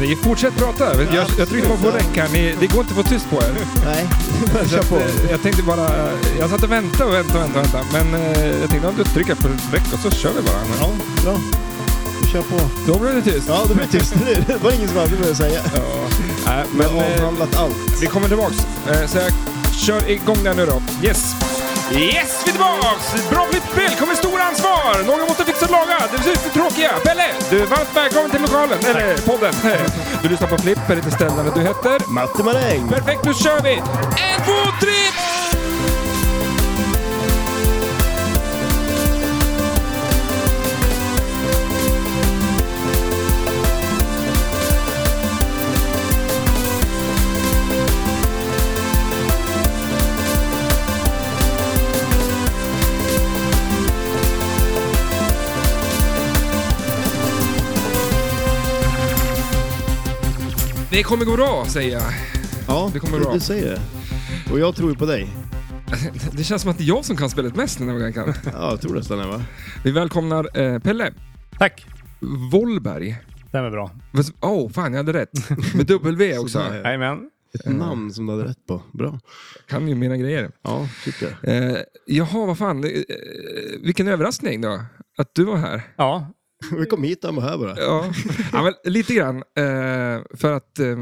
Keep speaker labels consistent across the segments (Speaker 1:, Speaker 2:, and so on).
Speaker 1: Ni fortsätt prata. Jag, jag tryckte bara på räck här. Ni, det går inte att få tyst på er.
Speaker 2: Nej, bara
Speaker 1: Så
Speaker 2: kör
Speaker 1: att,
Speaker 2: på.
Speaker 1: eh, jag tänkte bara... eh, Jag satt och väntade och väntade och väntade. och väntade. Men eh, jag tänkte att du trycker på räck och så kör vi bara. Men,
Speaker 2: Ja, eh, bra. Vi kör på.
Speaker 1: Då blev det tyst.
Speaker 2: Ja, det blev tyst. Det var ingen som hade börjat säga.
Speaker 1: Ja. Nej,
Speaker 2: Men
Speaker 1: men eh,
Speaker 2: avhandlat allt.
Speaker 1: vi kommer tillbaks. Eh, så jag kör igång den nu då. Yes! Yes, vi är tillbaks! Bra nytt spel, kommer stora ansvar! Någon måste fixa och laga, det ser ut för tråkiga. Pelle, du är varmt välkommen till lokalen, eller podden. Du lyssnar på Flipp, eller stället du heter.
Speaker 2: Matte Maräng!
Speaker 1: Perfekt, nu kör vi! En, två, tre! Det kommer gå bra, säger jag.
Speaker 2: Ja,
Speaker 1: Det kommer
Speaker 2: du,
Speaker 1: bra.
Speaker 2: du säger det. Och jag tror ju på dig.
Speaker 1: Det känns som att det är jag som kan spelet mest den här veckan.
Speaker 2: Ja, jag tror nästan det va?
Speaker 1: Vi välkomnar eh, Pelle
Speaker 3: Tack.
Speaker 1: Wollberg.
Speaker 3: Den är bra.
Speaker 1: Vad- Åh, fan jag hade rätt. Med W också.
Speaker 2: Sådär.
Speaker 3: Jajamän.
Speaker 2: Ett namn som du hade rätt på. Bra.
Speaker 1: Kan ju mina grejer.
Speaker 2: Ja, tycker jag.
Speaker 1: Eh, jaha, vad fan. Eh, vilken överraskning då, att du var här.
Speaker 3: Ja.
Speaker 2: Vi kom hit, han var här bara.
Speaker 1: Ja, ja men lite grann. Eh, för att eh,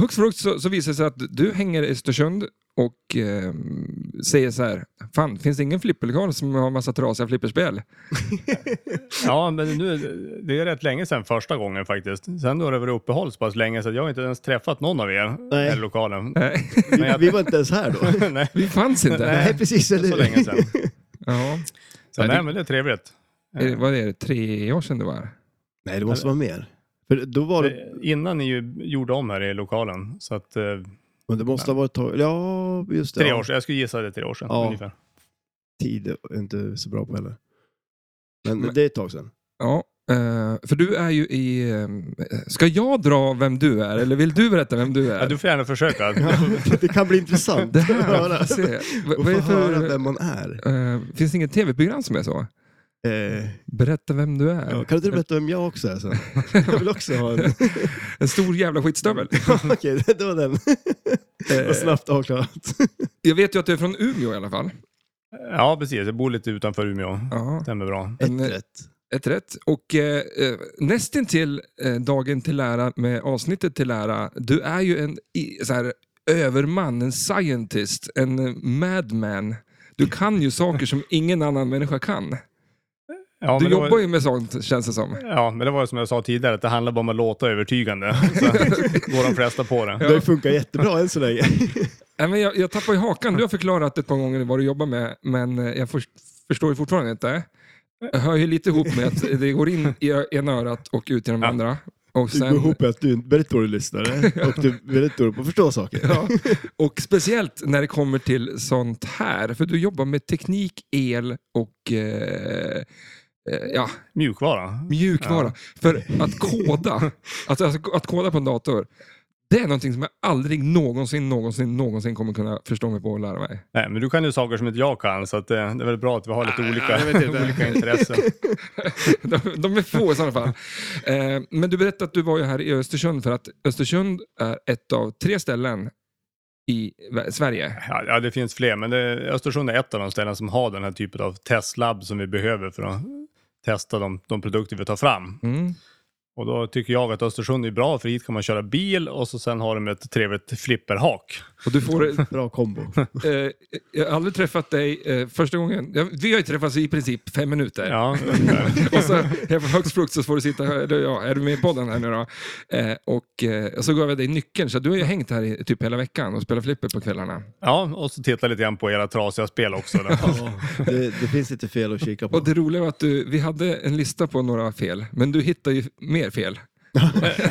Speaker 1: högst för högst så, så visar det sig att du hänger i Östersund och eh, säger så här, fan finns det ingen flipperlokal som har massa trasiga flipperspel?
Speaker 3: ja, men nu, det är rätt länge sedan första gången faktiskt. Sen då har det varit uppehåll så pass länge så att jag har inte ens träffat någon av er
Speaker 2: Nej.
Speaker 3: här i lokalen.
Speaker 1: Nej,
Speaker 3: Men jag,
Speaker 2: Vi var inte ens här då.
Speaker 3: nej,
Speaker 1: Eh, vi fanns inte.
Speaker 2: Nej, precis. Eller?
Speaker 3: så länge sedan.
Speaker 1: Ja.
Speaker 3: Så nej, men det är trevligt. Eh,
Speaker 1: Är det- Eh, Vad är det, tre år sedan det var?
Speaker 2: Nej, det måste vara mer. För då var det...
Speaker 3: Eh, Innan ni ju gjorde om här i lokalen. Så att, eh,
Speaker 2: Men det måste ha varit... tag- Ja, just det.
Speaker 3: tre
Speaker 2: Ja,
Speaker 3: år sedan. Jag skulle gissa det tre år sedan
Speaker 2: Ja.
Speaker 3: ungefär.
Speaker 2: Tid är inte så bra på heller. Men,
Speaker 1: Men-
Speaker 2: det är ett tag sedan.
Speaker 1: Ja, eh, för du är ju i... eh, Ska jag dra vem du är, eller vill du berätta vem du är?
Speaker 3: Ja, du får gärna försöka.
Speaker 2: det kan bli intressant
Speaker 1: Det här,
Speaker 2: att höra.
Speaker 1: får se. Vad-
Speaker 2: Och
Speaker 1: vad är
Speaker 2: få
Speaker 1: det för-
Speaker 2: höra vem man är.
Speaker 1: eh, finns det inget tv-program som är så?
Speaker 2: Eh,
Speaker 1: Berätta vem du är.
Speaker 2: ja, kan inte du berätta vem jag också är sen? Jag vill också ha en...
Speaker 1: En stor jävla skitstövel.
Speaker 2: Okej, det var den.
Speaker 1: Eh,
Speaker 2: Vad snabbt avklarat.
Speaker 1: Jag vet ju att du är från Umeå i alla fall.
Speaker 3: Ja, precis. Jag bor lite utanför Umeå.
Speaker 1: Ja,
Speaker 3: Stämmer bra.
Speaker 1: en-
Speaker 2: Ett rätt.
Speaker 1: ett rätt. Och eh, eh, nästintill eh, dagen till ära med avsnittet till ära. Du är ju en i, så här, överman, en scientist, en eh, madman. Du kan ju saker som ingen annan människa kan.
Speaker 3: Ja,
Speaker 1: Du
Speaker 3: men det var-
Speaker 1: jobbar ju med sånt känns det som.
Speaker 3: Ja, men det var ju som jag sa tidigare, att det handlar bara om att låta övertygande. Så går de flesta på det.
Speaker 2: Det har ju funkat jättebra än så länge.
Speaker 1: Nej, men jag, jag tappar ju hakan. Du har förklarat ett par gånger vad du jobbar med, men eh, jag för, förstår ju fortfarande inte. Jag hör ju lite ihop med att det går in i ö- ena örat och ut genom
Speaker 3: Ja.
Speaker 1: andra. Och,
Speaker 2: Det går
Speaker 1: sen,
Speaker 2: ihop med att du är en väldigt dålig lyssnare och du är väldigt dålig på att förstå saker.
Speaker 1: ja, och speciellt när det kommer till sånt här, för du jobbar med teknik, el och eh, eh, ja,
Speaker 3: Mjukvara.
Speaker 1: mjukvara. För att koda, alltså, alltså att koda på en dator, det är någonting som jag aldrig någonsin, någonsin, någonsin kommer kunna förstå mig på och lära mig.
Speaker 3: Nej, men du kan ju saker som inte jag kan, så att eh, det är väl bra att vi har lite
Speaker 2: Ah, jag vet
Speaker 3: olika,
Speaker 2: inte.
Speaker 3: olika intressen.
Speaker 1: De, de är få i sådana fall. Eh, men du berättade att du var ju här i Östersund för att Östersund är ett av tre ställen i Vä- Sverige.
Speaker 3: Ja, ja, det finns fler, men det, Östersund är ett av de ställen som har den här typen av testlabb som vi behöver för att testa de, de produkter vi tar fram.
Speaker 1: Mm.
Speaker 3: Och då tycker jag att Östersund är bra, för hit kan man köra bil och så sen har de ett trevligt flipperhak.
Speaker 1: Och du får, eh,
Speaker 2: Bra kombo.
Speaker 1: eh, jag har aldrig träffat dig eh, första gången. Ja, vi har ju träffats i princip fem minuter.
Speaker 3: Ja, ungefär.
Speaker 1: Och så här på högst frukt så får du sitta här. Du, Ja, är du med i podden här nu då? Eh, och eh, så gav jag dig nyckeln. Så du har ju hängt här i typ hela veckan och spelat flipper på kvällarna.
Speaker 3: ja, och så titta lite grann på era trasiga spel också. Då.
Speaker 2: Det, det finns lite fel att kika på.
Speaker 1: Och det roliga var att du, vi hade en lista på några fel, men du hittade ju mer fel.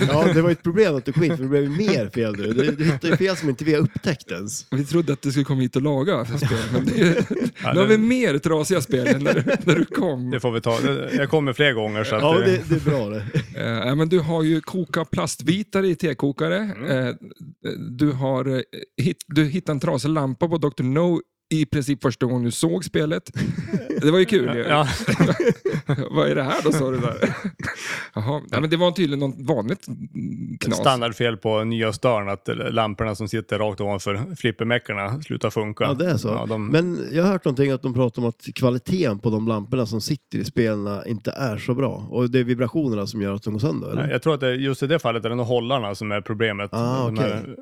Speaker 2: Ja, det var ju ett problem att du kom hit, för det blev ju mer fel nu. Du, du hittade ju fel som inte vi har upptäckt ens.
Speaker 1: Vi trodde att du skulle komma hit och laga spel, men det,
Speaker 3: Ja,
Speaker 1: nu har vi
Speaker 3: det-
Speaker 1: mer trasiga spel än när, du- när du kom.
Speaker 3: Det får vi ta. Det- Jag kommer fler gånger. Så att,
Speaker 2: Ja,
Speaker 3: eh,
Speaker 2: det, det är bra det.
Speaker 1: Eh, men du har ju kokat plastbitar i
Speaker 3: Mm.
Speaker 1: tekokare. Eh, du, har, eh, hitt, du hittade en trasig lampa på Dr. No i princip första gången du såg spelet. Det var ju kul ju.
Speaker 3: Ja,
Speaker 1: Vad är det här då, sa du där? Jaha, nej, men det var tydligen något vanligt mm, knas.
Speaker 3: standardfel på nya Starn, att lamporna som sitter rakt ovanför flippermäckarna slutar funka.
Speaker 2: Ja, det är så.
Speaker 3: Ja, de,
Speaker 2: Men jag har hört någonting att de pratar om att kvaliteten på de lamporna som sitter i spelen inte är så bra. Och det är vibrationerna som gör att de går sönder, eller?
Speaker 3: Nej, Jag tror att det, just i det fallet är det nog hållarna som är problemet.
Speaker 2: Ah,
Speaker 3: De
Speaker 2: okej.
Speaker 3: här-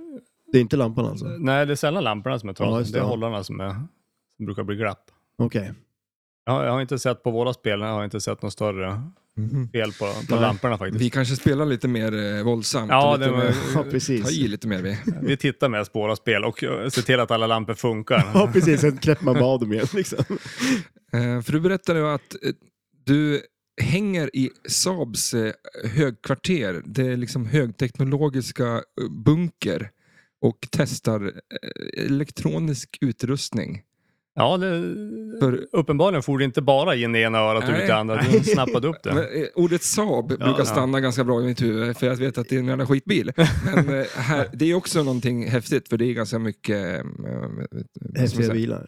Speaker 2: Det är inte lampan alltså?
Speaker 3: Nej, det är sällan lamporna som är trasiga.
Speaker 2: Ja, just
Speaker 3: det är
Speaker 2: det.
Speaker 3: hållarna som, är, som brukar bli glapp.
Speaker 2: Okej.
Speaker 3: Jag har, jag har inte sett på våra spel, jag har inte sett något större
Speaker 1: Mhm.
Speaker 3: fel på, på
Speaker 2: Nej.
Speaker 3: lamporna faktiskt.
Speaker 1: Vi kanske spelar lite mer eh, våldsamt.
Speaker 3: Ja,
Speaker 1: och lite
Speaker 3: det var,
Speaker 1: mer,
Speaker 2: Ja,
Speaker 1: ta
Speaker 2: precis.
Speaker 1: i lite mer. Vi.
Speaker 3: vi tittar mest på våra spel och eh, ser till att alla lampor funkar.
Speaker 2: Ja, precis. Sen knäpper man bara av dem igen. Liksom.
Speaker 1: Eh, För du berättade ju att eh, du hänger i Saabs eh, högkvarter. Det är liksom högteknologiska eh, bunker och testar eh, elektronisk utrustning.
Speaker 3: Ja, det,
Speaker 1: För-
Speaker 3: uppenbarligen for det inte bara in i ena örat och ut
Speaker 1: Nej.
Speaker 3: i andra. Du snappade upp
Speaker 1: Men,
Speaker 3: det.
Speaker 1: eh, ordet Saab brukar
Speaker 2: ja.
Speaker 1: stanna ganska bra i mitt huvud för jag vet att det är en jävla skitbil. Men eh, här, det är också någonting häftigt för det är ganska mycket... eh, vad ska man
Speaker 2: Häftiga
Speaker 1: säga?
Speaker 2: bilar.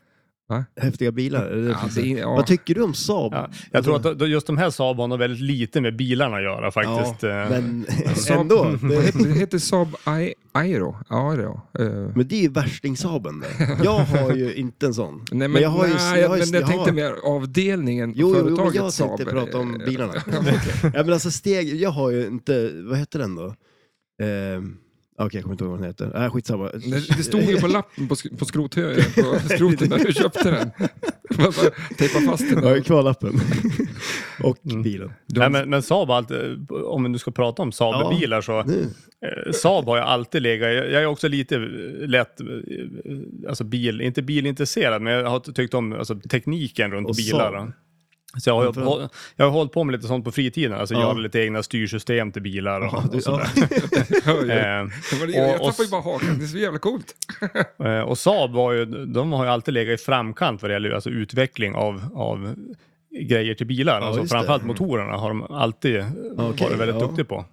Speaker 1: Va?
Speaker 2: Häftiga bilar. är det
Speaker 1: Ja,
Speaker 2: precis?
Speaker 1: det är, ja.
Speaker 2: Vad tycker du om Saab?
Speaker 3: Ja, jag tror att de- de- just de här Saab har nog väldigt lite med bilarna att göra faktiskt. Eh,
Speaker 2: Men
Speaker 1: alltså, Saab-
Speaker 2: ändå. Det,
Speaker 1: Det heter Saab Ai- Aero. Aero. eh.
Speaker 2: men det är ju värstingsaben det. Jag har ju inte en sån.
Speaker 1: Nej, men,
Speaker 2: jag har ju...
Speaker 1: nej,
Speaker 2: jag har ju-
Speaker 1: men jag
Speaker 2: har-
Speaker 1: tänkte mer avdelningen,
Speaker 2: Jo, jo, jo,
Speaker 1: företaget
Speaker 2: men jag
Speaker 1: Saab.
Speaker 2: tänkte prata om
Speaker 1: Eh,
Speaker 2: bilarna. ja, men alltså steg, jag har ju inte, vad heter den då? Eh, Okej, jag kommer inte ihåg vad den heter. Äh, skitsamma.
Speaker 1: Det, det stod ju på lappen på, sk- på, skrothö, på skroten när du köpte den. Man bara Tejpa fast den.
Speaker 2: Jag har ju kvar lappen. Och
Speaker 1: Mm.
Speaker 2: bilen.
Speaker 1: Du
Speaker 3: Nej,
Speaker 1: har-
Speaker 3: men, men Saab, har alltid, om vi nu ska prata om Saab-bilar så
Speaker 2: Nu.
Speaker 3: Eh, Saab har jag alltid legat, jag jag är också lite eh, lätt, eh, alltså bil, inte bilintresserad, men jag har tyckt om alltså, tekniken runt
Speaker 2: Och
Speaker 3: bilar.
Speaker 2: Saab.
Speaker 3: Så jag har, ju-
Speaker 2: Framförallt.
Speaker 3: jag har hållit på med lite sånt på fritiden, alltså
Speaker 2: Ja.
Speaker 3: gör lite egna styrsystem till bilar och,
Speaker 2: Du,
Speaker 3: och
Speaker 2: ja,
Speaker 3: sådär.
Speaker 1: Hör ju.
Speaker 3: Eh,
Speaker 1: Det var det-
Speaker 3: och-
Speaker 1: Jag
Speaker 3: och-
Speaker 1: tappar ju bara hakan, det är så jävla coolt.
Speaker 3: Eh, Och Saab var ju, de har ju alltid legat i framkant vad det gäller alltså utveckling av, av grejer till bilar. alltså
Speaker 2: just det. Mm.
Speaker 3: framförallt motorerna har de alltid
Speaker 2: Okej,
Speaker 3: varit väldigt
Speaker 2: ja. Mm.
Speaker 3: duktiga på.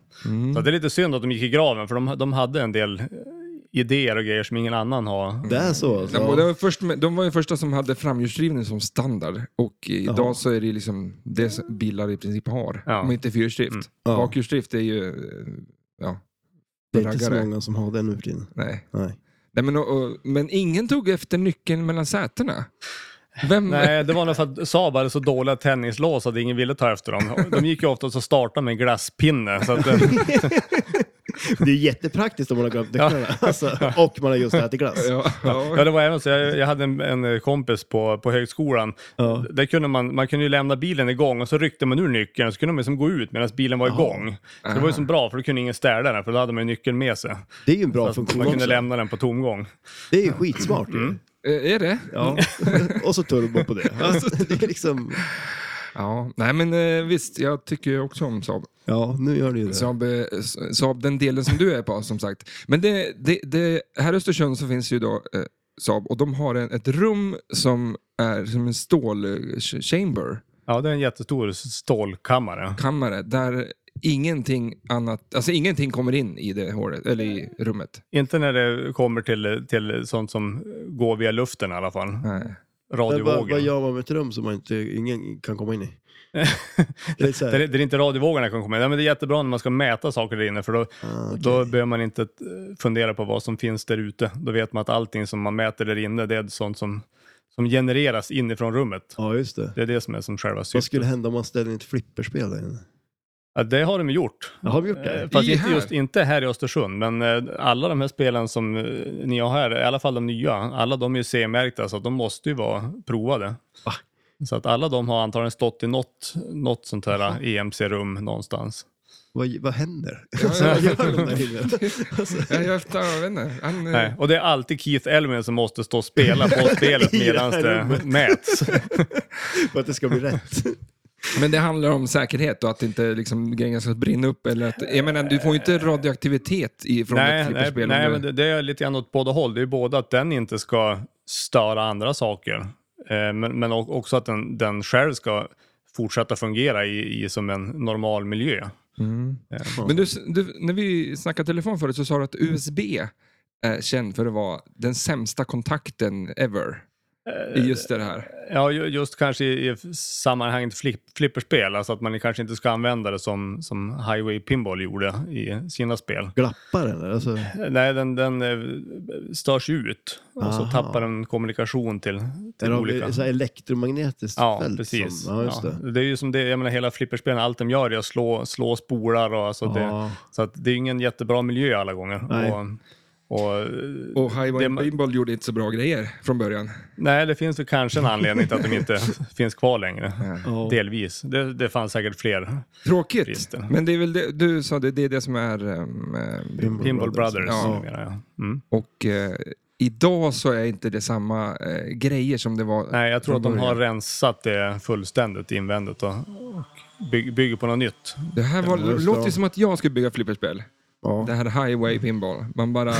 Speaker 3: Så det är lite synd att de gick i graven, för de, de hade en del eh, idéer och grejer som ingen annan har.
Speaker 2: det är så alltså.
Speaker 1: De, de, var först med, de var ju första som hade framhjulsdrivning som standard och idag
Speaker 2: Jaha.
Speaker 1: så är det liksom det som bilar i princip har.
Speaker 3: Ja.
Speaker 1: Om inte fyrhjulsdrift.
Speaker 2: Mm. Ja.
Speaker 1: Bakhjulsdrift är ju... eh, Ja,
Speaker 2: Det är inte så
Speaker 1: raggare.
Speaker 2: många som har den nu för tiden.
Speaker 1: nej.
Speaker 2: Nej.
Speaker 1: nej men, och, och, men ingen tog efter nyckeln mellan sätena. Vem,
Speaker 3: Nej, det var nog för att Saab hade så dåliga tändningslås att ingen ville ta efter dem. De gick ju ofta och startade med en glasspinne. Så att, eh,
Speaker 2: Det är jättepraktiskt om man har glömt nycklarna. Alltså, och man har just ätit glass.
Speaker 1: Ja, ja.
Speaker 3: Ja, det var även så. Jag, jag hade en, en kompis på, på högskolan.
Speaker 2: Ja.
Speaker 3: Där kunde man, man kunde ju lämna bilen igång och så ryckte man ur nyckeln och så kunde man liksom gå ut medan bilen var igång. Så det var ju så bra för då kunde ingen städa den för då hade man ju nyckeln med sig.
Speaker 2: Det är ju en bra
Speaker 3: så att
Speaker 2: funktion
Speaker 3: man kunde
Speaker 2: också.
Speaker 3: lämna den på tomgång.
Speaker 2: Det är ju skitsmart ju.
Speaker 1: Eh, Är det?
Speaker 2: Ja. och så turbo på det. Ja, det är liksom...
Speaker 1: Ja. Nej men eh, visst, jag tycker ju också om Saab.
Speaker 2: ja, nu gör det ju det.
Speaker 1: Saab, eh, S- Saab, den delen som du är på som sagt. Men det, det, det, här i Östersund så finns ju då eh, Saab och de har en, ett rum som är som en eh, stålchamber,
Speaker 3: Ja, det är en jättestor stålkammare.
Speaker 1: kammare, där ingenting annat, alltså ingenting kommer in i det hålet, eller i rummet.
Speaker 3: Inte när det kommer till, till sånt som går via luften i alla fall.
Speaker 1: Nej.
Speaker 2: Men vad, vad
Speaker 3: Radiovågor.
Speaker 2: gör man med ett rum som man inte, ingen kan komma in i? Det är så
Speaker 3: Där,
Speaker 2: här,
Speaker 3: det- där inte radiovågorna kan komma in. Ja, men det är jättebra när man ska mäta saker där inne för då,
Speaker 2: ah, okej.
Speaker 3: Då behöver man inte eh, fundera på vad som finns där ute. Då vet man att allting som man mäter där inne, det är sånt som, som genereras inifrån rummet.
Speaker 2: Ja, just det.
Speaker 3: Det är det som är som själva
Speaker 2: Vad
Speaker 3: syftet.
Speaker 2: skulle hända om man ställer in ett flipperspel där inne?
Speaker 3: Ja, det har de gjort.
Speaker 2: Ja, Har de gjort
Speaker 3: Eh,
Speaker 2: det?
Speaker 3: Fast
Speaker 1: I
Speaker 3: inte,
Speaker 1: här?
Speaker 3: just, inte här i Östersund, men eh, alla de här spelen som eh, ni har här, i alla fall de nya, alla de är ju C-märkta så att de måste ju vara provade.
Speaker 2: Va?
Speaker 3: Så att alla de har antagligen stått i något, något sånt här EMC-rum någonstans.
Speaker 2: Vad, vad händer?
Speaker 1: Ja,
Speaker 2: Alltså,
Speaker 1: ja.
Speaker 2: vad gör de där inne?
Speaker 1: Ja, jag jag vet inte. Han, eh,
Speaker 3: Nej. Och det är alltid Keith Elwin som måste stå och spela på spelet
Speaker 2: I det här
Speaker 3: medan det
Speaker 2: rummet.
Speaker 3: mäts.
Speaker 2: För att det ska bli rätt.
Speaker 1: Men det handlar om säkerhet och att inte liksom, grejerna ska brinna upp. Eller att, jag menar, du får ju inte radioaktivitet i- från ett
Speaker 3: Nej, nej,
Speaker 1: flipperspel. om
Speaker 3: nej
Speaker 1: du-
Speaker 3: men det, det är lite grann åt båda håll. Det är ju både att den inte ska störa andra saker, eh, men, men o- också att den, den själv ska fortsätta fungera i, i som en normal miljö.
Speaker 1: Mm.
Speaker 3: Ja.
Speaker 1: Men du, du, när vi snackade telefon förut så sa du att USB är känd för att vara den sämsta kontakten ever.
Speaker 3: Eh,
Speaker 1: i just det här.
Speaker 3: Ja, ju- just kanske i i sammanhanget flip, flipperspel, alltså att man kanske inte ska använda det som, som Highway Pinball gjorde i sina spel.
Speaker 2: Glappar den? Alltså,
Speaker 3: Nej, den, den eh, störs ut och så
Speaker 2: Aha.
Speaker 3: tappar den kommunikation till,
Speaker 2: är
Speaker 3: till olika...
Speaker 2: det så här elektromagnetiskt
Speaker 3: Ja,
Speaker 2: fält?
Speaker 3: precis.
Speaker 2: Som, ja, just
Speaker 3: Ja,
Speaker 2: det.
Speaker 3: det är ju som det, jag menar hela flipperspelen, allt de gör är att slå, slå spolar och alltså det,
Speaker 2: Ja.
Speaker 3: så att det är ingen jättebra miljö alla gånger.
Speaker 2: Nej.
Speaker 3: Och, och,
Speaker 1: Och Highway
Speaker 3: Det-
Speaker 1: Pinball gjorde inte så bra grejer från början.
Speaker 3: nej, det finns väl kanske en anledning till att de inte finns kvar längre.
Speaker 2: Ja.
Speaker 3: Delvis. Det, det fanns säkert fler.
Speaker 1: Tråkigt.
Speaker 3: Brister.
Speaker 1: Men det är väl det, du sa, det, det är det som är... ehm, ehm,
Speaker 3: Pinball Brothers,
Speaker 1: Ja.
Speaker 3: numera, ja. Mm.
Speaker 1: och eh, idag så är inte det samma eh, grejer som det var.
Speaker 3: Nej, jag tror
Speaker 1: från
Speaker 3: att de har
Speaker 1: början.
Speaker 3: rensat det fullständigt invändigt och, och bygg, bygger på något nytt.
Speaker 1: Det här var,
Speaker 2: Ja, just det.
Speaker 1: låter ju som att jag skulle bygga flipperspel.
Speaker 2: Ja.
Speaker 1: Det här highway pinball. Man bara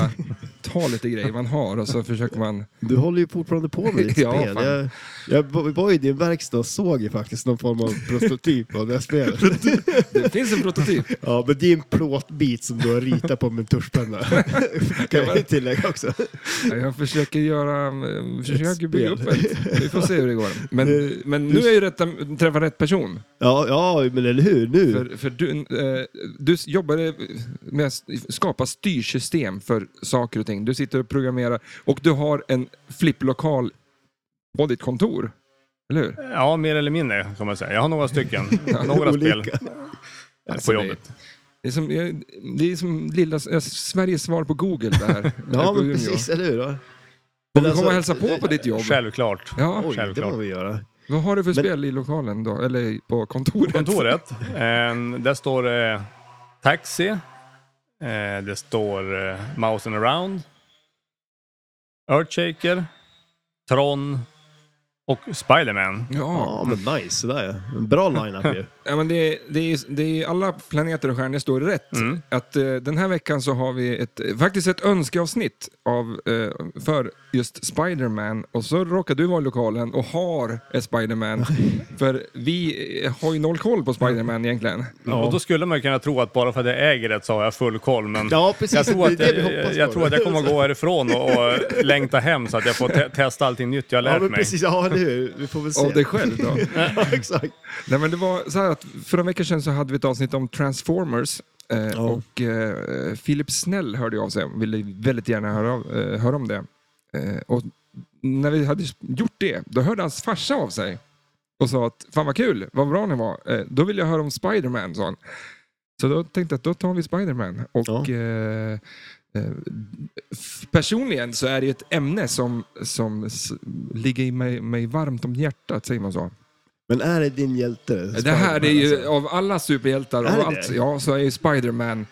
Speaker 1: tar lite grejer man har och så försöker man...
Speaker 2: Du håller ju fortfarande på med ditt
Speaker 1: Ja,
Speaker 2: spel.
Speaker 1: fan.
Speaker 2: Jag, jag var- var ju i din verkstad och såg ju faktiskt någon form av prototyp av det här spelet.
Speaker 1: Det finns en prototyp.
Speaker 2: Ja, men det är en plåtbit som du har ritat på med en tuschpenna. kan jag ju tillägga också.
Speaker 1: Ja, Jag försöker göra... eh, Försöker bygga upp
Speaker 2: spel.
Speaker 1: ett. Vi får se hur det går. Men, men nu är ju rätt, träffa rätt person.
Speaker 2: Ja, ja men eller hur? Nu?
Speaker 1: För, för du, eh, du jobbade med att skapa styrsystem för saker och ting. Du sitter och programmerar och du har en flipplokal på ditt kontor. Eller hur?
Speaker 3: Ja, mer eller mindre kan man säga. Jag har några stycken, några spel
Speaker 2: Olika.
Speaker 3: på
Speaker 1: Alltså,
Speaker 3: jobbet.
Speaker 1: Det är som, jag- det är som lilla, eh, Sveriges svar på Google det här.
Speaker 2: Ja,
Speaker 1: På
Speaker 2: men
Speaker 1: Umeå.
Speaker 2: precis, eller hur? Då?
Speaker 1: Om
Speaker 2: Men
Speaker 1: vi kommer och
Speaker 2: alltså,
Speaker 1: hälsa på på ditt jobb.
Speaker 3: Självklart.
Speaker 1: Ja,
Speaker 2: Oj, det
Speaker 3: Självklart.
Speaker 2: må vi göra.
Speaker 1: vad har du för
Speaker 2: Men-
Speaker 1: spel i lokalen då? Eller på kontoret?
Speaker 3: Kontoret, eh, där står det Taxi. Eh, det står eh, Mouse and around. Earthshaker. Tron. Och Spiderman.
Speaker 1: Ja,
Speaker 2: Ja, men nice. Sådär ja. En bra line-up ju.
Speaker 1: ja men det, är- det, är, det är alla planeter och stjärnor står rätt.
Speaker 3: Mm.
Speaker 1: Att eh, den här veckan så har vi ett, eh, faktiskt ett önskeavsnitt av, eh, för just Spider-Man. Och så råkar du vara i lokalen och har ett Spider-Man. för vi eh, har ju noll koll på Spider-Man egentligen.
Speaker 3: Och då skulle man kunna tro att bara för att jag äger det så har jag full koll. Men
Speaker 2: Ja, precis.
Speaker 3: jag tror att
Speaker 2: det är det
Speaker 3: jag,
Speaker 2: vi hoppas
Speaker 3: jag,
Speaker 2: på.
Speaker 3: tror att jag kommer att gå härifrån och, och längta hem så att jag får te testa allting nytt jag har
Speaker 2: Ja,
Speaker 3: lärt
Speaker 2: men
Speaker 3: mig.
Speaker 2: precis. Ja, eller hur? Vi får väl se.
Speaker 1: Av dig själv då.
Speaker 2: ja, exakt.
Speaker 1: Nej, men det var så här att för en vecka sedan så hade vi ett avsnitt om Transformers. Eh,
Speaker 2: Ja.
Speaker 1: Och eh, Philip Snell hörde av sig och ville väldigt gärna höra, av, eh, höra om det. Eh, och när vi hade gjort det, då hörde hans farsa av sig och sa att fan vad kul, vad bra ni var. Eh, då vill jag höra om Spiderman, sa han. Så då tänkte jag att då tar vi Spiderman. Och,
Speaker 2: Ja.
Speaker 1: eh, eh, f- Personligen så är det ju ett ämne som, som s- ligger i mig, mig varmt om hjärtat, säger man så.
Speaker 2: Men är det din hjälte?
Speaker 1: Det här är ju, av alla superhjältar,
Speaker 2: alltså. Är
Speaker 1: av
Speaker 2: det
Speaker 1: allt,
Speaker 2: det?
Speaker 1: ja, så är ju Spiderman,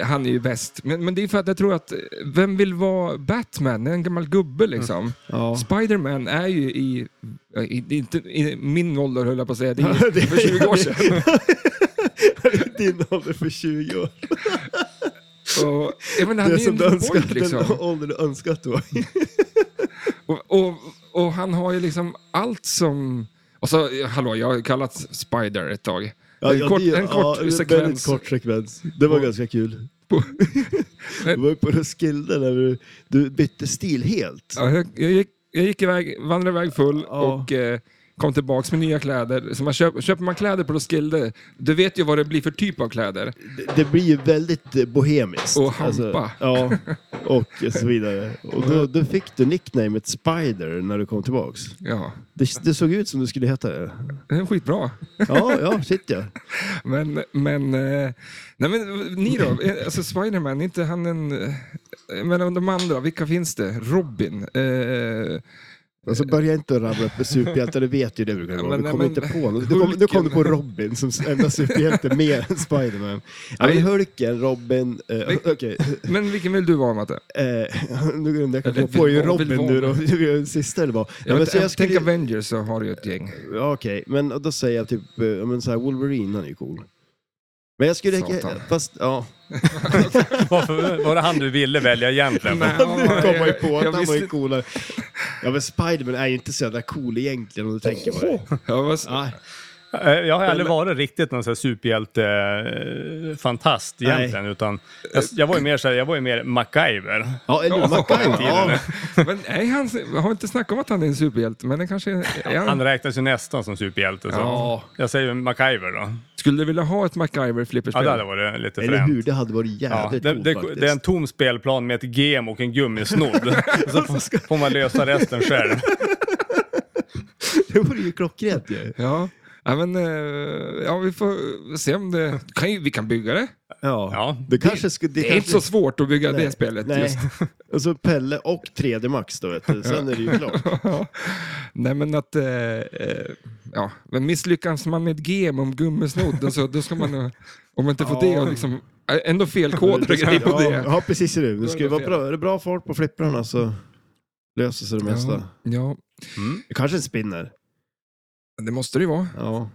Speaker 1: eh, han är ju bäst. Men, men det är för att jag tror att, eh, vem vill vara Batman? Det är en gammal gubbe liksom.
Speaker 2: Mm. Ja.
Speaker 1: Spiderman är ju i, eh, i, det är inte, i min ålder höll jag på att säga, det är
Speaker 2: Ja,
Speaker 1: ju
Speaker 2: det-
Speaker 1: för 20 år sedan.
Speaker 2: Din ålder för 20 år.
Speaker 1: Och, jag menar, han är
Speaker 2: Det är
Speaker 1: ju
Speaker 2: som
Speaker 1: en
Speaker 2: du önskar,
Speaker 1: pojk liksom.
Speaker 2: den ålder du önskar att du var i.
Speaker 1: Och, och, och han har ju liksom allt som... Och så, eh, hallå, jag har ju kallats Spider ett tag. en kort,
Speaker 2: det-
Speaker 1: en kort
Speaker 2: ja, en
Speaker 1: sekvens.
Speaker 2: Väldigt kort sekvens. Det var
Speaker 1: Och-
Speaker 2: ganska kul.
Speaker 1: på-
Speaker 2: Du var ju på Roskilde när du, du bytte stil helt.
Speaker 1: Ja, jag, jag, gick, jag gick iväg, vandrade iväg full
Speaker 2: Ja.
Speaker 1: och eh, kom tillbaks med nya kläder. Så man köp, köper man kläder på Roskilde, du vet ju vad det blir för typ av kläder.
Speaker 2: Det, det blir ju väldigt eh, bohemiskt. Alltså,
Speaker 1: Och hampa.
Speaker 2: ja, och så vidare. Och då, då fick du nicknamet Spider när du kom tillbaks.
Speaker 1: Ja,
Speaker 2: Det, det såg ut som du skulle heta det.
Speaker 1: det är skitbra.
Speaker 2: Ja, ja, shit ja.
Speaker 1: Men, men, eh, nej men ni då? Eh, Alltså Spiderman, är inte han en... eh, Men de andra, vilka finns det? Robin? Eh,
Speaker 2: Alltså börja inte rabbla upp superhjältar, det vet ju det brukar vara.
Speaker 1: men-
Speaker 2: Du kommer
Speaker 1: men-
Speaker 2: inte på något. Du kom, nu kom du på Robin som enda superhjälte mer än Spiderman. Ja, men Hulken, Robin, eh, okej.
Speaker 1: men vilken vill du vara Matte?
Speaker 2: Eh, nu glömde jag
Speaker 1: Eller
Speaker 2: kanske på ju
Speaker 1: vill-
Speaker 2: Robin
Speaker 1: vill vara
Speaker 2: nu då. Det var ju sista eller vad?
Speaker 1: Jag,
Speaker 2: Ja, men
Speaker 1: vet,
Speaker 2: så jag skulle...
Speaker 1: Tänk Avengers så har du ju ett gäng.
Speaker 2: Ja, Okej, men då säger jag typ, eh, ja, men så här, Wolverine han är ju cool. Men jag skulle...
Speaker 1: Satan.
Speaker 2: Fast, ja.
Speaker 3: Varför, var det han du ville välja egentligen?
Speaker 1: Nej,
Speaker 2: Nu kom man ju på
Speaker 1: jag
Speaker 2: att han var
Speaker 1: visste-
Speaker 2: ju coolare. Ja men Spiderman är ju inte så jävla cool egentligen om du tänker på det.
Speaker 1: Jag var,
Speaker 2: Nej.
Speaker 3: Eh, Jag har aldrig varit riktigt någon sån här superhjälte-fantast
Speaker 2: Nej.
Speaker 3: egentligen. Utan jag, jag, var ju mer så här, jag var ju mer MacGyver.
Speaker 2: Ja, eller hur? MacGyver. Ja,
Speaker 1: Men nej, han har inte snackat om att han är en superhjälte, men det kanske är... är han.
Speaker 3: Han räknas ju nästan som superhjälte. Så.
Speaker 1: Ja.
Speaker 3: Jag säger MacGyver då.
Speaker 1: Skulle du vilja ha ett
Speaker 3: Ja,
Speaker 1: MacGyver-flipperspel?
Speaker 3: det hade varit lite
Speaker 2: eller
Speaker 3: fränt.
Speaker 2: hur? Det hade varit
Speaker 3: Ja,
Speaker 2: jävligt
Speaker 3: det,
Speaker 2: coolt
Speaker 3: det,
Speaker 2: faktiskt.
Speaker 3: det är en tom spelplan med ett gem och en gummisnodd. så får, får man lösa resten själv.
Speaker 2: det vore ju klockrent ju.
Speaker 1: Ja. Ja, men, eh, ja, vi får se om det... Kan ju, vi kan bygga det.
Speaker 2: Ja.
Speaker 3: Ja.
Speaker 2: Det, kanske skulle...
Speaker 1: Det är inte så svårt att bygga det
Speaker 2: Nej,
Speaker 1: spelet.
Speaker 2: nej.
Speaker 1: Just.
Speaker 2: Och så Pelle och 3D Max då, vet du. Sen är det ju klart.
Speaker 1: Nej, men att... Eh, eh, ja. Men misslyckas man med ett gem om gummisnodden så då ska man... eh, Om man inte får
Speaker 2: Ja.
Speaker 1: det och liksom... eh, Ändå fel koder och grejer på
Speaker 2: ja,
Speaker 1: det.
Speaker 2: Ja, precis. Är det.
Speaker 1: är
Speaker 2: Det ska
Speaker 1: det
Speaker 2: ju vara
Speaker 1: fel.
Speaker 2: bra. Är det bra fart på flipprarna så löser sig det mesta.
Speaker 1: Ja, ja,
Speaker 2: Kanske en spinner.
Speaker 1: det måste det ju vara.
Speaker 2: Ja,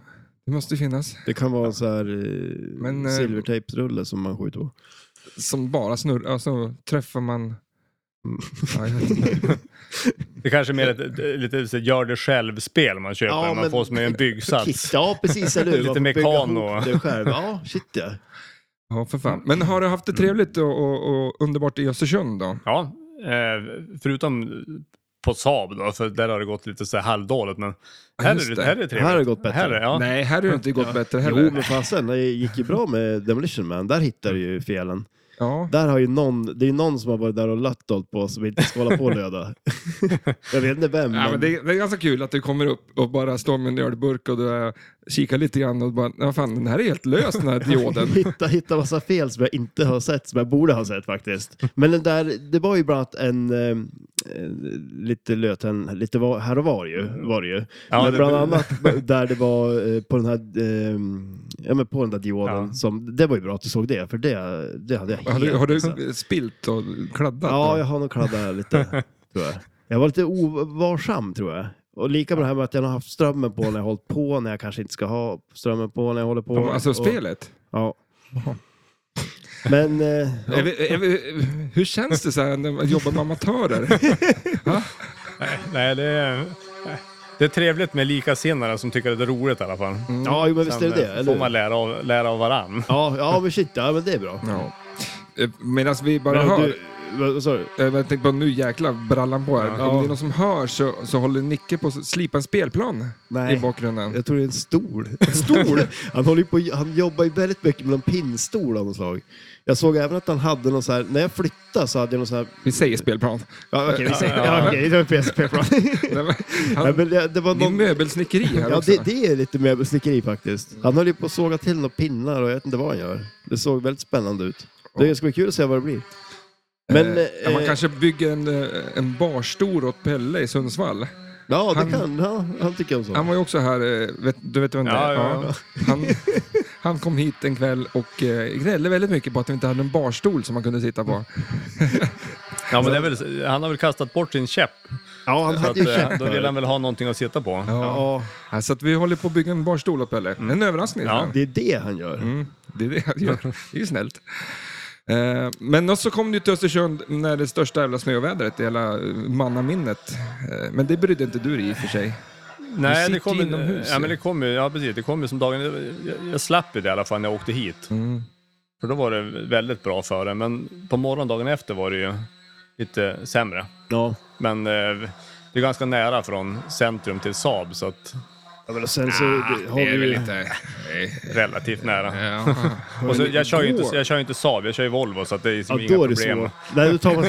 Speaker 1: Det måste ju finnas.
Speaker 2: det kan vara en så här eh,
Speaker 1: Men, eh,
Speaker 2: silvertejpsrulle som man skjuter på.
Speaker 1: Som bara snurrar, alltså träffar man...
Speaker 2: Mm.
Speaker 1: Ja, jag vet inte.
Speaker 3: Det kanske är mer ett, ett, lite så här gör det själv-spel man köper.
Speaker 2: Ja,
Speaker 3: man
Speaker 2: men-
Speaker 3: får som en
Speaker 2: Kiss,
Speaker 3: byggsats.
Speaker 2: ja, precis. Eller hur?
Speaker 3: Lite
Speaker 2: Man får bygga
Speaker 3: mekano.
Speaker 2: ihop Det själv. Ja, shit ja.
Speaker 1: ja, för fan. Men har du haft det
Speaker 2: Mm.
Speaker 1: trevligt och, och, och underbart i Östersund då?
Speaker 3: Ja, eh, förutom på Saab då, för där har det gått lite så här halvdåligt. Men
Speaker 1: Ja,
Speaker 3: här
Speaker 1: just
Speaker 3: är det,
Speaker 1: det.
Speaker 3: här är det trevligt.
Speaker 2: Här har det gått bättre.
Speaker 3: Här är, ja.
Speaker 1: Nej, här har det inte gått bättre heller.
Speaker 2: Jo, men fasen. Det gick ju bra med Demolition Man. Där hittar du ju felen.
Speaker 1: Ja.
Speaker 2: Där har ju någon, det är ju någon som har varit där och lött allt på oss som inte ska hålla på och löda. Jag vet inte vem,
Speaker 1: Ja, men det, är- det är ganska kul att du kommer upp och bara står med en ölburk och du eh, kikar lite grann och bara, ja fan den här är helt lös den här dioden.
Speaker 2: hitta, hitta massa fel som jag inte har sett, som jag borde ha sett faktiskt. Men den där, det var ju bland annat en, eh, eh, lite löten, lite var, här och var ju. Var det ju.
Speaker 3: Ja,
Speaker 2: men
Speaker 3: det-
Speaker 2: bland annat där det var eh, på den här, eh, ja men på den där dioden.
Speaker 3: Ja.
Speaker 2: Som, det var ju bra att du såg det, för det, det hade jag helt
Speaker 1: Har du, har
Speaker 2: missat.
Speaker 1: du spilt och kladdat?
Speaker 2: Ja,
Speaker 1: då?
Speaker 2: jag har nog kladdat här lite, tror jag. Jag var lite ovarsam, tror jag. Och lika bra här med att jag har haft strömmen på när jag har hållit på, när jag kanske inte ska ha strömmen på, när jag håller på.
Speaker 1: De, alltså
Speaker 2: och,
Speaker 1: spelet?
Speaker 2: Ja.
Speaker 1: Jaha.
Speaker 2: Men, eh,
Speaker 1: Är vi, är vi, hur känns det så här när man jobbar med amatörer?
Speaker 3: Nej, det är, det är trevligt med likasinnade som tycker det är roligt i alla fall.
Speaker 2: ja, jo, men Mm. visst
Speaker 3: Sen
Speaker 2: är det det,
Speaker 3: eh,
Speaker 2: eller
Speaker 3: får
Speaker 2: hur?
Speaker 3: man lära av, lära av varann.
Speaker 2: Ja, ja, men shit, ja, men det är bra.
Speaker 1: Ja. Medan vi bara
Speaker 2: Men,
Speaker 1: hör...
Speaker 2: du, vad- vad sa du?
Speaker 1: Eh, men Jag tänkte bara nu jäklar brallan på här.
Speaker 3: Ja.
Speaker 1: Om det är någon som hör så, så håller Nicke på att slipa en spelplan
Speaker 2: Nej.
Speaker 1: i bakgrunden.
Speaker 2: Jag tror det är en stol. En stol? han, håller ju på, han jobbar ju väldigt mycket med någon pinnstol av något slag. Jag såg även att han hade någon så här, när jag flyttade så hade jag någon så här,
Speaker 1: Vi säger spelplan.
Speaker 2: ja okej, vi säger,
Speaker 3: Ja,
Speaker 2: ja,
Speaker 3: ja.
Speaker 2: okej, det var PSP-plan.
Speaker 1: Nej, men
Speaker 2: Nej,
Speaker 1: Han,
Speaker 2: men det, det var
Speaker 1: det är
Speaker 2: någon...
Speaker 1: möbelsnickeri här
Speaker 2: Ja,
Speaker 1: också.
Speaker 2: det, det är lite möbelsnickeri faktiskt. Han höll ju på att såga till några pinnar och jag vet inte vad han gör. Det såg väldigt spännande ut. Det ska bli kul att se vad det blir. Men...
Speaker 1: eh, ja, man
Speaker 2: eh,
Speaker 1: kanske bygger en, eh, en barstol åt Pelle i Sundsvall.
Speaker 2: ja, det
Speaker 1: han-
Speaker 2: kan ja, han. tycker om
Speaker 1: Han
Speaker 2: sånt.
Speaker 1: var ju också här, eh, vet, du vet vem det
Speaker 3: Ja,
Speaker 1: är?
Speaker 3: ja,
Speaker 1: Han, han kom hit en kväll och eh, gnällde väldigt mycket på att vi inte hade en barstol som man kunde sitta på.
Speaker 3: Ja, men det är väl, han har väl kastat bort sin käpp.
Speaker 2: Ja, han
Speaker 3: Så
Speaker 2: hade
Speaker 3: att,
Speaker 2: ju
Speaker 3: eh,
Speaker 2: käpp.
Speaker 3: då vill han väl ha någonting att sitta på.
Speaker 2: Ja,
Speaker 1: Ja, Så att vi håller på att bygga en barstol åt Pelle. En överraskning.
Speaker 3: Mm. Ja.
Speaker 1: Ja.
Speaker 2: det är det han gör.
Speaker 1: Mm, det är det han gör. Det är ju snällt. Eh, Men och så kom du till Östersund när det största jävla snövädret i hela eh, mannaminnet. Eh, Men det brydde inte du dig i och för sig.
Speaker 3: Nej,
Speaker 1: sitter
Speaker 3: det kom,
Speaker 1: inomhus,
Speaker 3: ja,
Speaker 1: ju.
Speaker 3: men det kom ju, ja precis, det kom ju som dagen, jag, jag slapp ju det i alla fall när jag åkte hit. För då var det väldigt bra före, men på morgondagen efter var det ju lite sämre.
Speaker 2: Ja.
Speaker 3: Men eh, det är ganska nära från centrum till Saab, så att
Speaker 2: ja men och sen så det, har
Speaker 1: Det är
Speaker 2: vi
Speaker 1: väl
Speaker 2: ju...
Speaker 1: inte... Nej.
Speaker 3: relativt nära.
Speaker 1: Ja.
Speaker 3: Och så, jag, kör ju
Speaker 1: Då-
Speaker 3: inte, jag kör ju inte Saab, jag kör ju Volvo, så att det är liksom
Speaker 2: Ja,
Speaker 3: inga
Speaker 2: då är det
Speaker 3: problem.
Speaker 2: svårt. Nej, då tar man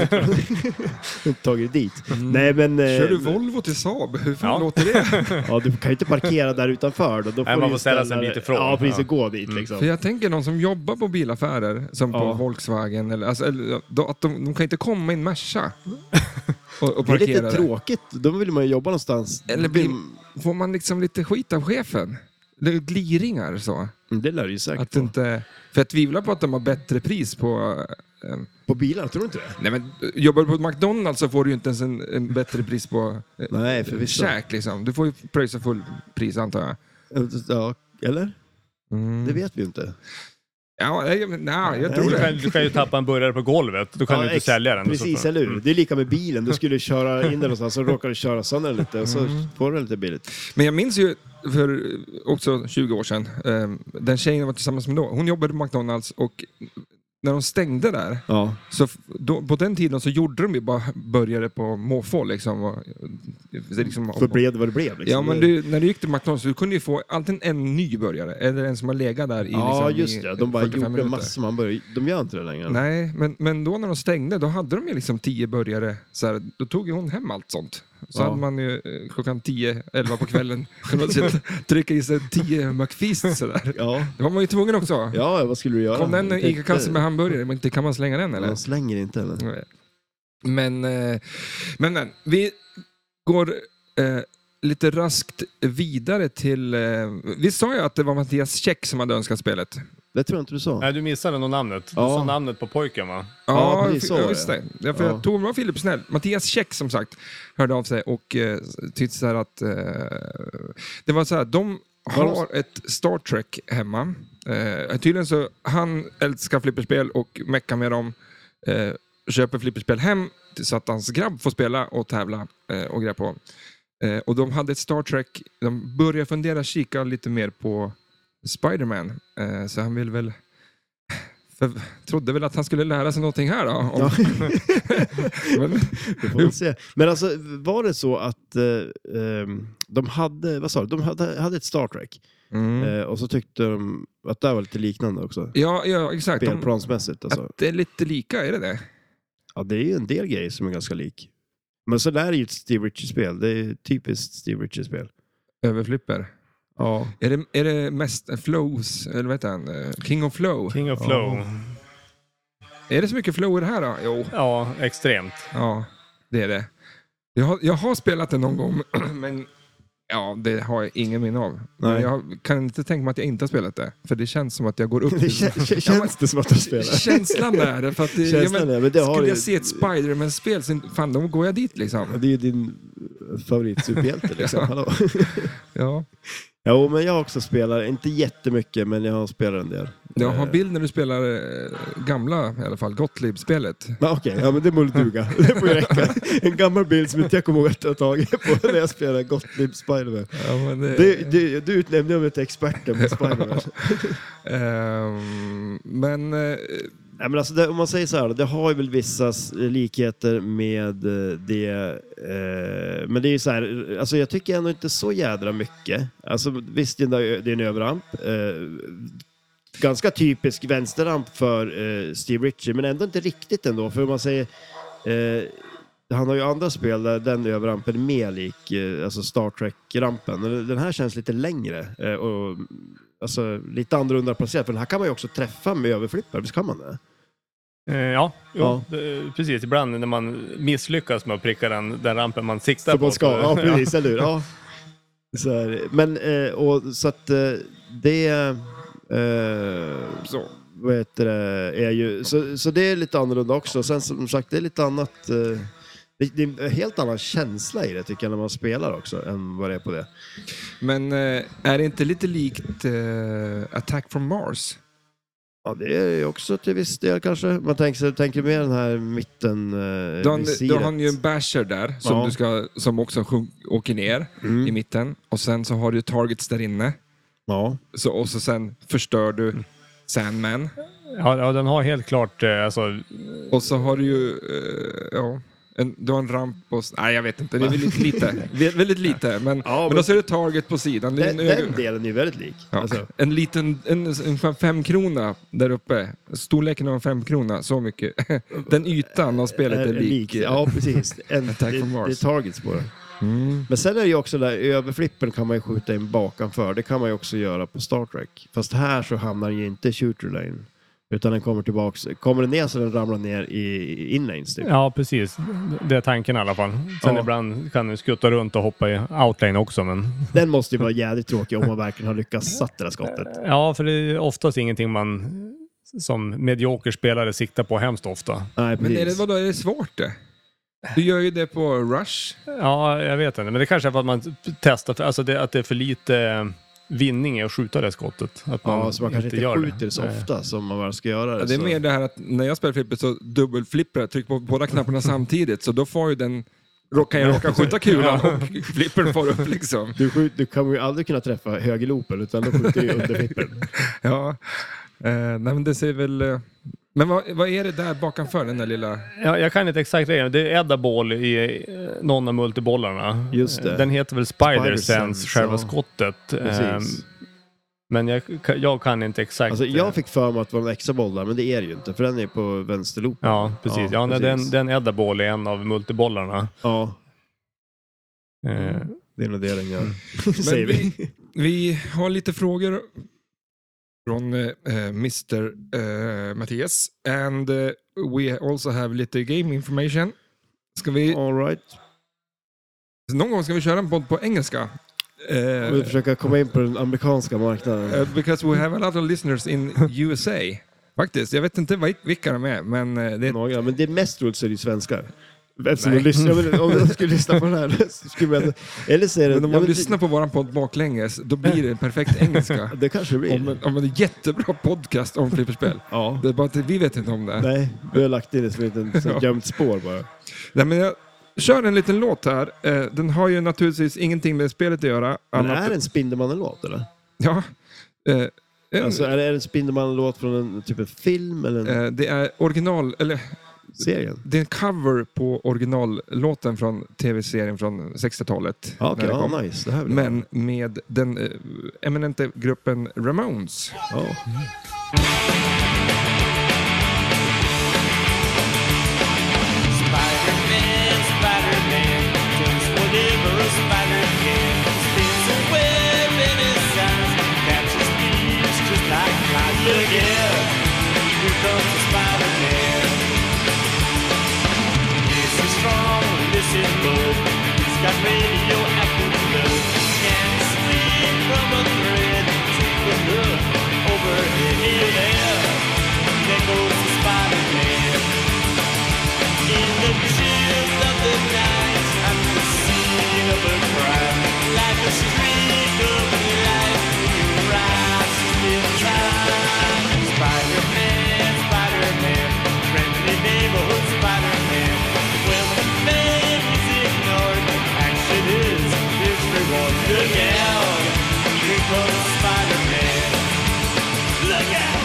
Speaker 2: inte tagit dit. Nej, men... eh,
Speaker 1: Mm. Kör du Volvo till Saab? Hur fan
Speaker 3: Ja.
Speaker 1: låter det?
Speaker 2: Ja, du kan ju inte parkera där utanför. Då, då
Speaker 3: man
Speaker 2: du ju
Speaker 3: får ställa sig en
Speaker 2: dig-
Speaker 3: bit ifrån.
Speaker 2: Ja, precis.
Speaker 3: Ja.
Speaker 2: och Gå dit liksom.
Speaker 1: För jag tänker någon som jobbar på bilaffärer, som på
Speaker 2: Ja.
Speaker 1: Volkswagen, eller, alltså, eller, då- att de, de kan inte komma i en Merca och, och
Speaker 2: Det
Speaker 1: parkera
Speaker 2: är lite
Speaker 1: där.
Speaker 2: Mm. tråkigt. Då vill man ju jobba någonstans.
Speaker 1: Eller blir, får man liksom lite skit av chefen? Det är gliringar så.
Speaker 2: Mm, Det lär du ju säkert
Speaker 1: Att
Speaker 2: få.
Speaker 1: inte, för jag tvivlar på att de har bättre pris på... eh,
Speaker 2: På bilar, tror du inte det?
Speaker 1: nej men, eh, jobbar du på ett McDonalds så får du ju inte ens en, en bättre pris på eh,
Speaker 2: Nej, förvisso.
Speaker 1: käk. Liksom. Du får ju pröjsa full pris antar jag.
Speaker 2: Ja, eller?
Speaker 1: Mm.
Speaker 2: Det vet vi ju inte.
Speaker 1: Ja, jag, men, nej, jag tror
Speaker 3: Du kan,
Speaker 1: det.
Speaker 3: du kan ju tappa en burgare på golvet, då kan du inte
Speaker 2: ex-
Speaker 3: sälja den. Mm.
Speaker 2: Precis, eller hur? Det är lika med bilen. Du skulle köra in den någonstans, så råkar du köra sönder den lite och så
Speaker 1: Mm.
Speaker 2: får du den lite billigt.
Speaker 1: Men jag minns ju för också 20 år sedan, eh, den tjejen jag var tillsammans med då, hon jobbade på McDonalds och när de stängde där,
Speaker 2: Ja.
Speaker 1: så f- då, på den tiden så gjorde de ju bara burgare på måfå liksom. Och, det liksom
Speaker 2: Så blev det vad det blev. Liksom.
Speaker 1: Ja, men du, när du gick till McDonalds du kunde ju få antingen en ny burgare eller en som har legat där i
Speaker 2: ja,
Speaker 1: liksom, i
Speaker 2: just det. De bara
Speaker 1: 45
Speaker 2: gjorde
Speaker 1: minuter.
Speaker 2: massor med hamburgare. De gör inte det längre.
Speaker 1: Nej, men, men då när de stängde, då hade de ju liksom tio burgare. Så här, då tog ju hon hem allt sånt. Så
Speaker 2: Ja.
Speaker 1: hade man ju eh, klockan 10, 11 på kvällen kunnat sitta- trycka i sig 10 McFeast sådär.
Speaker 2: Ja.
Speaker 1: Det var man ju tvungen också.
Speaker 2: ja, vad skulle du göra?
Speaker 1: Kom den
Speaker 2: Tänkte-
Speaker 1: Ica-kassen med hamburgare, men inte kan man slänga den eller? Mm.
Speaker 2: De slänger inte eller?
Speaker 1: Men, eh, men, men vi går eh, lite raskt vidare till... Eh, vi sa ju att det var Mattias Käck som hade önskat spelet.
Speaker 2: Det tror jag inte du sa.
Speaker 3: Nej, du missade nog namnet. Du
Speaker 2: Ja.
Speaker 3: sa namnet på pojken va?
Speaker 2: Ja, precis,
Speaker 1: f-
Speaker 2: så var
Speaker 1: ja,
Speaker 2: det.
Speaker 1: just det. Ja, för
Speaker 2: Ja.
Speaker 1: Jag tog, det var Filip Snäll. Mattias Käck som sagt hörde av sig och eh, tyckte så här att... Eh, det var så här, de
Speaker 2: Var
Speaker 1: har ett Star Trek hemma. Eh, tydligen så, han älskar flipperspel och meckar med dem. Eh, köper flipperspel hem så att hans grabb får spela och tävla eh, och greja på. Eh, och de hade ett Star Trek. De började fundera, kika lite mer på Spiderman. Eh, så han vill väl... För, trodde väl att han skulle lära sig någonting här då. Om,
Speaker 2: Ja.
Speaker 1: men,
Speaker 2: Vi får väl se. Men alltså, var det så att eh, ehm, de hade, vad sa du, de hade, hade ett Star Trek
Speaker 1: mm.
Speaker 2: eh, och så tyckte de att det här var lite liknande också.
Speaker 1: ja, ja, exakt. De,
Speaker 2: Spelplansmässigt alltså.
Speaker 1: att det är lite lika, är det det?
Speaker 2: Ja, det är ju en del grejer som är ganska lik. Men så där är ju ett Steve Ritchie-spel. Det är ju typiskt Steve Ritchie-spel.
Speaker 1: Överflipper.
Speaker 2: Ja.
Speaker 1: Är det, är det mest flows, eller vad heter han? Eh, King of flow?
Speaker 3: King of
Speaker 2: Ja.
Speaker 3: Flow.
Speaker 1: Är det så mycket flow i det här då? Jo.
Speaker 3: Ja, extremt.
Speaker 1: Ja, det är det. Jag har, jag har spelat det någon gång, men ja, det har jag ingen minne av. Men
Speaker 2: Nej.
Speaker 1: jag kan inte tänka mig att jag inte har spelat det, för det känns som att jag går upp
Speaker 2: Det kä- kä- känns det som att de spelar.
Speaker 1: Känslan är det. För att det ja,
Speaker 2: Känslan
Speaker 1: men,
Speaker 2: är, men det har
Speaker 1: skulle
Speaker 2: ju-
Speaker 1: jag se ett Spiderman-spel, så fan då går jag dit liksom.
Speaker 2: Det är ju din eh, favoritsuperhjälte liksom.
Speaker 1: Ja.
Speaker 2: Hallå.
Speaker 1: Ja.
Speaker 2: Jo, men jag också spelar, inte jättemycket, men jag har spelat en del.
Speaker 1: Jag har
Speaker 2: Eh,
Speaker 1: bild när du spelar eh, gamla, i alla fall, Gottlieb-spelet.
Speaker 2: Ja, Okej, ja, men det må duga. Det får ju räcka. En gammal bild som inte jag kommer ihåg att jag har tagit på när jag spelade Gottlieb Spiderman.
Speaker 1: Ja, men det-
Speaker 2: Du, du, du utnämnde mig till experten på Spiderman.
Speaker 1: Ehm, men eh,
Speaker 2: Nej, men alltså det, om man säger så här, då, det har ju väl vissa s- eh, likheter med eh, det. Eh, men det är ju så här, alltså jag tycker ändå inte så jädra mycket. Alltså visst, det är en ö- det är en överramp. Eh, ganska typisk vänsterramp för eh, Steve Ritchie, men ändå inte riktigt ändå. För om man säger, eh, han har ju andra spel där den överrampen är mer lik eh, alltså Star Trek-rampen. Men Den här känns lite längre. Eh, och, Alltså lite annorlunda placerat, för den här kan man ju också träffa med överflippar, visst kan man det?
Speaker 3: Eh, Ja, jo,
Speaker 2: Ja.
Speaker 3: Det, precis. Ibland när man misslyckas med att pricka den, den rampen man siktar
Speaker 2: Som
Speaker 3: på.
Speaker 2: man ska,
Speaker 3: så-
Speaker 2: ja precis, eller hur? Ja. Så är det. Men eh, och, så att eh, det... Eh,
Speaker 1: så.
Speaker 2: vad heter det, är ju, så, så det är lite annorlunda också. Sen som sagt, det är lite annat. Eh, det, det är en helt annan känsla i det tycker jag när man spelar också än vad det är på det.
Speaker 1: Men eh, är det inte lite likt eh, Attack from Mars?
Speaker 2: Ja, det är ju också till viss del kanske. Man tänker, sig- tänker mer den här mitten eh,
Speaker 1: Då har han-
Speaker 2: visiret.
Speaker 1: då har han ju en basher där som,
Speaker 2: Ja.
Speaker 1: du ska, som också sjunk, åker ner i
Speaker 2: mm.
Speaker 1: mitten. Och sen så har du targets där inne.
Speaker 2: Ja,
Speaker 1: Så, och så sen förstör du
Speaker 2: Mm.
Speaker 1: Sandman.
Speaker 3: Ja, ja, den har helt klart eh, alltså,
Speaker 1: Och så har du ju... eh, ja, en, du har en ramp och... s- Nej, jag vet inte. Det är väldigt lite. Vä- väldigt lite. Men,
Speaker 2: Ja,
Speaker 1: men,
Speaker 2: men-
Speaker 1: då ser du target på sidan. Det är
Speaker 2: den,
Speaker 1: en,
Speaker 2: den
Speaker 1: ögon-
Speaker 2: delen är ju väldigt lik.
Speaker 1: ja,
Speaker 2: Alltså,
Speaker 1: en liten... En, en femkrona där uppe. Storleken av en femkrona. Så mycket. Den ytan av spelet är, Eh, lik.
Speaker 2: Ja, precis. En,
Speaker 1: Attack
Speaker 2: det,
Speaker 1: from Mars.
Speaker 2: det är targets på det.
Speaker 1: Mm.
Speaker 2: Men sen är det ju också där överflippen kan man ju skjuta in bakanför. Det kan man ju också göra på Star Trek. Fast här så hamnar den ju inte i shooter lane. Utan den kommer tillbaks. Kommer den ner så den ramlar ner i inlanes typ.
Speaker 3: Ja, precis. Det är tanken i alla fall. Sen
Speaker 2: Ja.
Speaker 3: ibland kan du skutta runt och hoppa i outlane också. Men...
Speaker 2: Den måste ju vara jävligt tråkig om man verkligen har lyckats satt det där skottet.
Speaker 3: Ja, för det är oftast ingenting man som medioker spelare siktar på hemskt ofta.
Speaker 2: Nej,
Speaker 1: Men
Speaker 2: precis.
Speaker 1: är det, vadå, är det svårt det? Du gör ju det på Rush.
Speaker 3: Ja, jag vet inte. Men det kanske är för att man testar, för, alltså det, att det är för lite vinning i att skjuta det skottet. Att man,
Speaker 2: Ja, så man kanske inte
Speaker 3: gör
Speaker 2: skjuter så
Speaker 3: Nej.
Speaker 2: ofta som man väl ska göra
Speaker 1: Ja,
Speaker 2: det.
Speaker 1: det är
Speaker 2: så-
Speaker 1: mer det här att när jag spelar flipper så dubbelflippar jag, trycker på båda knapparna samtidigt så då får ju den rå- kan jag råka skjuta kulan och flippern får upp liksom.
Speaker 2: Du, skjut, du kommer ju aldrig kunna träffa högerloopen utan då skjuter du ju under flippen.
Speaker 1: Ja, eh, nej, men det ser väl... Eh, men vad, vad är det där bakanför den där lilla...
Speaker 3: Ja, jag kan inte exakt det. Det är Edda Ball i eh, någon av multibollarna.
Speaker 2: Just det.
Speaker 3: Den heter väl Spider,
Speaker 2: Spider
Speaker 3: Sense,
Speaker 2: Sense,
Speaker 3: själva
Speaker 2: ja.
Speaker 3: skottet. Ehm,
Speaker 2: Precis.
Speaker 3: Men jag, jag kan inte exakt.
Speaker 2: Alltså,
Speaker 3: eh,
Speaker 2: jag fick för mig att det var en extra boll där, men det är det ju inte för den är på vänsterloop.
Speaker 3: Ja, precis. Ja,
Speaker 2: Ja,
Speaker 3: nej,
Speaker 2: precis.
Speaker 3: Den, den Edda Ball är en av multibollarna.
Speaker 2: Ja,
Speaker 3: Eh,
Speaker 2: det är nog det den
Speaker 3: Mm.
Speaker 2: gör. Säger vi.
Speaker 1: Vi har lite frågor från eh, eh, Mr. Eh, Mattias. And eh, we also have lite game information. Ska vi,
Speaker 2: All right.
Speaker 1: någon gång ska vi köra en podd på engelska. Eh,
Speaker 2: Vi försöker komma in på den amerikanska marknaden.
Speaker 1: Eh, because we have a lot of listeners in USA. Faktiskt, jag vet inte vil- vilka de är, men eh, det är
Speaker 2: Några, men det är mest roligt så är det ju svenskar. Eftersom
Speaker 1: Nej. Mm.
Speaker 2: de lyssnar, ja, men om de skulle lyssna på den här så skulle man... Eller så är det...
Speaker 1: men om
Speaker 2: ja,
Speaker 1: man
Speaker 2: men
Speaker 1: lyssnar på våran podd baklänges, då blir det perfekt engelska.
Speaker 2: det, det kanske det blir.
Speaker 1: Om en, om en jättebra podcast om flipperspel.
Speaker 2: Ja.
Speaker 1: Det är bara att vi vet inte om det. Nej.
Speaker 2: Nej, vi har lagt in det som ett litet så här gömt spår bara.
Speaker 1: men jag kör en liten låt här. Eh, Den har ju naturligtvis ingenting med spelet att göra.
Speaker 2: Men
Speaker 1: annat-
Speaker 2: är det en Spindelmannen-låt eller?
Speaker 1: Ja. Eh, en-
Speaker 2: Alltså är det är det en Spindelmannen-låt från en typ av film eller en
Speaker 1: eh, Det är original, eller
Speaker 2: serien?
Speaker 1: det är en cover på originallåten från tv-serien från 60-talet.
Speaker 2: Ja, okej,
Speaker 1: när det kom.
Speaker 2: ja, nice. Det här vill jag.
Speaker 1: men med den eh, eminenta gruppen Ramones.
Speaker 2: Ja.
Speaker 4: Spider-Man, Spider-Man, does whatever a spider can. Spins a web in his eyes, catches thieves just like flies. Look out, here comes the Spider-Man. This is strong, this is bold. He's got radioactive blood. Can't sleep from a thread. Take a look over here. There, there goes the Spider-Man. In the chills of the night, I'm the scene of a crime. Like a streak of light, you rise in time. Spider-Man, Spider-Man, friendly neighborhood Spider-Man. When the man is ignored, action is his reward. Look out, here comes Spider-Man. Look out!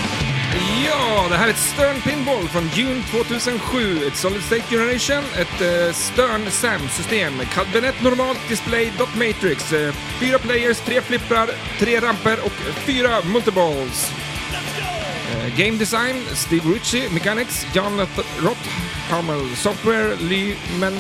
Speaker 1: Ja, det här är ett Stern Pinball från June 2007. Ett Solid State Generation, ett eh, Stern SAM-system. Kabinett normalt, display, dot matrix. Eh, fyra players, tre flipprar, tre ramper och fyra multiballs. Eh, Game Design, Steve Ritchie, Mechanics, John Rothhamel, Software, Lee Men...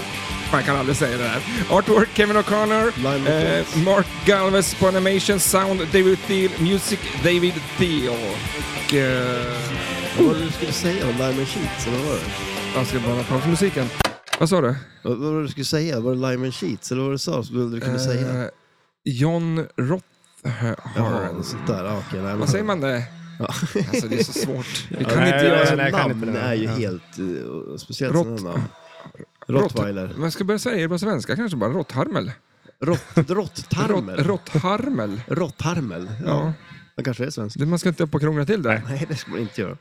Speaker 1: Man kan aldrig säga det där. Artwork, Kevin O'Connor,
Speaker 2: Lime
Speaker 1: eh,
Speaker 2: McDonald's.
Speaker 1: Mark Galvez på Animation, Sound, David Thiel, Music, David Thiel. Och, eh,
Speaker 2: Vad var det du skulle säga om Lime and Sheets? Eller vad var det?
Speaker 1: jag ska bara pausa musiken. Vad sa du?
Speaker 2: Vad vad var det du skulle säga? Var det Lime and Sheets? Eller vad var det du sa som du aldrig kunde säga?
Speaker 1: Eh, John
Speaker 2: Jaha,
Speaker 1: Rothhamel.
Speaker 2: något sånt där. Ja, okej, nej, men-
Speaker 1: Vad säger man det?
Speaker 2: Ja.
Speaker 1: Alltså det är så svårt. Vi
Speaker 3: Ja,
Speaker 1: kan
Speaker 3: nej,
Speaker 1: inte
Speaker 3: nej,
Speaker 1: göra
Speaker 2: Alltså,
Speaker 1: så.
Speaker 3: jag kan
Speaker 2: namn
Speaker 3: inte det.
Speaker 2: är ju
Speaker 3: Ja.
Speaker 2: helt... eh, Speciellt
Speaker 1: Rott-
Speaker 2: sådana namn. Rottweiler.
Speaker 1: Man ska börja säga det på svenska kanske bara. Rottharmel.
Speaker 2: Rott- Rotttarmel.
Speaker 1: Rott- Rottharmel.
Speaker 2: Rottharmel.
Speaker 1: Ja.
Speaker 2: Ja. Han kanske är svensk.
Speaker 1: Det- Man ska inte upp och krångla till det.
Speaker 2: Nej, det ska man inte göra.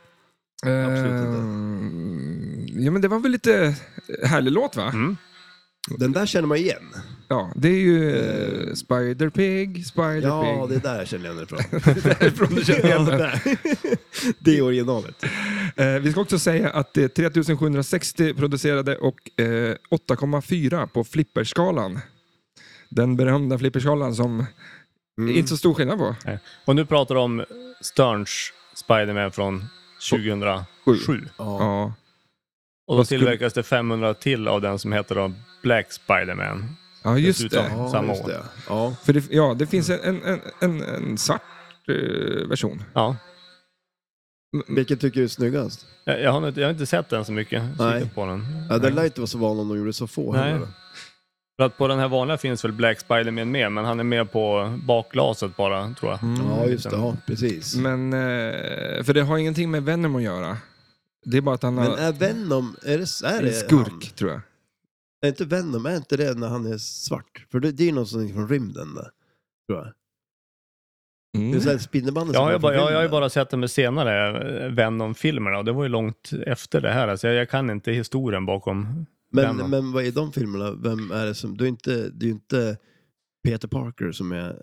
Speaker 2: absolut inte.
Speaker 1: Ehm, ja, men det var väl lite härlig låt, va?
Speaker 2: Mm. Den där känner man igen.
Speaker 1: Ja, det är ju eh, Spider Pig, Spider
Speaker 2: Ja,
Speaker 1: Pig.
Speaker 2: det där känner jag den ifrån.
Speaker 1: Därifrån du känner igen
Speaker 2: Ja,
Speaker 1: den.
Speaker 2: där. Det är originalet.
Speaker 1: Eh, vi ska också säga att det är 3760 producerade och eh, 8,4 på flipperskalan. Den berömda flipperskalan som
Speaker 2: Mm.
Speaker 1: det är inte så stor skillnad på.
Speaker 3: nej. Och nu pratar du om Sterns Spider-Man från 2007.
Speaker 2: Ja.
Speaker 1: Ja.
Speaker 3: Och då
Speaker 1: Vad skulle-
Speaker 3: tillverkas det 500 till av den som heter då Black Spider-Man.
Speaker 1: ja, just
Speaker 3: Dessutom.
Speaker 1: det.
Speaker 2: Ja,
Speaker 3: Samma
Speaker 2: just
Speaker 3: år.
Speaker 2: det. Ja.
Speaker 1: För det, ja, det finns en, en, en, en svart eh, version.
Speaker 3: Ja.
Speaker 2: Vilken tycker du är snyggast?
Speaker 3: Jag, jag, har inte, jag har inte sett den så mycket.
Speaker 2: Nej.
Speaker 3: Kikat På den.
Speaker 2: Ja, den lär inte vara så van om de gjorde så få.
Speaker 3: Nej.
Speaker 2: heller.
Speaker 3: För att på den här vanliga finns väl Black Spider-Man med, men han är med på bakglaset bara, tror jag.
Speaker 2: Ja, just det. Ja, precis.
Speaker 1: Mm.
Speaker 3: Mm.
Speaker 1: Men, eh, för det har ingenting med Venom att göra. Det är bara att han
Speaker 2: Men
Speaker 1: har
Speaker 2: är Venom, är det, är
Speaker 1: en
Speaker 2: det
Speaker 1: skurk,
Speaker 2: Han?
Speaker 1: tror jag.
Speaker 2: Är inte Venom, är inte det när han är svart? För det, det är ju någon som är från rymden där. Tror jag. Det är så här spindelbandet som
Speaker 3: Mm. Ja, jag,
Speaker 2: kommer
Speaker 3: bara,
Speaker 2: från
Speaker 3: jag, jag har ju
Speaker 2: filmen.
Speaker 3: bara sett det med senare eh, Venom-filmerna och det var ju långt efter det här. Alltså jag, jag kan inte historien bakom
Speaker 2: Men,
Speaker 3: Venom.
Speaker 2: men vad är de filmerna? Vem är det som... Du är inte, du är inte Peter Parker som är
Speaker 3: Mm.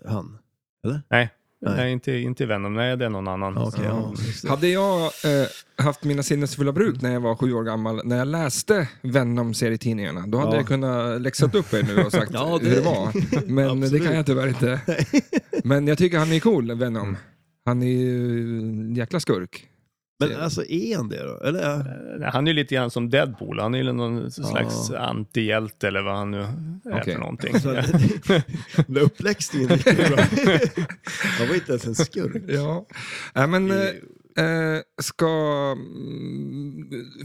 Speaker 2: han.
Speaker 3: nej. inte, inte Venom, nej det är någon annan.
Speaker 2: Ja, Okej, ja.
Speaker 3: Mm.
Speaker 1: Hade jag eh, haft mina sinnesfulla bruk när jag var sju år gammal, när jag läste Venom-serietidningarna, då hade
Speaker 2: Ja.
Speaker 1: jag kunnat läxat upp er nu och sagt
Speaker 2: Ja, det-
Speaker 1: hur det var. Men det
Speaker 2: Absolut. Mm.
Speaker 1: kan jag tyvärr inte. Men jag tycker han är cool, Venom. Han är ju en jäkla skurk.
Speaker 2: Men alltså, är han det då? Eller? är-
Speaker 3: Eh, Han är ju lite grann som Deadpool, han är ju någon slags antihjälte eller vad han nu är
Speaker 1: Okej.
Speaker 3: för någonting.
Speaker 2: Så att, den där uppläxningen är riktigt bra. Han var inte ens en skurk.
Speaker 1: Ja. Äh, men, eh, eh, ska... mm,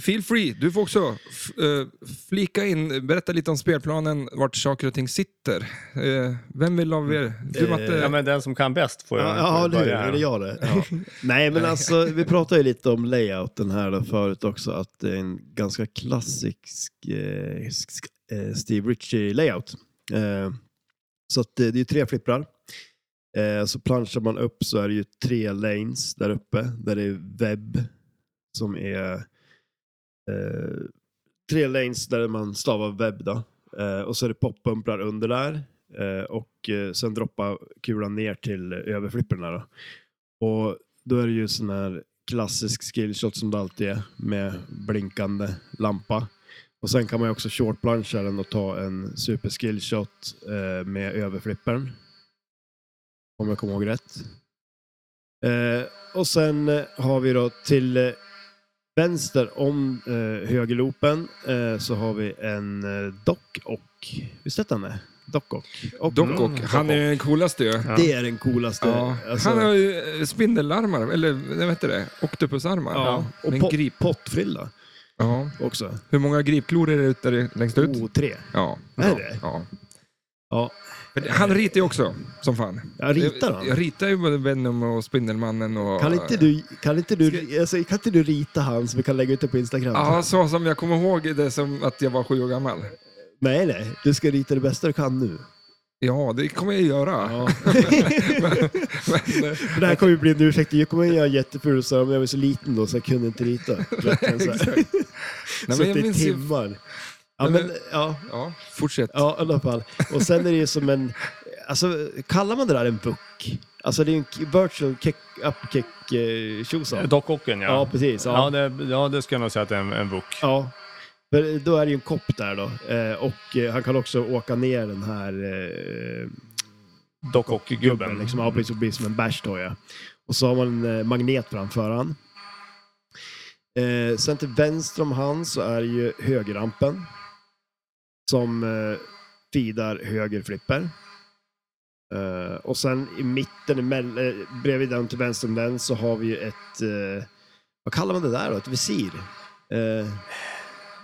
Speaker 1: Feel free, du får också f- eh, flika in, berätta lite om spelplanen, vart saker och ting sitter. Eh, vem vill av er?
Speaker 2: Eh,
Speaker 1: Du, Matte?
Speaker 3: Ja, men den som kan bäst får jag
Speaker 2: Ja,
Speaker 3: får
Speaker 2: ja
Speaker 3: jag
Speaker 2: eller hur?
Speaker 3: börja här.
Speaker 2: Är det jag det? Ja. Nej, men alltså, vi pratade ju lite om layouten här då förut också, att det är en ganska klassisk eh, sk- eh, Steve Ritchie-layout. Eh, så att det, det är ju tre flipprar. Eh, så planschar man upp så är det ju tre lanes där uppe, där det är webb som är eh, tre lanes där man stavar webb då. Eh, och så är det poppumprar under där eh, och eh, sen droppar kulan ner till överflipperna då. Och då är det ju sån här klassisk skillshot som det alltid är med blinkande lampa. Och sen kan man ju också shortplancha den och ta en super skillshot eh, med överflippern. Om jag kommer ihåg rätt. Eh, och sen eh, har vi då till eh, vänster om eh, högerloopen eh, så har vi en eh, dock och. Visst hette han det? Dock och. och Mm.
Speaker 1: Dock och, han är den coolaste ju.
Speaker 3: Ja.
Speaker 2: Det är den coolaste.
Speaker 1: Ja.
Speaker 2: alltså-
Speaker 1: Han har ju eh, spindelarmar, eller vad heter det? Oktopusarmar.
Speaker 2: Ja, och
Speaker 1: Men
Speaker 2: pot,
Speaker 1: grip.
Speaker 2: pottfrilla
Speaker 1: Ja.
Speaker 2: också.
Speaker 1: Hur många gripklor är det ute där längst ut?
Speaker 2: O3. tre.
Speaker 1: Ja.
Speaker 2: Oh. Är
Speaker 1: ja.
Speaker 2: det?
Speaker 1: Ja.
Speaker 2: Ja.
Speaker 1: Men han ritar ju också, som fan.
Speaker 2: Jag ritar han.
Speaker 1: Jag, jag ritar ju både Venom och Spindelmannen och...
Speaker 2: Kan inte du, kan inte du, alltså, kan inte du rita han så vi kan lägga ut det på Instagram?
Speaker 1: Ja, så som jag kommer ihåg det som att jag var sju år gammal.
Speaker 2: Nej, nej. Du ska rita det bästa du kan nu.
Speaker 1: Ja, det kommer jag göra.
Speaker 2: Ja. För det här kommer ju bli en ursäkt. Jag kommer ju göra jätteful så här, men jag var så liten då så jag kunde inte rita. Verkligen så här.
Speaker 1: Nej, men jag
Speaker 2: Suttit i
Speaker 1: minns ju...
Speaker 2: timmar. Ja,
Speaker 1: Nej,
Speaker 2: men, ja,
Speaker 1: Ja, fortsätt.
Speaker 2: Ja, i alla fall. Och sen är det ju som en... Alltså, kallar man det där en buck? Alltså det är ju en k- virtual kick-up kick-tjosan.
Speaker 3: Eh, Dockocken, ja.
Speaker 2: ja, precis.
Speaker 3: Ja,
Speaker 2: Ja.
Speaker 3: det, ja, det ska jag nog säga att det är en, en bok.
Speaker 2: ja. För då är det ju en kopp där då. Eh, och eh, han kan också åka ner den här eh,
Speaker 3: Dockock-gubben.
Speaker 2: gubben. Liksom, ja, precis. Och bli som en bärs då, ja. Och så har man en eh, magnet framför han. Eh, sen till vänster om han så är det ju högerrampen. Som eh, feedar höger flipper. Eh, och sen i mitten, emell- eh, bredvid den till vänster om den, så har vi ju ett, eh, vad kallar man det där då? Ett visir. Eh,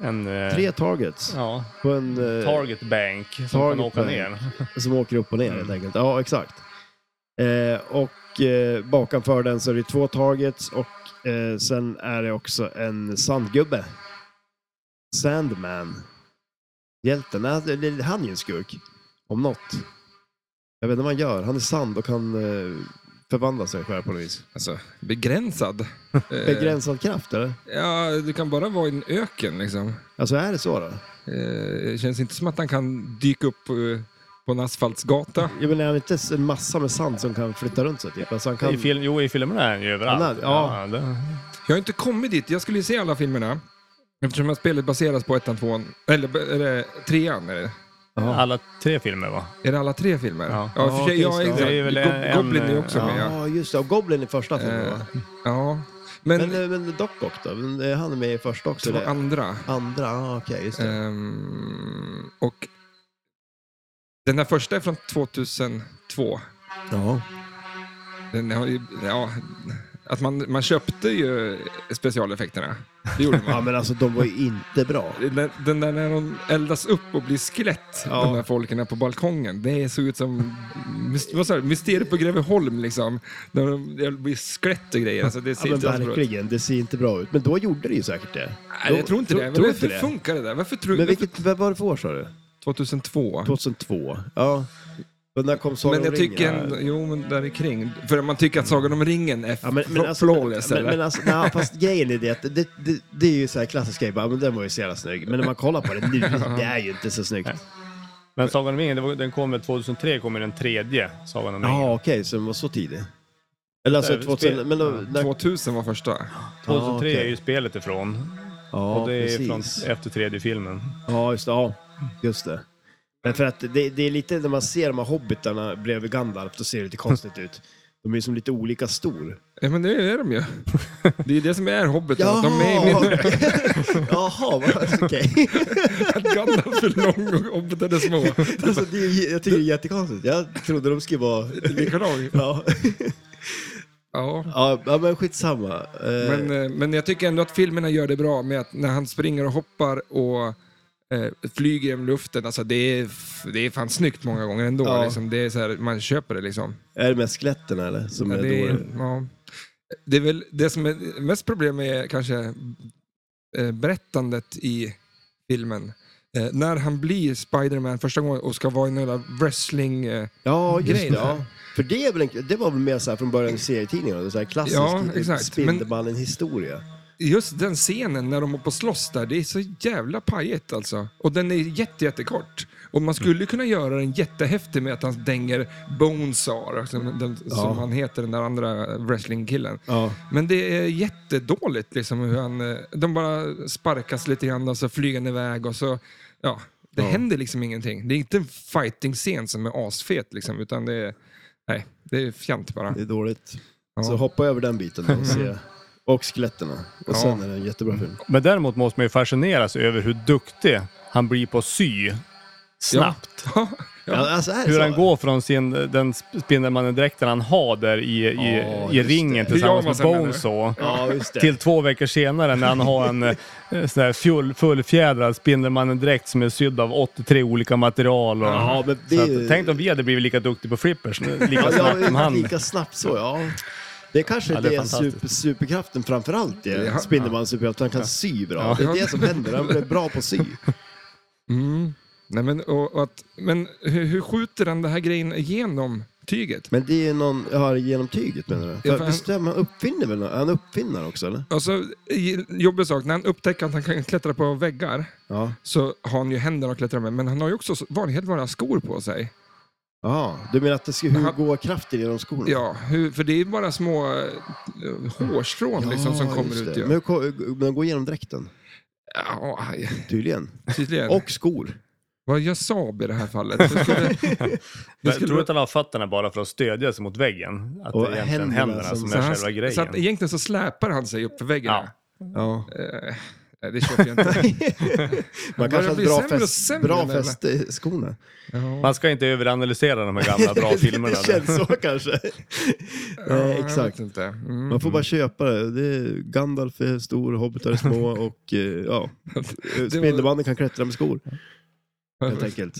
Speaker 3: En, eh,
Speaker 2: liksom. tre targets
Speaker 3: ja,
Speaker 2: på
Speaker 1: Mm,
Speaker 2: en eh,
Speaker 3: target bank som
Speaker 2: target
Speaker 3: kan åka
Speaker 2: bank.
Speaker 3: ner.
Speaker 2: som åker upp och ner
Speaker 1: Mm.
Speaker 2: helt enkelt. Ja, exakt. Eh, och eh, bakanför den så är det två targets och eh, sen är det också en sandgubbe. Sandman. Hjälten. Nej, det- det- Han är ju en skurk. Om något. Jag vet inte vad han gör. Han är sand och kan eh, förvandla sig själv på något vis.
Speaker 1: Alltså, begränsad. Eh,
Speaker 2: Begränsad kraft eller?
Speaker 1: Ja, du kan bara vara i en öken liksom.
Speaker 2: Alltså är det så då?
Speaker 1: Eh, det känns inte som att han kan dyka upp eh, på en asfaltsgata.
Speaker 2: Jag menar, han är inte s- en massa med sand som kan flytta runt sig typ. Alltså, han kan...
Speaker 3: I film, jo, i filmerna är han ju
Speaker 2: Han
Speaker 3: överallt.
Speaker 2: är- ja.
Speaker 3: det,
Speaker 1: Jag har inte kommit dit. Jag skulle ju se alla filmerna. Eftersom det här spelet baseras på ettan, tvåan, eller b- är det trean? Är det,
Speaker 2: Ja.
Speaker 3: Alla tre filmer va?
Speaker 1: är det alla tre filmer?
Speaker 3: Ja.
Speaker 1: ja i och för sig,
Speaker 2: Ja,
Speaker 1: ja,
Speaker 2: okej,
Speaker 1: exakt.
Speaker 2: så.
Speaker 3: Det är väl
Speaker 1: Go-
Speaker 3: en-
Speaker 1: Goblin är ju också
Speaker 3: ja.
Speaker 1: med. Ja.
Speaker 2: Ja, just det. Och Goblin i första filmen va?
Speaker 1: Eh, ja. Men,
Speaker 2: Men, eh, men Doc Ock då? Men, eh, Han är med i första också?
Speaker 1: det var Eh,
Speaker 2: eller?
Speaker 1: andra.
Speaker 2: Andra? Ah, Okej, just det.
Speaker 1: Ehm, och den här första är från 2002.
Speaker 2: Ja.
Speaker 1: Den har ju, ja, att man, man köpte ju specialeffekterna. Det gjorde man.
Speaker 2: ja, men alltså de var ju inte bra.
Speaker 1: Den- Den där när de eldas upp och blir skelett,
Speaker 2: Ja.
Speaker 1: de där folken på balkongen. Det såg ut som mys- vad sa du, Mysteriet på Greveholm liksom. När de det blir skelett och grejer. Alltså, det
Speaker 2: Ja,
Speaker 1: ser
Speaker 2: men
Speaker 1: inte alls bra ut.
Speaker 2: verkligen, det ser inte bra ut. Men då gjorde det ju säkert det.
Speaker 1: Nej, jag tror inte det. Varför
Speaker 2: Tror inte det?
Speaker 1: funkar det där? Varför tror
Speaker 2: Men
Speaker 1: varför-
Speaker 2: vilket, vad var det för år sa du?
Speaker 1: 2002.
Speaker 2: 2002? Ja. Men när kom Sagan
Speaker 1: Men jag
Speaker 2: om
Speaker 1: tycker,
Speaker 2: ringen?
Speaker 1: en, jo men där är kring. För man tycker att Sagan om ringen är
Speaker 2: Ja, men, men alltså,
Speaker 1: flawless
Speaker 2: men,
Speaker 1: eller?
Speaker 2: men alltså, nej, fast grejen är det att det, det, det, det är ju så här klassisk grej, bara, men den var ju så jävla snygg. Men när man kollar på det nu, det är ju inte så snyggt.
Speaker 3: Men Sagan om ringen, det var- den kom väl 2003, kom ju den tredje Sagan om ringen.
Speaker 2: Ja, okej, så den var så tidig. Eller alltså,
Speaker 3: Äh,
Speaker 2: 2000,
Speaker 3: spel-
Speaker 2: men då, när,
Speaker 1: 2000 var första.
Speaker 3: 2003
Speaker 2: ja, okej.
Speaker 3: är ju spelet ifrån.
Speaker 2: Ja,
Speaker 3: och det är från,
Speaker 2: precis.
Speaker 3: efter tredje filmen.
Speaker 2: Ja, just det. Ja, just det. Men för att det, det är lite, när man ser de här hobbitarna bredvid Gandalf, då ser det lite konstigt ut. De är ju som lite olika stor.
Speaker 1: Ja men det är de ju. Det är ju det som är hobbiten. att De är i min...
Speaker 2: Jaha! Jaha, vad- okej.
Speaker 1: Att Gandalf är lång och hobbiten är små.
Speaker 2: Alltså, det är ju- jag tycker det är jättekonstigt. Jag trodde de skulle vara...
Speaker 1: Lika lång.
Speaker 2: Ja,
Speaker 1: Ja.
Speaker 2: ja ja, men skitsamma. Eh,
Speaker 1: Men, eh, men jag tycker ändå att filmerna gör det bra med att när han springer och hoppar och eh, flyger genom luften, alltså det är, f- det är fan snyggt många gånger ändå.
Speaker 2: Ja.
Speaker 1: Liksom. Det är så här, man köper det liksom.
Speaker 2: Är det med skeletten eller? Som
Speaker 1: Ja,
Speaker 2: är
Speaker 1: det, är,
Speaker 2: dåliga?
Speaker 1: ja. det är väl det som är mest problem är kanske eh, berättandet i filmen. Eh, när han blir Spiderman första gången och ska vara i en jävla wrestling... Eh,
Speaker 2: Ja, just
Speaker 1: grejen
Speaker 2: det. Ja.
Speaker 1: här.
Speaker 2: För det, är väl en, det var väl mer så här från början i serietidningarna, så här klassisk
Speaker 1: Ja,
Speaker 2: ja,
Speaker 1: exakt.
Speaker 2: Spindelmannen-historia.
Speaker 1: just den scenen när de är på slåss där, det är så jävla pajigt alltså. Och den är jätte, jättekort. Och man skulle kunna göra den jättehäftig med att han dänger Bonesar, som, den,
Speaker 2: Ja.
Speaker 1: som han heter, den där andra wrestlingkillen.
Speaker 2: Ja.
Speaker 1: Men det är jättedåligt liksom hur han... eh, De bara sparkas lite grann och så flyger han iväg och så... Ja, det händer liksom ingenting. Det är inte en fighting-scen som är asfet liksom, utan det är... Nej, det är fjant bara.
Speaker 2: Det är dåligt.
Speaker 1: Ja.
Speaker 2: Så hoppa över den biten då och se. Och skeletterna.
Speaker 1: Ja.
Speaker 2: Och sen är det en jättebra film.
Speaker 3: Men däremot måste man ju fascineras över hur duktig han blir på att sy snabbt.
Speaker 1: Ja.
Speaker 2: Ja. alltså, är det
Speaker 3: Hur
Speaker 2: så?
Speaker 3: han går från sin, den Spindelmannen-dräkten han har där i, i,
Speaker 2: Ja,
Speaker 3: i
Speaker 2: just
Speaker 3: ringen
Speaker 2: det.
Speaker 3: tillsammans
Speaker 1: Pyjamasen
Speaker 3: med
Speaker 1: menar du?
Speaker 3: Bonesaw.
Speaker 2: Ja, just det.
Speaker 3: Till två veckor senare när han har en eh, sån här full, fullfjädrad Spindelmannen-dräkt som är sydd av 83 olika material. Och,
Speaker 2: Ja, men det
Speaker 3: så
Speaker 2: är
Speaker 3: att,
Speaker 2: ju-
Speaker 3: Tänk om vi hade blivit lika duktiga på flippers, lika
Speaker 2: Ja, ja,
Speaker 3: snabbt som han.
Speaker 2: Lika snabbt så, ja. Det är kanske
Speaker 3: Ja, det
Speaker 2: det
Speaker 3: är
Speaker 2: är
Speaker 3: fantastiskt.
Speaker 2: super, superkraften framförallt det.
Speaker 1: Ja.
Speaker 2: Spindelmannen superkraft, han kan sy bra. Det är det som händer, han blir bra på att sy.
Speaker 1: Mm. Nej, men, och, och att, men hur, hur skjuter han den här grejen genom tyget?
Speaker 2: Men det är någon, ja, genom tyget menar du?
Speaker 1: Ja,
Speaker 2: För,
Speaker 1: för
Speaker 2: visst är man uppfinner väl, är han uppfinnare också eller?
Speaker 1: Alltså, i- jobbig sak, när han upptäcker att han kan klättra på väggar
Speaker 2: Ja.
Speaker 1: så har han ju händerna att klättra med, men han har ju också så- van- helt vanliga skor på sig.
Speaker 2: Jaha, du menar att det ska, hur
Speaker 1: Han-
Speaker 2: går kraften genom skorna?
Speaker 1: Ja, hur, för det är ju bara små eh, hårstrån liksom, som
Speaker 2: Ja,
Speaker 1: kommer
Speaker 2: just
Speaker 1: ut.
Speaker 2: det.
Speaker 1: ju.
Speaker 2: Men hur ko- men de går igenom dräkten,
Speaker 1: Ja, aj,
Speaker 2: tydligen.
Speaker 1: tydligen.
Speaker 2: Och skor.
Speaker 1: Vad gör Saab i det här fallet? Det skulle, det
Speaker 3: Jag
Speaker 1: skulle,
Speaker 3: tror du att han har fötterna bara för att stödja sig mot väggen? Att
Speaker 2: Och
Speaker 3: det egentligen
Speaker 2: händerna
Speaker 3: händerna
Speaker 2: som-
Speaker 3: som,
Speaker 2: så
Speaker 3: är
Speaker 1: han-
Speaker 3: själva
Speaker 1: så att
Speaker 3: grejen?
Speaker 1: egentligen så släpar han sig upp för väggen.
Speaker 3: Ja.
Speaker 2: Ja.
Speaker 1: Eh, nej, det köper jag inte.
Speaker 2: Man
Speaker 1: börjar
Speaker 2: kanske har
Speaker 1: bli
Speaker 2: ett bra,
Speaker 1: sämre och
Speaker 2: fäst,
Speaker 1: sämre
Speaker 2: bra
Speaker 1: den där.
Speaker 2: fäste i skorna.
Speaker 1: Ja.
Speaker 2: Eh,
Speaker 3: Man ska inte överanalysera de här gamla bra filmerna.
Speaker 2: det känns så kanske.
Speaker 1: Ja,
Speaker 2: Nej,
Speaker 1: jag vet
Speaker 2: exakt.
Speaker 1: Inte. Mm.
Speaker 2: Man får bara köpa det. det är Gandalf är stor, hobbitar är små och eh, ja, Spindelmannen kan klättra med skor. Helt enkelt.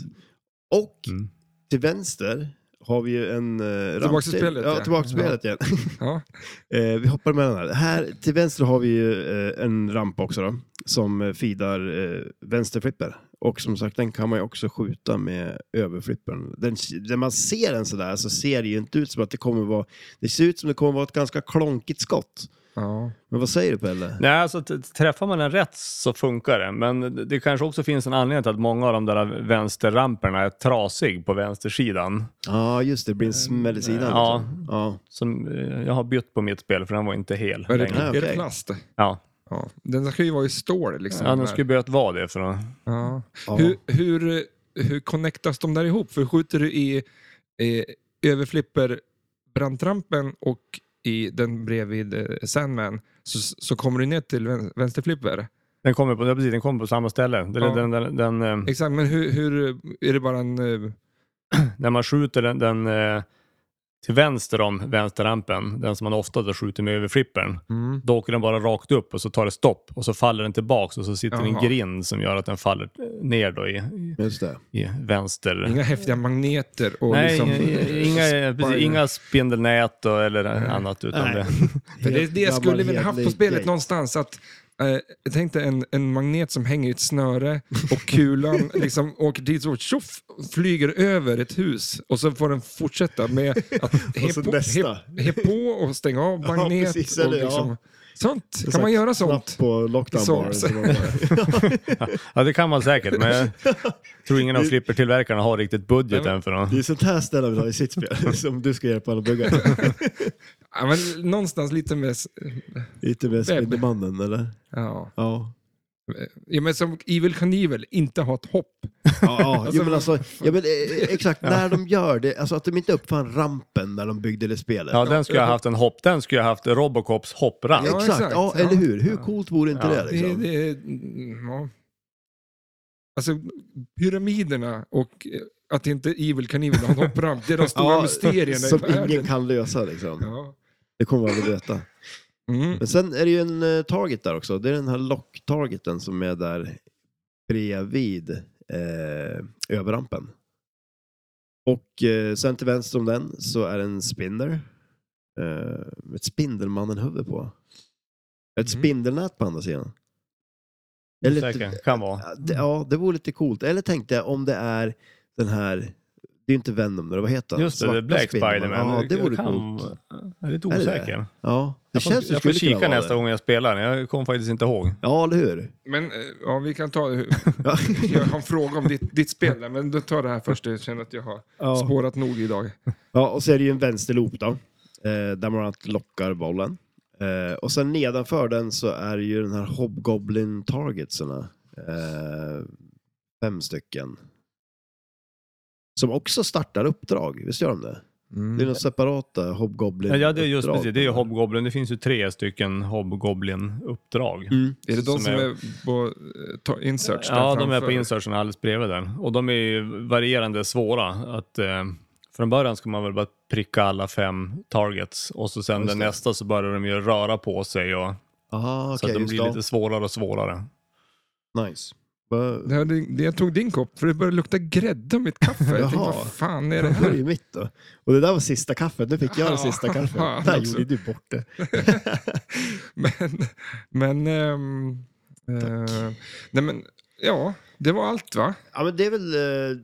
Speaker 2: Och
Speaker 3: Mm.
Speaker 2: till vänster har vi ju en eh,
Speaker 1: Tillbaka till spelet,
Speaker 2: Ja,
Speaker 1: ja.
Speaker 2: tillbaka till spelet igen.
Speaker 1: Ja.
Speaker 2: Eh, vi hoppar mellan här. Här till vänster har vi ju eh, en ramp också då, som eh, feedar eh, vänsterflipper. Och som sagt, den kan man ju också skjuta med överflippern. Den, när man ser den sådär så ser det ju inte ut som att det kommer vara... Det ser ut som det kommer vara ett ganska klonkigt skott.
Speaker 1: Ja.
Speaker 2: Men vad säger du Pelle?
Speaker 3: Nej, alltså t- träffar man den rätt så funkar det. Men det kanske också finns en anledning till att många av de där vänsterramperna är trasig på vänstersidan.
Speaker 2: Ja, just det. Det blir en smäll i sidan.
Speaker 3: Ja.
Speaker 2: liksom. ja.
Speaker 3: Som eh, jag har bytt på mitt spel för den var inte hel.
Speaker 1: Är det,
Speaker 3: längre.
Speaker 2: Nej,
Speaker 1: är det
Speaker 2: okej.
Speaker 1: plast?
Speaker 3: Ja.
Speaker 1: Ja. Den ska ju vara i stål. Liksom,
Speaker 3: Ja,
Speaker 1: den här.
Speaker 3: de skulle behövt vara det för att...
Speaker 1: ja.
Speaker 2: Ja.
Speaker 1: Hur, hur, hur connectas de där ihop? För skjuter du i eh, överflipper brantrampen och i den bredvid eh, Sandman så, så kommer du ner till vän- vänsterflipper.
Speaker 3: Den kommer på, ja, precis, den kommer på samma ställe. Den,
Speaker 1: Ja.
Speaker 3: den, den, den, eh,
Speaker 1: Exakt, men hur, hur är det bara en... eh,
Speaker 3: när man skjuter den, den eh, till vänster om vänsterrampen, den som man ofta skjuter med överflippern,
Speaker 1: Mm.
Speaker 3: då åker den bara rakt upp och så tar det stopp och så faller den tillbaks och så sitter det en
Speaker 1: Jaha.
Speaker 3: grind som gör att den faller eh, ner då i, i-
Speaker 2: Just det.
Speaker 3: i vänster...
Speaker 1: Inga häftiga magneter och
Speaker 3: Nej,
Speaker 1: liksom...
Speaker 3: inga, inga, precis, inga spindelnät och, eller annat. Utan
Speaker 2: Nej.
Speaker 3: det.
Speaker 1: För det, det
Speaker 2: Gammal
Speaker 1: skulle vi haft på
Speaker 2: hedlig
Speaker 1: spelet
Speaker 2: grej.
Speaker 1: någonstans, att Eh, jag tänkte en, en magnet som hänger i ett snöre och kulan liksom åker dit och tjoff, flyger över ett hus och så får den fortsätta med att he
Speaker 2: så
Speaker 1: på,
Speaker 2: nästa.
Speaker 1: he, he på och stänga av
Speaker 2: Ja,
Speaker 1: magnet.
Speaker 2: precis,
Speaker 1: och
Speaker 2: eller ja.
Speaker 1: liksom, Sånt, kan
Speaker 2: En
Speaker 1: man
Speaker 2: slags
Speaker 1: göra
Speaker 2: knapp
Speaker 1: sånt?
Speaker 2: på lockdown-baren.
Speaker 1: Sånt.
Speaker 2: som man bara-
Speaker 3: Ja, det kan man säkert, men jag tror ingen av flippertillverkarna har riktigt budgeten för dem.
Speaker 2: Det är sånt här ställe vi har i sitt spel, som du ska hjälpa alla att bygga.
Speaker 1: Ja, men, någonstans lite med... s-
Speaker 2: Lite mer Spindelmannen, eller?
Speaker 1: Ja.
Speaker 2: Ja.
Speaker 1: ja, men som Evil Knievel, inte ha ett hopp.
Speaker 2: Ja, ja. Jo, men alltså, ja, men, eh, exakt, när de gör det, alltså att de inte uppfann rampen när de byggde det spelet.
Speaker 3: Ja, den skulle jag haft en hopp. Den skulle jag haft Robocops hoppramp.
Speaker 1: Ja,
Speaker 2: exakt,
Speaker 1: exakt.
Speaker 2: Ja,
Speaker 1: Ja.
Speaker 2: eller hur? Hur
Speaker 1: Ja.
Speaker 2: coolt vore inte
Speaker 3: Ja.
Speaker 2: det?
Speaker 1: Det,
Speaker 2: Liksom?
Speaker 1: det, mm, ja. Alltså, pyramiderna och eh, att inte Evil Knievel har en hoppramp, det är de stora mysterierna i
Speaker 2: som
Speaker 1: världen.
Speaker 2: ingen kan lösa liksom.
Speaker 1: Ja.
Speaker 2: Det kommer vi aldrig veta.
Speaker 1: Mm.
Speaker 2: Men sen är det ju en eh, target där också. Det är den här lock-targeten som är där bredvid eh, överrampen. Och eh, sen till vänster om den så är en spinner. Eh, med ett Spindelmannen-huvud på. Ett
Speaker 1: Mm.
Speaker 2: spindelnät på andra sidan.
Speaker 3: Säkert, kan vara.
Speaker 2: Ja, det, ja, det vore lite coolt. Eller tänkte jag om det är den här, det är ju inte Venom, eller vad heter han?
Speaker 3: Just det, det är
Speaker 2: Svarta
Speaker 3: Black
Speaker 2: Spindelmannen.
Speaker 3: Spiderman.
Speaker 2: Ja, det vore
Speaker 3: kan...
Speaker 2: coolt.
Speaker 3: Jag är lite
Speaker 2: Är det
Speaker 3: osäker.
Speaker 2: Ja, det
Speaker 3: jag
Speaker 2: känns
Speaker 3: får, jag får
Speaker 2: det skulle kunna
Speaker 3: kika
Speaker 2: vara
Speaker 3: nästa
Speaker 2: det.
Speaker 3: gång jag spelar den. Jag kommer faktiskt inte ihåg.
Speaker 2: Ja, eller hur?
Speaker 1: Men eh, ja, vi kan ta...
Speaker 2: Ja.
Speaker 1: Jag har en fråga om ditt, ditt spel, där, men då tar det här först. Jag känner att jag har
Speaker 2: Ja.
Speaker 1: spårat nog idag.
Speaker 2: ja, och så är det ju en vänsterloop då, eh, där man lockar bollen. Eh, och sen nedanför den så är det ju den här Hobgoblin targetsarna. Eh, fem stycken. Som också startar uppdrag, visst gör de det? Det är de separata Hobgoblin
Speaker 3: Mm. Ja, det är just precis. Det är ju Hobgoblin. Det finns ju tre stycken Hobgoblin-uppdrag.
Speaker 2: Mm.
Speaker 1: Är det de som,
Speaker 3: Som är-
Speaker 1: är på eh, ta, Insearch? där
Speaker 3: Ja, de är
Speaker 1: framför?
Speaker 3: på insertion alldeles bredvid där. Och de är ju varierande svåra. Att, eh, från början ska man väl bara pricka alla fem targets och så sen den nästa så börjar de ju röra på sig. Och,
Speaker 2: Aha,
Speaker 3: så
Speaker 2: okej,
Speaker 3: att de
Speaker 2: just
Speaker 3: blir
Speaker 2: det.
Speaker 3: lite svårare och svårare.
Speaker 2: Nice. Va-
Speaker 1: Det här, det, det- jag tog din kopp, för det började lukta grädde om mitt kaffe. Jag tänkte,
Speaker 2: Jaha.
Speaker 1: vad fan är det
Speaker 2: Det här är
Speaker 1: här?
Speaker 2: ju mitt då. Och det där var sista kaffet. Nu fick jag det
Speaker 1: Ja.
Speaker 2: sista
Speaker 1: Ja,
Speaker 2: kaffet. Där
Speaker 1: också.
Speaker 2: gjorde du bort det.
Speaker 1: Men, men, ehm, eh, nej men, ja, det var allt va?
Speaker 2: Ja, men det är väl... eh,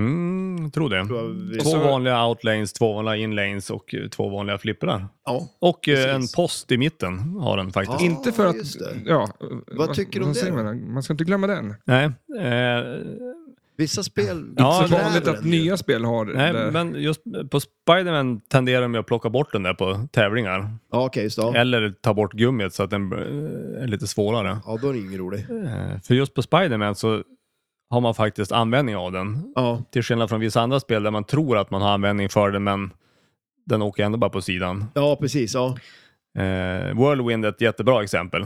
Speaker 3: Mm, jag tror det.
Speaker 2: Tror jag vi...
Speaker 3: Två vanliga outlanes, två vanliga inlanes och eh, två vanliga flipprar.
Speaker 2: Ja.
Speaker 3: Och eh,
Speaker 2: Precis.
Speaker 3: en post i mitten har den faktiskt.
Speaker 2: Ja,
Speaker 1: Inte för att...
Speaker 2: just det.
Speaker 1: Ja,
Speaker 2: tycker du om det
Speaker 1: säger
Speaker 2: då?
Speaker 1: Man, man ska inte glömma den.
Speaker 3: Nej, eh,
Speaker 2: Vissa spel...
Speaker 3: Ja,
Speaker 1: så
Speaker 3: det-
Speaker 1: vanligt att nya spel har
Speaker 3: nej
Speaker 1: det.
Speaker 3: men just på Spiderman tenderar de ju att plocka bort den där på tävlingar.
Speaker 2: Ja, okej, just det. Ja.
Speaker 3: Eller ta bort gummit så att den eh, är lite svårare.
Speaker 2: ja, då är det ingen rolig.
Speaker 3: Eh, För just på Spiderman så har man faktiskt användning av den.
Speaker 2: Ja,
Speaker 3: Till skillnad från vissa andra spel där man tror att man har användning för den men den åker ändå bara på sidan.
Speaker 2: ja precis. Ja.
Speaker 3: Eh, Whirlwind är ett jättebra exempel.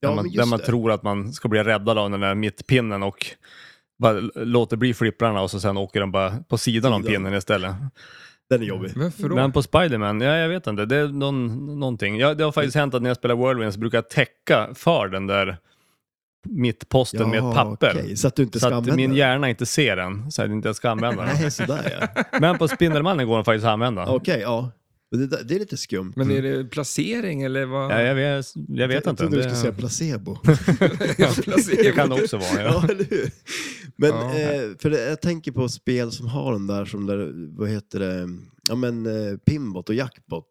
Speaker 2: Ja,
Speaker 3: där man,
Speaker 2: men
Speaker 3: där
Speaker 2: just
Speaker 3: man
Speaker 2: det.
Speaker 3: tror att man ska bli räddad av den där mittpinnen och bara l- låter bli flipprarna och så sen åker den bara på sidan av
Speaker 2: Sidan.
Speaker 3: pinnen istället.
Speaker 2: Den är jobbig.
Speaker 1: Varför då?
Speaker 3: Men på Spiderman, ja, jag vet inte, det är någon, någonting. Ja, det har faktiskt
Speaker 2: Mm.
Speaker 3: hänt att när jag spelar Whirlwind så brukar jag täcka för den där mittposten med ett papper.
Speaker 2: okej, Så att du inte
Speaker 3: Så
Speaker 2: ska
Speaker 3: att
Speaker 2: använda
Speaker 3: min
Speaker 2: den.
Speaker 3: hjärna inte ser den, så att inte jag ska använda den.
Speaker 2: Nej, sådär ja.
Speaker 3: Men på Spindelmannen går den faktiskt att använda.
Speaker 2: Okej, ja. Men Det, där- det är lite skumt.
Speaker 1: Men är det placering eller vad?
Speaker 3: Ja, jag vet, jag vet inte.
Speaker 2: Jag trodde du
Speaker 3: Det,
Speaker 2: skulle säga placebo.
Speaker 3: det
Speaker 1: placering.
Speaker 3: kan det också vara. Ja.
Speaker 2: Ja, eller hur? Men
Speaker 1: Ja.
Speaker 2: eh, för det, jag tänker på spel som har den där som där, vad heter det, ja men eh, Pimbot och Jackbot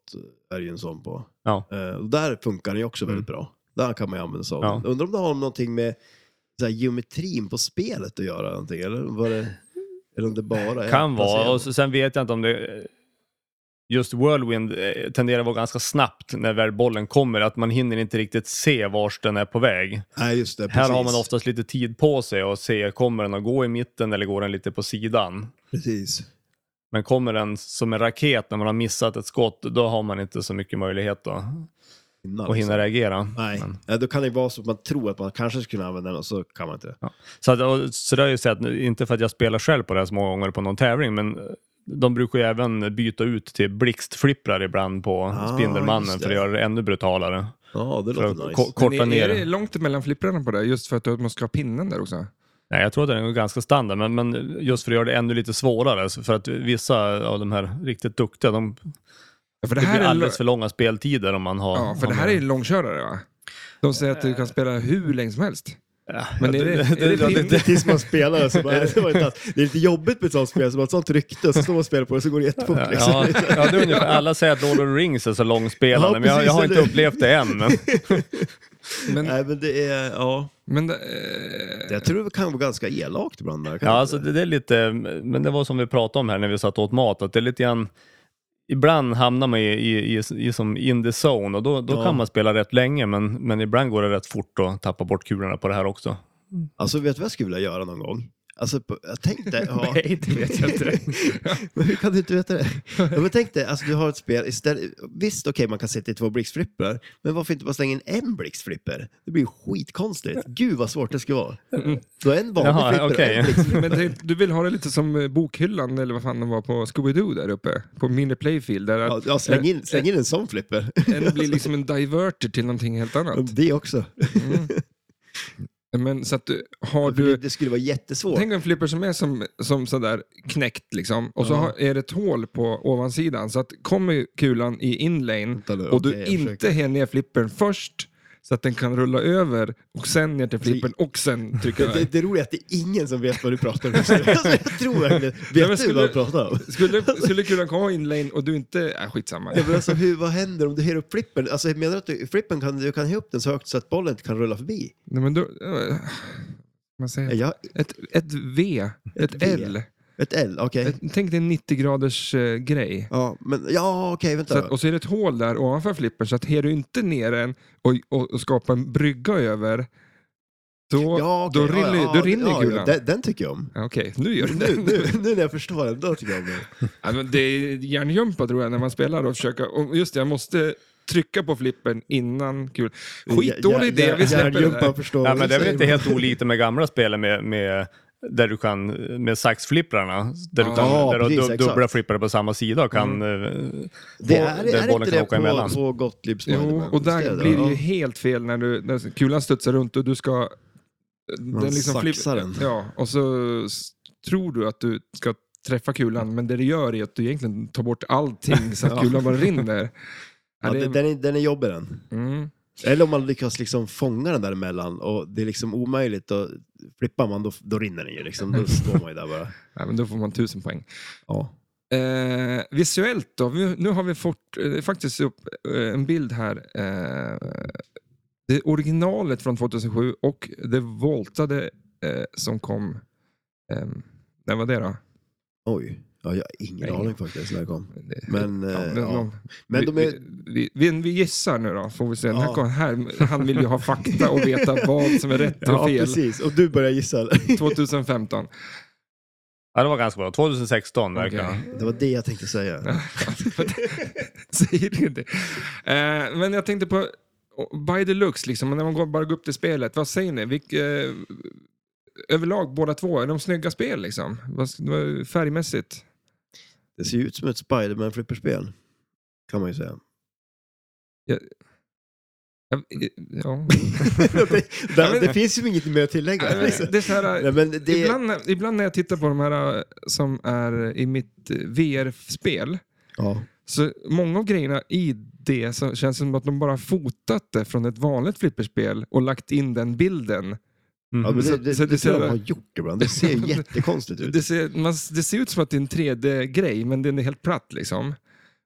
Speaker 2: är ju en sån på.
Speaker 3: Ja.
Speaker 2: Eh, och där funkar den ju också väldigt bra. Där kan man ju använda sig av
Speaker 3: Mm. Ja.
Speaker 2: den. Undrar om det har någonting med så här, geometrin på spelet att göra någonting, eller var det, eller om det bara är
Speaker 3: Kan vara.
Speaker 2: placebo?
Speaker 3: Och så, sen vet jag inte om det... Just Whirlwind eh, tenderar att vara ganska snabbt när väl bollen kommer, att man hinner inte riktigt se vars den är på väg.
Speaker 2: Nej, just det. Precis.
Speaker 3: Här har man oftast lite tid på sig att se, kommer den att gå i mitten eller går den lite på sidan?
Speaker 2: Precis.
Speaker 3: Men kommer den som en raket när man har missat ett skott, då har man inte så mycket möjlighet då
Speaker 2: Innan,
Speaker 3: att hinna
Speaker 2: liksom.
Speaker 3: reagera.
Speaker 2: Nej,
Speaker 3: Men-
Speaker 2: ja, då kan det vara så att man tror att man kanske skulle kunna använda den och så kan man inte det.
Speaker 3: Så, att, och, så det har jag ju sett, inte för att jag spelar själv på det här så många gånger på någon tävling, men eh, de brukar ju även byta ut till blixtflipprar ibland på
Speaker 2: Ah,
Speaker 3: Spindelmannen
Speaker 2: just det.
Speaker 3: för att göra det ännu brutalare.
Speaker 2: Ja, det
Speaker 3: För att
Speaker 2: låter nice.
Speaker 3: ko-
Speaker 1: Men
Speaker 3: korta
Speaker 1: är, är
Speaker 3: ner.
Speaker 1: det långt mellan flipprarna på det? Just för att du- man ska ha pinnen där också?
Speaker 3: Nej, jag tror att den är ganska standard, men, men just för att göra det ännu lite svårare. så För att vissa av de här riktigt duktiga, de,
Speaker 1: Ja, för det,
Speaker 3: det,
Speaker 1: här
Speaker 3: blir
Speaker 1: är,
Speaker 3: alldeles för långa speltider om man har...
Speaker 1: ja, för
Speaker 3: om
Speaker 1: det här
Speaker 3: man-
Speaker 1: är långkörare va? De säger att du
Speaker 3: Eh.
Speaker 1: kan spela hur länge som helst.
Speaker 3: Ja,
Speaker 1: Men
Speaker 3: ja,
Speaker 1: är det- är det rimligt?
Speaker 2: Tills man spelar så bara, det, var inte alls- det är lite jobbigt med ett sånt spel, som har ett sånt rykte, så står man och spelar på det så går det jättefort.
Speaker 3: Ja,
Speaker 2: Liksom.
Speaker 3: ja, ja, det är ungefär. Alla säger att Lord of the Rings är så långspelande,
Speaker 2: Ja,
Speaker 3: men jag, jag har
Speaker 2: precis,
Speaker 3: inte
Speaker 2: eller-
Speaker 3: upplevt det än. Men,
Speaker 1: Men,
Speaker 2: Nej, men det är, ja.
Speaker 1: men eh,
Speaker 2: Jag tror det kan vara ganska elakt ibland. där, kan
Speaker 3: ja,
Speaker 2: det?
Speaker 3: alltså, det, det är lite, men det var som vi pratade om här när vi satt och åt mat, att det är lite grann, ibland hamnar man i, i, i, i som in the zone och då, då
Speaker 2: Ja.
Speaker 3: kan man spela rätt länge, men, men ibland går det rätt fort att tappa bort kulorna på det här också.
Speaker 2: Alltså, vet du vad jag skulle vilja göra någon gång? Alltså, på- jag tänkte, ja.
Speaker 1: Nej, det vet jag inte.
Speaker 2: men hur kan du inte veta det? Ja, men tänk dig, alltså, du har ett spel, istället, visst okej man kan sitta i två blixtflipper, men varför inte bara slänga in en blixtflipper? Det blir ju skitkonstigt. Gud vad svårt det skulle vara. Du har en vanlig
Speaker 3: Jaha,
Speaker 2: flipper och
Speaker 3: okej.
Speaker 2: en blixtflipper.
Speaker 1: Men typ, du vill ha det lite som eh, bokhyllan eller vad fan de var på Scooby-Doo där uppe. På mindre playfield. Där
Speaker 2: Ja,
Speaker 1: att
Speaker 2: ja, släng, in, släng in en sån flipper.
Speaker 1: en blir liksom en diverter till någonting helt annat.
Speaker 2: Det också.
Speaker 1: Men så att du, har
Speaker 2: För det,
Speaker 1: du...
Speaker 2: det skulle vara jättesvårt.
Speaker 1: Tänk en flipper som är som, som sådär knäckt liksom. Och så har, är det ett hål på ovansidan. Så att kommer kulan i inlane
Speaker 2: Vänta nu,
Speaker 1: och du
Speaker 2: okej, jag
Speaker 1: inte
Speaker 2: försöker.
Speaker 1: hinner ner flippern först. Så att den kan rulla över och sen ner
Speaker 2: Alltså,
Speaker 1: till flippern och sen trycka
Speaker 2: Det,
Speaker 1: iväg.
Speaker 2: det roliga är att det är ingen som vet vad du pratar om. Alltså, jag tror verkligen... Vet du
Speaker 1: skulle-
Speaker 2: vad du pratar om?
Speaker 1: Skulle, skulle kulan komma i inlane och du inte... Äh, skitsamma.
Speaker 2: Ja, men alltså, hur, vad händer om du höjer upp flippen? Alltså, jag menar att du, flippen kan, du kan höja upp den så högt så att bollen inte kan rulla förbi?
Speaker 1: Nej, men då... eh, Man säger,
Speaker 2: Ja,
Speaker 1: ett, ett V, ett,
Speaker 2: V.
Speaker 1: L.
Speaker 2: ett L, okej.
Speaker 1: Ett, tänk dig en 90 graders eh, grej.
Speaker 2: Ja, men, ja okej,
Speaker 1: Så
Speaker 2: vänta.
Speaker 1: att, och så är det ett hål där ovanför flippern, så att her du inte ner den och, och, och skapar en brygga över, då,
Speaker 2: ja, okej,
Speaker 1: då rinner, då rinner kulan.
Speaker 2: den, den tycker jag om.
Speaker 1: Ja, Okej, nu gör den
Speaker 2: Nu,
Speaker 1: det.
Speaker 2: nu, nu när jag förstår den, då tycker jag om den.
Speaker 1: Ja, men det är hjärngympa tror jag när man spelar och försöker, och just det, jag måste trycka på flippern innan kulan. Skitdålig idé, vi släpper det
Speaker 2: Hjärngympan
Speaker 1: där.
Speaker 2: förstår
Speaker 3: Ja,
Speaker 2: vad du
Speaker 3: men det är väl
Speaker 2: säger.
Speaker 3: inte helt olikt med gamla spelen med, med, där du kan, med saxflipprarna, där du kan
Speaker 2: Ja,
Speaker 3: där du har
Speaker 2: precis,
Speaker 3: dub-
Speaker 2: exakt. Mm.
Speaker 3: dubbla flipprar på samma sida och kan... eh,
Speaker 2: Det
Speaker 3: boll-
Speaker 2: är,
Speaker 3: där
Speaker 2: är
Speaker 3: bollen
Speaker 2: inte
Speaker 3: kan åka
Speaker 2: det på,
Speaker 3: emellan.
Speaker 2: på Gottliebs
Speaker 1: Jo,
Speaker 2: Spiderman?
Speaker 1: och
Speaker 2: Visst är
Speaker 1: där
Speaker 2: det?
Speaker 1: blir det ju
Speaker 2: Ja.
Speaker 1: helt fel när, du, när kulan studsar runt och du ska...
Speaker 2: Man saxar den.
Speaker 1: liksom Ja, och så s- tror du att du ska träffa kulan, men det du gör är att du egentligen tar bort allting så att kulan bara rinner.
Speaker 2: Ja,
Speaker 1: Ja, det,
Speaker 2: den- den, är, den är jobbig den.
Speaker 1: mm.
Speaker 2: Eller om man lyckas liksom fånga den däremellan och det är liksom omöjligt, då flippar man, då, då rinner den ju liksom.
Speaker 1: Mm.
Speaker 2: Då står man ju där bara.
Speaker 1: Nej, men då får man tusen poäng.
Speaker 2: Ja.
Speaker 1: Eh, visuellt då? Vi, nu har vi fått eh, faktiskt upp eh, en bild här. Eh, det är originalet från 2007 och det voltade eh, som kom... Eh, när var det då?
Speaker 2: Oj. Ja, jag har ingen
Speaker 1: Nej.
Speaker 2: aning faktiskt när det kom.
Speaker 1: Det-
Speaker 2: Men,
Speaker 1: Ja,
Speaker 2: eh,
Speaker 1: men
Speaker 2: ja.
Speaker 1: de-
Speaker 2: men
Speaker 1: vi,
Speaker 2: de är...
Speaker 1: vi, vi, vi gissar nu då, får vi se. Den Här,
Speaker 2: Ja.
Speaker 1: kom- här, han vill ju ha fakta och veta vad som är rätt och
Speaker 2: Ja,
Speaker 1: fel.
Speaker 2: precis. Och du börjar gissa. eller?
Speaker 1: 2015.
Speaker 3: Ja, det var ganska bra. 2016 verkar det.
Speaker 1: Okej.
Speaker 2: Det var det jag tänkte säga.
Speaker 1: Säger du inte. Eh, men jag tänkte på by the looks, liksom, när man går, bara går upp till spelet, vad säger ni? Vilk, eh, överlag båda två, är de snygga spel liksom? Vad- vad- Färgmässigt?
Speaker 2: Det ser ju ut som ett Spiderman flipperspel. Kan man ju säga.
Speaker 1: Ja, ja. Eh,
Speaker 2: det,
Speaker 1: Ja, men-
Speaker 2: det finns ju inget mer att tillägga. liksom.
Speaker 1: Det är så här,
Speaker 2: Nej, men det,
Speaker 1: Ibland, ibland när jag tittar på de här eh, som är i mitt eh, VR-spel,
Speaker 2: ja.
Speaker 1: så många av grejerna i det så känns det som att de bara fotat det från ett vanligt flipperspel och lagt in den bilden.
Speaker 3: Mm.
Speaker 2: Ja, men
Speaker 1: Mm. Så-
Speaker 2: det, det,
Speaker 1: så
Speaker 2: det,
Speaker 1: det ser-
Speaker 2: tror jag de har gjort ibland. Det ser ju jättekonstigt ut.
Speaker 1: Det ser, man, det ser ut som att det är en 3D-grej, men den är helt platt liksom.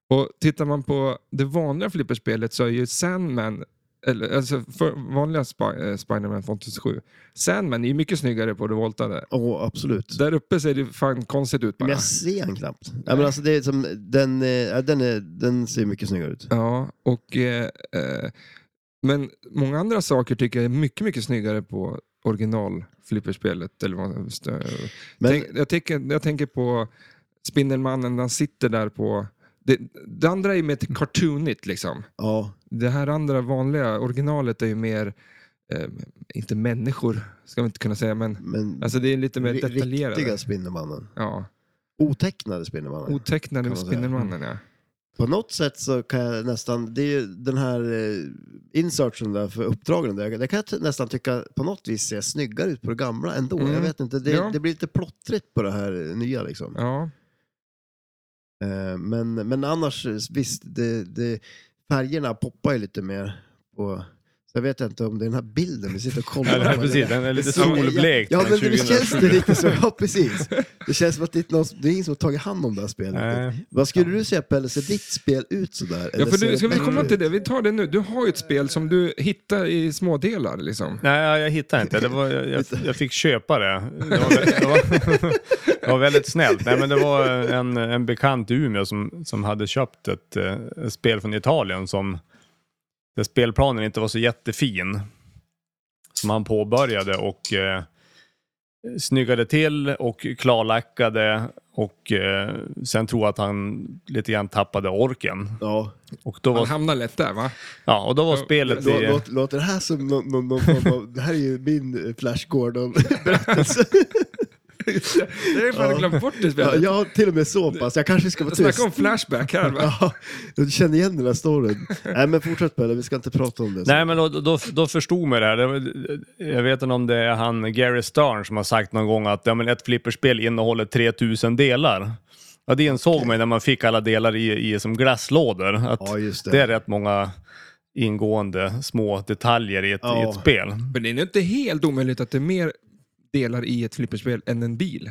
Speaker 1: Och tittar man på det vanliga flipperspelet så är ju Sandman, eller, alltså för vanliga Sp Spiderman från 2007, Sandman är ju mycket snyggare på det voltade.
Speaker 2: Åh, absolut.
Speaker 1: Där uppe ser det fan konstigt ut
Speaker 2: Men
Speaker 1: bara.
Speaker 2: jag ser han knappt. Ja, men alltså det är som, den, eh, ja, den, är, den ser mycket snyggare ut.
Speaker 1: Ja, och... Eh, eh, men många andra saker tycker jag är mycket, mycket snyggare på originalflipperspelet. Eller vad, man ska-
Speaker 2: Men-
Speaker 1: Tänk, jag, tänker, jag tänker på Spindelmannen, han sitter där på... Det, det andra är ju mer till cartoonigt liksom.
Speaker 2: Ja,
Speaker 1: Det här andra vanliga originalet är ju mer, eh, inte människor, ska man inte kunna säga, men
Speaker 2: men
Speaker 1: alltså det är lite mer
Speaker 2: ri- riktiga
Speaker 1: detaljerat.
Speaker 2: Spindelmannen.
Speaker 1: Ja,
Speaker 2: Otecknade Spindelmannen.
Speaker 1: otecknade med
Speaker 2: Kan man säga. Mm.
Speaker 1: Spindelmannen, ja.
Speaker 2: På något sätt så kan jag nästan, det är ju den här eh, insertion där för uppdragen, där, det kan jag t- nästan tycka på något vis ser snyggare ut på det gamla ändå.
Speaker 1: Mm.
Speaker 2: Jag vet inte, det,
Speaker 1: Ja.
Speaker 2: det blir lite plottrigt på det här eh, nya liksom.
Speaker 1: ja.
Speaker 2: Eh, men, men annars, eh, visst, det, det, färgerna poppar ju lite mer på Så jag vet inte om det är den här bilden vi sitter och kollar
Speaker 3: Ja, det
Speaker 2: på.
Speaker 3: här, precis. Den är lite
Speaker 2: Det såg-
Speaker 3: solblekt.
Speaker 2: Ja,
Speaker 3: den
Speaker 2: men det känns
Speaker 3: 2007.
Speaker 2: det riktigt så. Ja, precis. Det känns som att det är, någon, det är ingen som har tagit hand om det här spelet.
Speaker 3: Nej.
Speaker 2: Vad skulle du säga Pelle, ser ditt spel ut sådär?
Speaker 1: Ja, för du, ska vi komma till
Speaker 2: det?
Speaker 1: det? Vi tar det nu. Du har ju ett spel som du hittar i smådelar liksom.
Speaker 3: Nej, jag hittade inte. Det var, jag, jag- jag fick köpa det. Det var, vä- det var, det var väldigt snällt. Nej, men det var en, en bekant i Umeå som, som hade köpt ett, eh, ett spel från Italien som där spelplanen inte var så jättefin. Som han påbörjade och eh, snyggade till och klarlackade och eh, sen tror jag att han lite grann tappade orken.
Speaker 2: Ja,
Speaker 3: Och då
Speaker 1: Man
Speaker 3: var,
Speaker 1: hamnar lätt där va?
Speaker 3: ja, och då var
Speaker 1: Ja,
Speaker 3: spelet
Speaker 2: lå,
Speaker 3: i...
Speaker 2: låt, låter det här som någon, någon, någon form av... Det här är ju min eh, Flash Gordon-berättelse.
Speaker 1: Det har jag fan
Speaker 2: Ja.
Speaker 1: glömt bort det
Speaker 2: ja,
Speaker 1: spelet.
Speaker 2: jag har till och med så pass. Jag kanske ska vara tyst.
Speaker 1: Snacka om flashback här va?
Speaker 2: Ja, jag känner igen den här storyn. Nej, men fortsätt Pelle, vi ska inte prata om det.
Speaker 3: Nej, men då, då, då förstod man det här. Det var, jag vet inte om det är han Gary Stern som har sagt någon gång att ja, men ett flipperspel innehåller 3000 delar. Ja, det insåg man ju när man fick alla delar i, i som glasslådor. Att
Speaker 2: Ja, just det.
Speaker 3: det. är rätt många ingående små detaljer i ett, i
Speaker 2: Ja.
Speaker 3: ett spel.
Speaker 1: Men det är ju inte helt omöjligt att det är mer delar i ett flipperspel än en bil.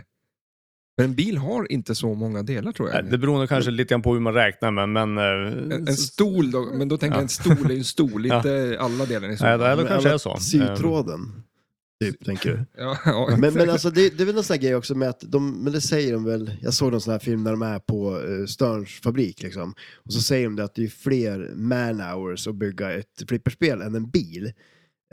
Speaker 1: För en bil har inte så många delar tror jag.
Speaker 3: Det beror nog kanske lite grann på hur man räknar med, men... eh,
Speaker 1: En, en stol då, men då tänker jag en stol är ju en stol,
Speaker 3: Ja.
Speaker 1: inte alla delar är så.
Speaker 3: Nej, det här
Speaker 2: Men
Speaker 3: kanske
Speaker 2: alla-
Speaker 3: är så. Mm.
Speaker 2: Sytråden, typ, tänker du?
Speaker 1: Ja, ja.
Speaker 2: Men, men alltså, det, det är väl någon sån här grej också med att de, men det säger de väl, jag såg någon sån här film när de är på uh, Sterns fabrik liksom. Och så säger de det att det är fler man hours att bygga ett flipperspel än en bil.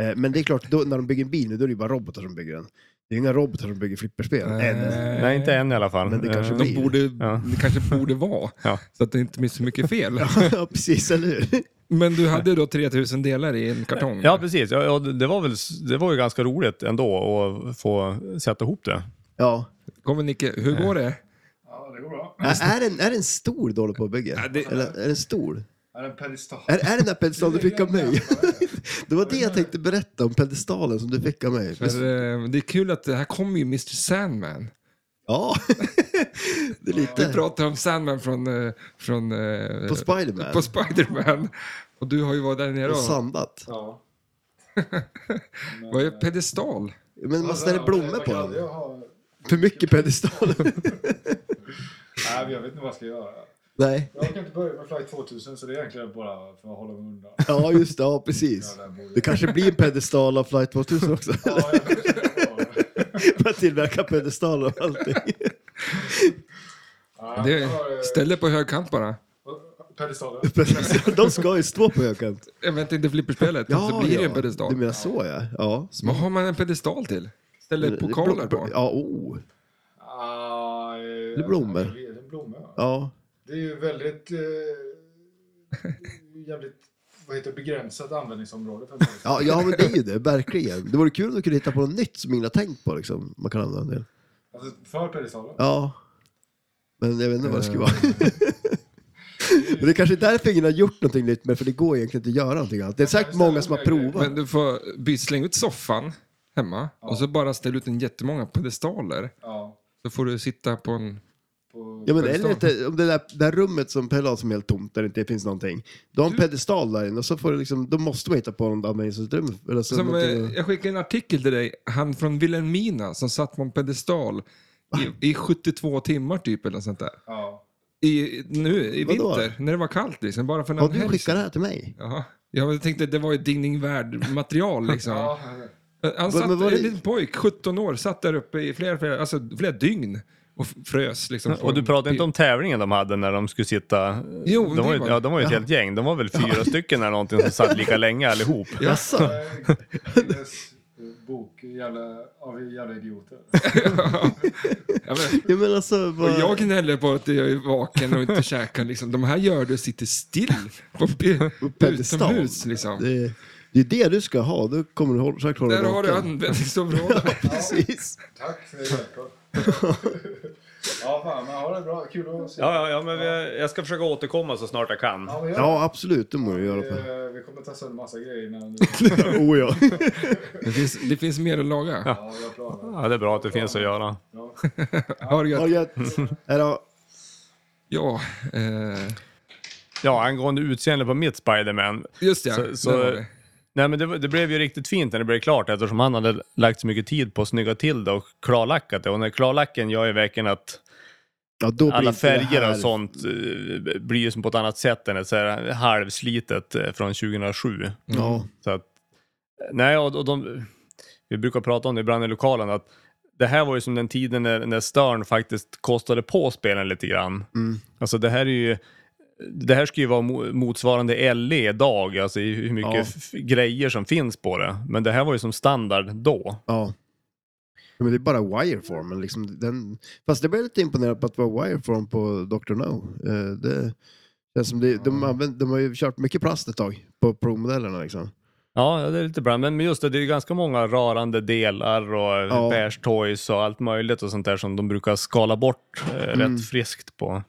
Speaker 2: Eh, men det är klart, då, när de bygger en bil nu då är det ju bara robotar som bygger den. Det är ju inga robotar som bygger flipperspel.
Speaker 1: Nej.
Speaker 2: Än.
Speaker 3: Eh, Nej, inte än i alla fall.
Speaker 2: Men det kanske
Speaker 3: Eh,
Speaker 2: blir-
Speaker 1: De borde,
Speaker 3: Ja.
Speaker 1: Det kanske borde vara,
Speaker 3: Ja.
Speaker 1: så att det inte blir så mycket fel.
Speaker 2: ja, precis, eller hur?
Speaker 1: Men du hade då 3000 delar i en kartong?
Speaker 3: Ja, precis. Ja, ja, det, var väl, det var ju ganska roligt ändå att få sätta ihop det.
Speaker 2: Ja.
Speaker 1: Kommer Nicke, hur går det?
Speaker 2: Ä- Är, den, är den stor du håller på och bygger?
Speaker 1: det-
Speaker 2: Eller är den stor?
Speaker 5: Är det en pedestal?
Speaker 2: Är, är den där pedestalen du fick av mig? det var det jag tänkte berätta om pedestalen som du fick av mig.
Speaker 1: För, eh, det är kul att det här kommer ju Mr Sandman.
Speaker 2: Ja, det är
Speaker 1: Du
Speaker 2: lite.
Speaker 1: pratar om Sandman från... eh, från eh,
Speaker 2: På Spiderman.
Speaker 1: på Spiderman. Och du har ju varit där nere
Speaker 2: och
Speaker 1: och...
Speaker 2: sandat.
Speaker 5: Ja.
Speaker 1: Vad är pedestal?
Speaker 2: Men man ställer blommor
Speaker 5: Vad
Speaker 2: på
Speaker 5: kan
Speaker 2: den.
Speaker 5: Alltså, jag ha?
Speaker 2: För mycket pedestal.
Speaker 5: Nej, men jag vet inte vad jag ska göra.
Speaker 2: Nej.
Speaker 5: Jag kan inte börja med Flight 2000 så det är egentligen bara för att hålla mig undan.
Speaker 2: Ja, just det. Ja, precis. Det kanske blir en pedestal av Flight 2000 också.
Speaker 5: Ja, jag vet inte vad jag har.
Speaker 2: Man tillverkar pedestaler och allting.
Speaker 5: Ja,
Speaker 1: Det
Speaker 5: jag har, eh,
Speaker 1: är, ställ dig på högkant bara.
Speaker 5: Pedestaler.
Speaker 2: De ska ju stå på högkant.
Speaker 1: Jag vet inte flipperspelet, så blir det en pedestal.
Speaker 2: Du menar så, ja. Ja.
Speaker 1: Vad har man en pedestal till? Ställer pokaler på?
Speaker 2: Ja, oh.
Speaker 5: Ah, eh,
Speaker 2: är blommor.
Speaker 5: alltså, Det är blommor. ja.
Speaker 2: Ja.
Speaker 5: Det är ju väldigt... Eh, jävligt... Vad heter det? Begränsat användningsområde för en pedestal.
Speaker 2: Ja, ja, men det är ju det, verkligen. Det vore kul om du kunde hitta på något nytt som ingen har tänkt på, liksom. Man kan använda en del.
Speaker 5: Alltså, för pedestaler.
Speaker 2: Ja. Men jag vet inte vad det skulle vara. Men det är kanske är därför ingen har gjort någonting nytt med för det går egentligen inte att göra någonting annat. Det är säkert många som har provat.
Speaker 1: Men du får by- släng ut soffan hemma och så bara ställ ut en jättemånga pedestaler.
Speaker 5: Ja.
Speaker 1: Så får du sitta på en...
Speaker 5: På,
Speaker 2: Ja, men eller inte, om det där, det där rummet som Pelle har som är helt tomt där det inte finns någonting. Du har en pedestal där inne och så får du liksom, då måste man hitta på något användningsutrymme. Eller så
Speaker 1: Som, eh,
Speaker 2: någonting att-
Speaker 1: jag skickade en artikel till dig, han från Vilhelmina som satt på en pedestal
Speaker 2: Ah.
Speaker 1: i, i 72 timmar typ eller sånt där.
Speaker 5: ja.
Speaker 1: I, nu i
Speaker 2: Vadå?
Speaker 1: vinter, när det var kallt liksom, bara för
Speaker 2: Har
Speaker 1: någon
Speaker 2: du
Speaker 1: helg.
Speaker 2: skickat det här till mig?
Speaker 1: Jaha. Ja, men jag tänkte det var ju digning värd material liksom.
Speaker 5: ja.
Speaker 1: Han satt,
Speaker 2: men var
Speaker 1: en
Speaker 2: det-
Speaker 1: liten pojk, 17 år, satt där uppe i flera, flera, alltså, flera dygn och f- frös. Liksom, på
Speaker 3: Och du
Speaker 1: en
Speaker 3: pratade inte
Speaker 1: bil.
Speaker 3: om tävlingen de hade när de skulle sitta...
Speaker 1: Jo,
Speaker 3: de
Speaker 1: det
Speaker 3: var ju,
Speaker 1: var det.
Speaker 3: ja, de var ju ett helt gäng. De var väl fyra stycken eller någonting som satt lika länge allihop.
Speaker 1: Ja.
Speaker 2: Jaså?
Speaker 5: Eh, Guinness bok jävla, av jävla idioter.
Speaker 1: Ja, men,
Speaker 2: Ja, men alltså,
Speaker 1: Och
Speaker 2: vad...
Speaker 1: jag gnäller på att jag är vaken och inte käkar. Liksom. De här gör det och sitter still på pe-
Speaker 2: pedestal.
Speaker 1: utomhus. Liksom.
Speaker 2: det, det är det du ska ha, då kommer du hålla, säkert hålla
Speaker 1: Där
Speaker 2: dig
Speaker 1: har du
Speaker 2: vaken.
Speaker 1: användningsområdet.
Speaker 2: Precis.
Speaker 5: Tack för hjälpen. ja, fan, men ha det bra. Kul att se
Speaker 3: Ja, ja, ja, men vi- jag ska försöka återkomma så snart jag kan.
Speaker 5: Ja, men gör
Speaker 2: Ja, absolut, det må du göra.
Speaker 5: det.
Speaker 2: På.
Speaker 5: Eh, Vi kommer ta sönder massa grejer innan
Speaker 2: Oh, ja.
Speaker 1: Det finns, det finns mer att laga.
Speaker 5: ja, vi har planer.
Speaker 3: Ja, det är bra att det finns att göra.
Speaker 5: Ja.
Speaker 1: Har du
Speaker 2: Ha det
Speaker 1: gött?
Speaker 2: gött. Hej då.
Speaker 1: Ja, eh,
Speaker 3: Ja, angående utseende på mitt Spiderman.
Speaker 1: just det.
Speaker 3: Så- så-
Speaker 1: där var det.
Speaker 3: Nej, men det, var- det blev ju riktigt fint när det blev klart eftersom han hade lagt så mycket tid på att snygga till det och klarlackat det. Och när klarlacken gör ju verkligen att
Speaker 2: Ja, då blir
Speaker 3: alla
Speaker 2: inte det
Speaker 3: färger
Speaker 2: här-
Speaker 3: och sånt eh, blir ju som på ett annat sätt än ett så här halvslitet eh, från 2007.
Speaker 2: Ja,
Speaker 3: Så att, eh, nej, och, och de, vi brukar prata om det ibland i lokalen, att det här var ju som den tiden när, när Stern faktiskt kostade på spelen lite grann.
Speaker 2: Mm.
Speaker 3: Alltså det här är ju, det här skulle ju vara mo- motsvarande LE idag, alltså i hur mycket
Speaker 2: Ja.
Speaker 3: f- grejer som finns på det. Men det här var ju som standard då.
Speaker 2: ja. Ja, Men det är bara wireformen liksom. Den... Fast det blev lite imponerad på att det var wireform på Dr. No. Eh, Det känns som det... de, använder... de har ju kört mycket plast ett tag på Pro-modellerna liksom.
Speaker 3: Ja, det är lite bra. Men men just det, det är ju ganska många rörande delar och
Speaker 2: Ja.
Speaker 3: ja. beige toys och allt möjligt och sånt där som de brukar skala bort eh,
Speaker 2: Mm.
Speaker 3: rätt friskt på,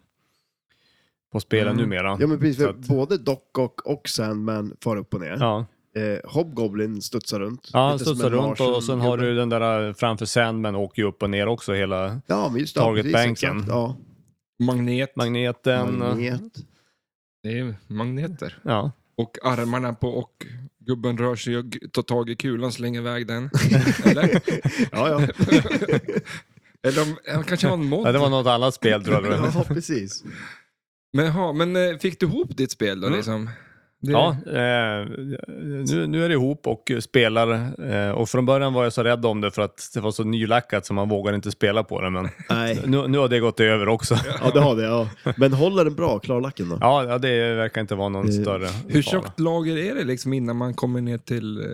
Speaker 3: på spelen numera.
Speaker 2: Ja men precis, för
Speaker 3: Så att-
Speaker 2: både Doc och, och Sandman far upp och ner.
Speaker 3: Ja,
Speaker 2: Eh, Hobgoblin studsar runt.
Speaker 3: ja han
Speaker 2: Lite som
Speaker 3: studsar
Speaker 2: en
Speaker 3: runt och sen har
Speaker 2: Larsen-gubbe.
Speaker 3: du den där eh, framför Sandman åker ju upp och ner också hela
Speaker 2: Ja, men just det.
Speaker 3: Target
Speaker 2: precis,
Speaker 3: Banken.
Speaker 2: exakt. Ja.
Speaker 1: Magnet.
Speaker 3: magneten.
Speaker 2: Magnet.
Speaker 1: Det är magneter.
Speaker 3: Ja.
Speaker 1: Och armarna på och gubben rör sig och g- tar tag i kulan, slänger iväg den. Eller?
Speaker 2: Ja, ja.
Speaker 1: Eller om, han kanske har en mod.
Speaker 3: ja, det var något annat spel tror jag.
Speaker 2: ja, precis.
Speaker 1: Men, jaha, men eh, fick du ihop ditt spel då liksom? Det-
Speaker 3: Mm. Ja, eh, nu, nu är det ihop och spelar. Eh, och från början var jag så rädd om det för att det var så nylackat så man vågade inte spela på det. Men
Speaker 2: Nej,
Speaker 3: nu, nu har det gått över också.
Speaker 2: ja det har det. Ja. Men håller den bra, klarlacken då?
Speaker 3: Ja, ja, det verkar inte vara någon
Speaker 2: Eh,
Speaker 3: större
Speaker 1: Hur
Speaker 3: fara.
Speaker 1: tjockt lager är det liksom innan man kommer ner till eh,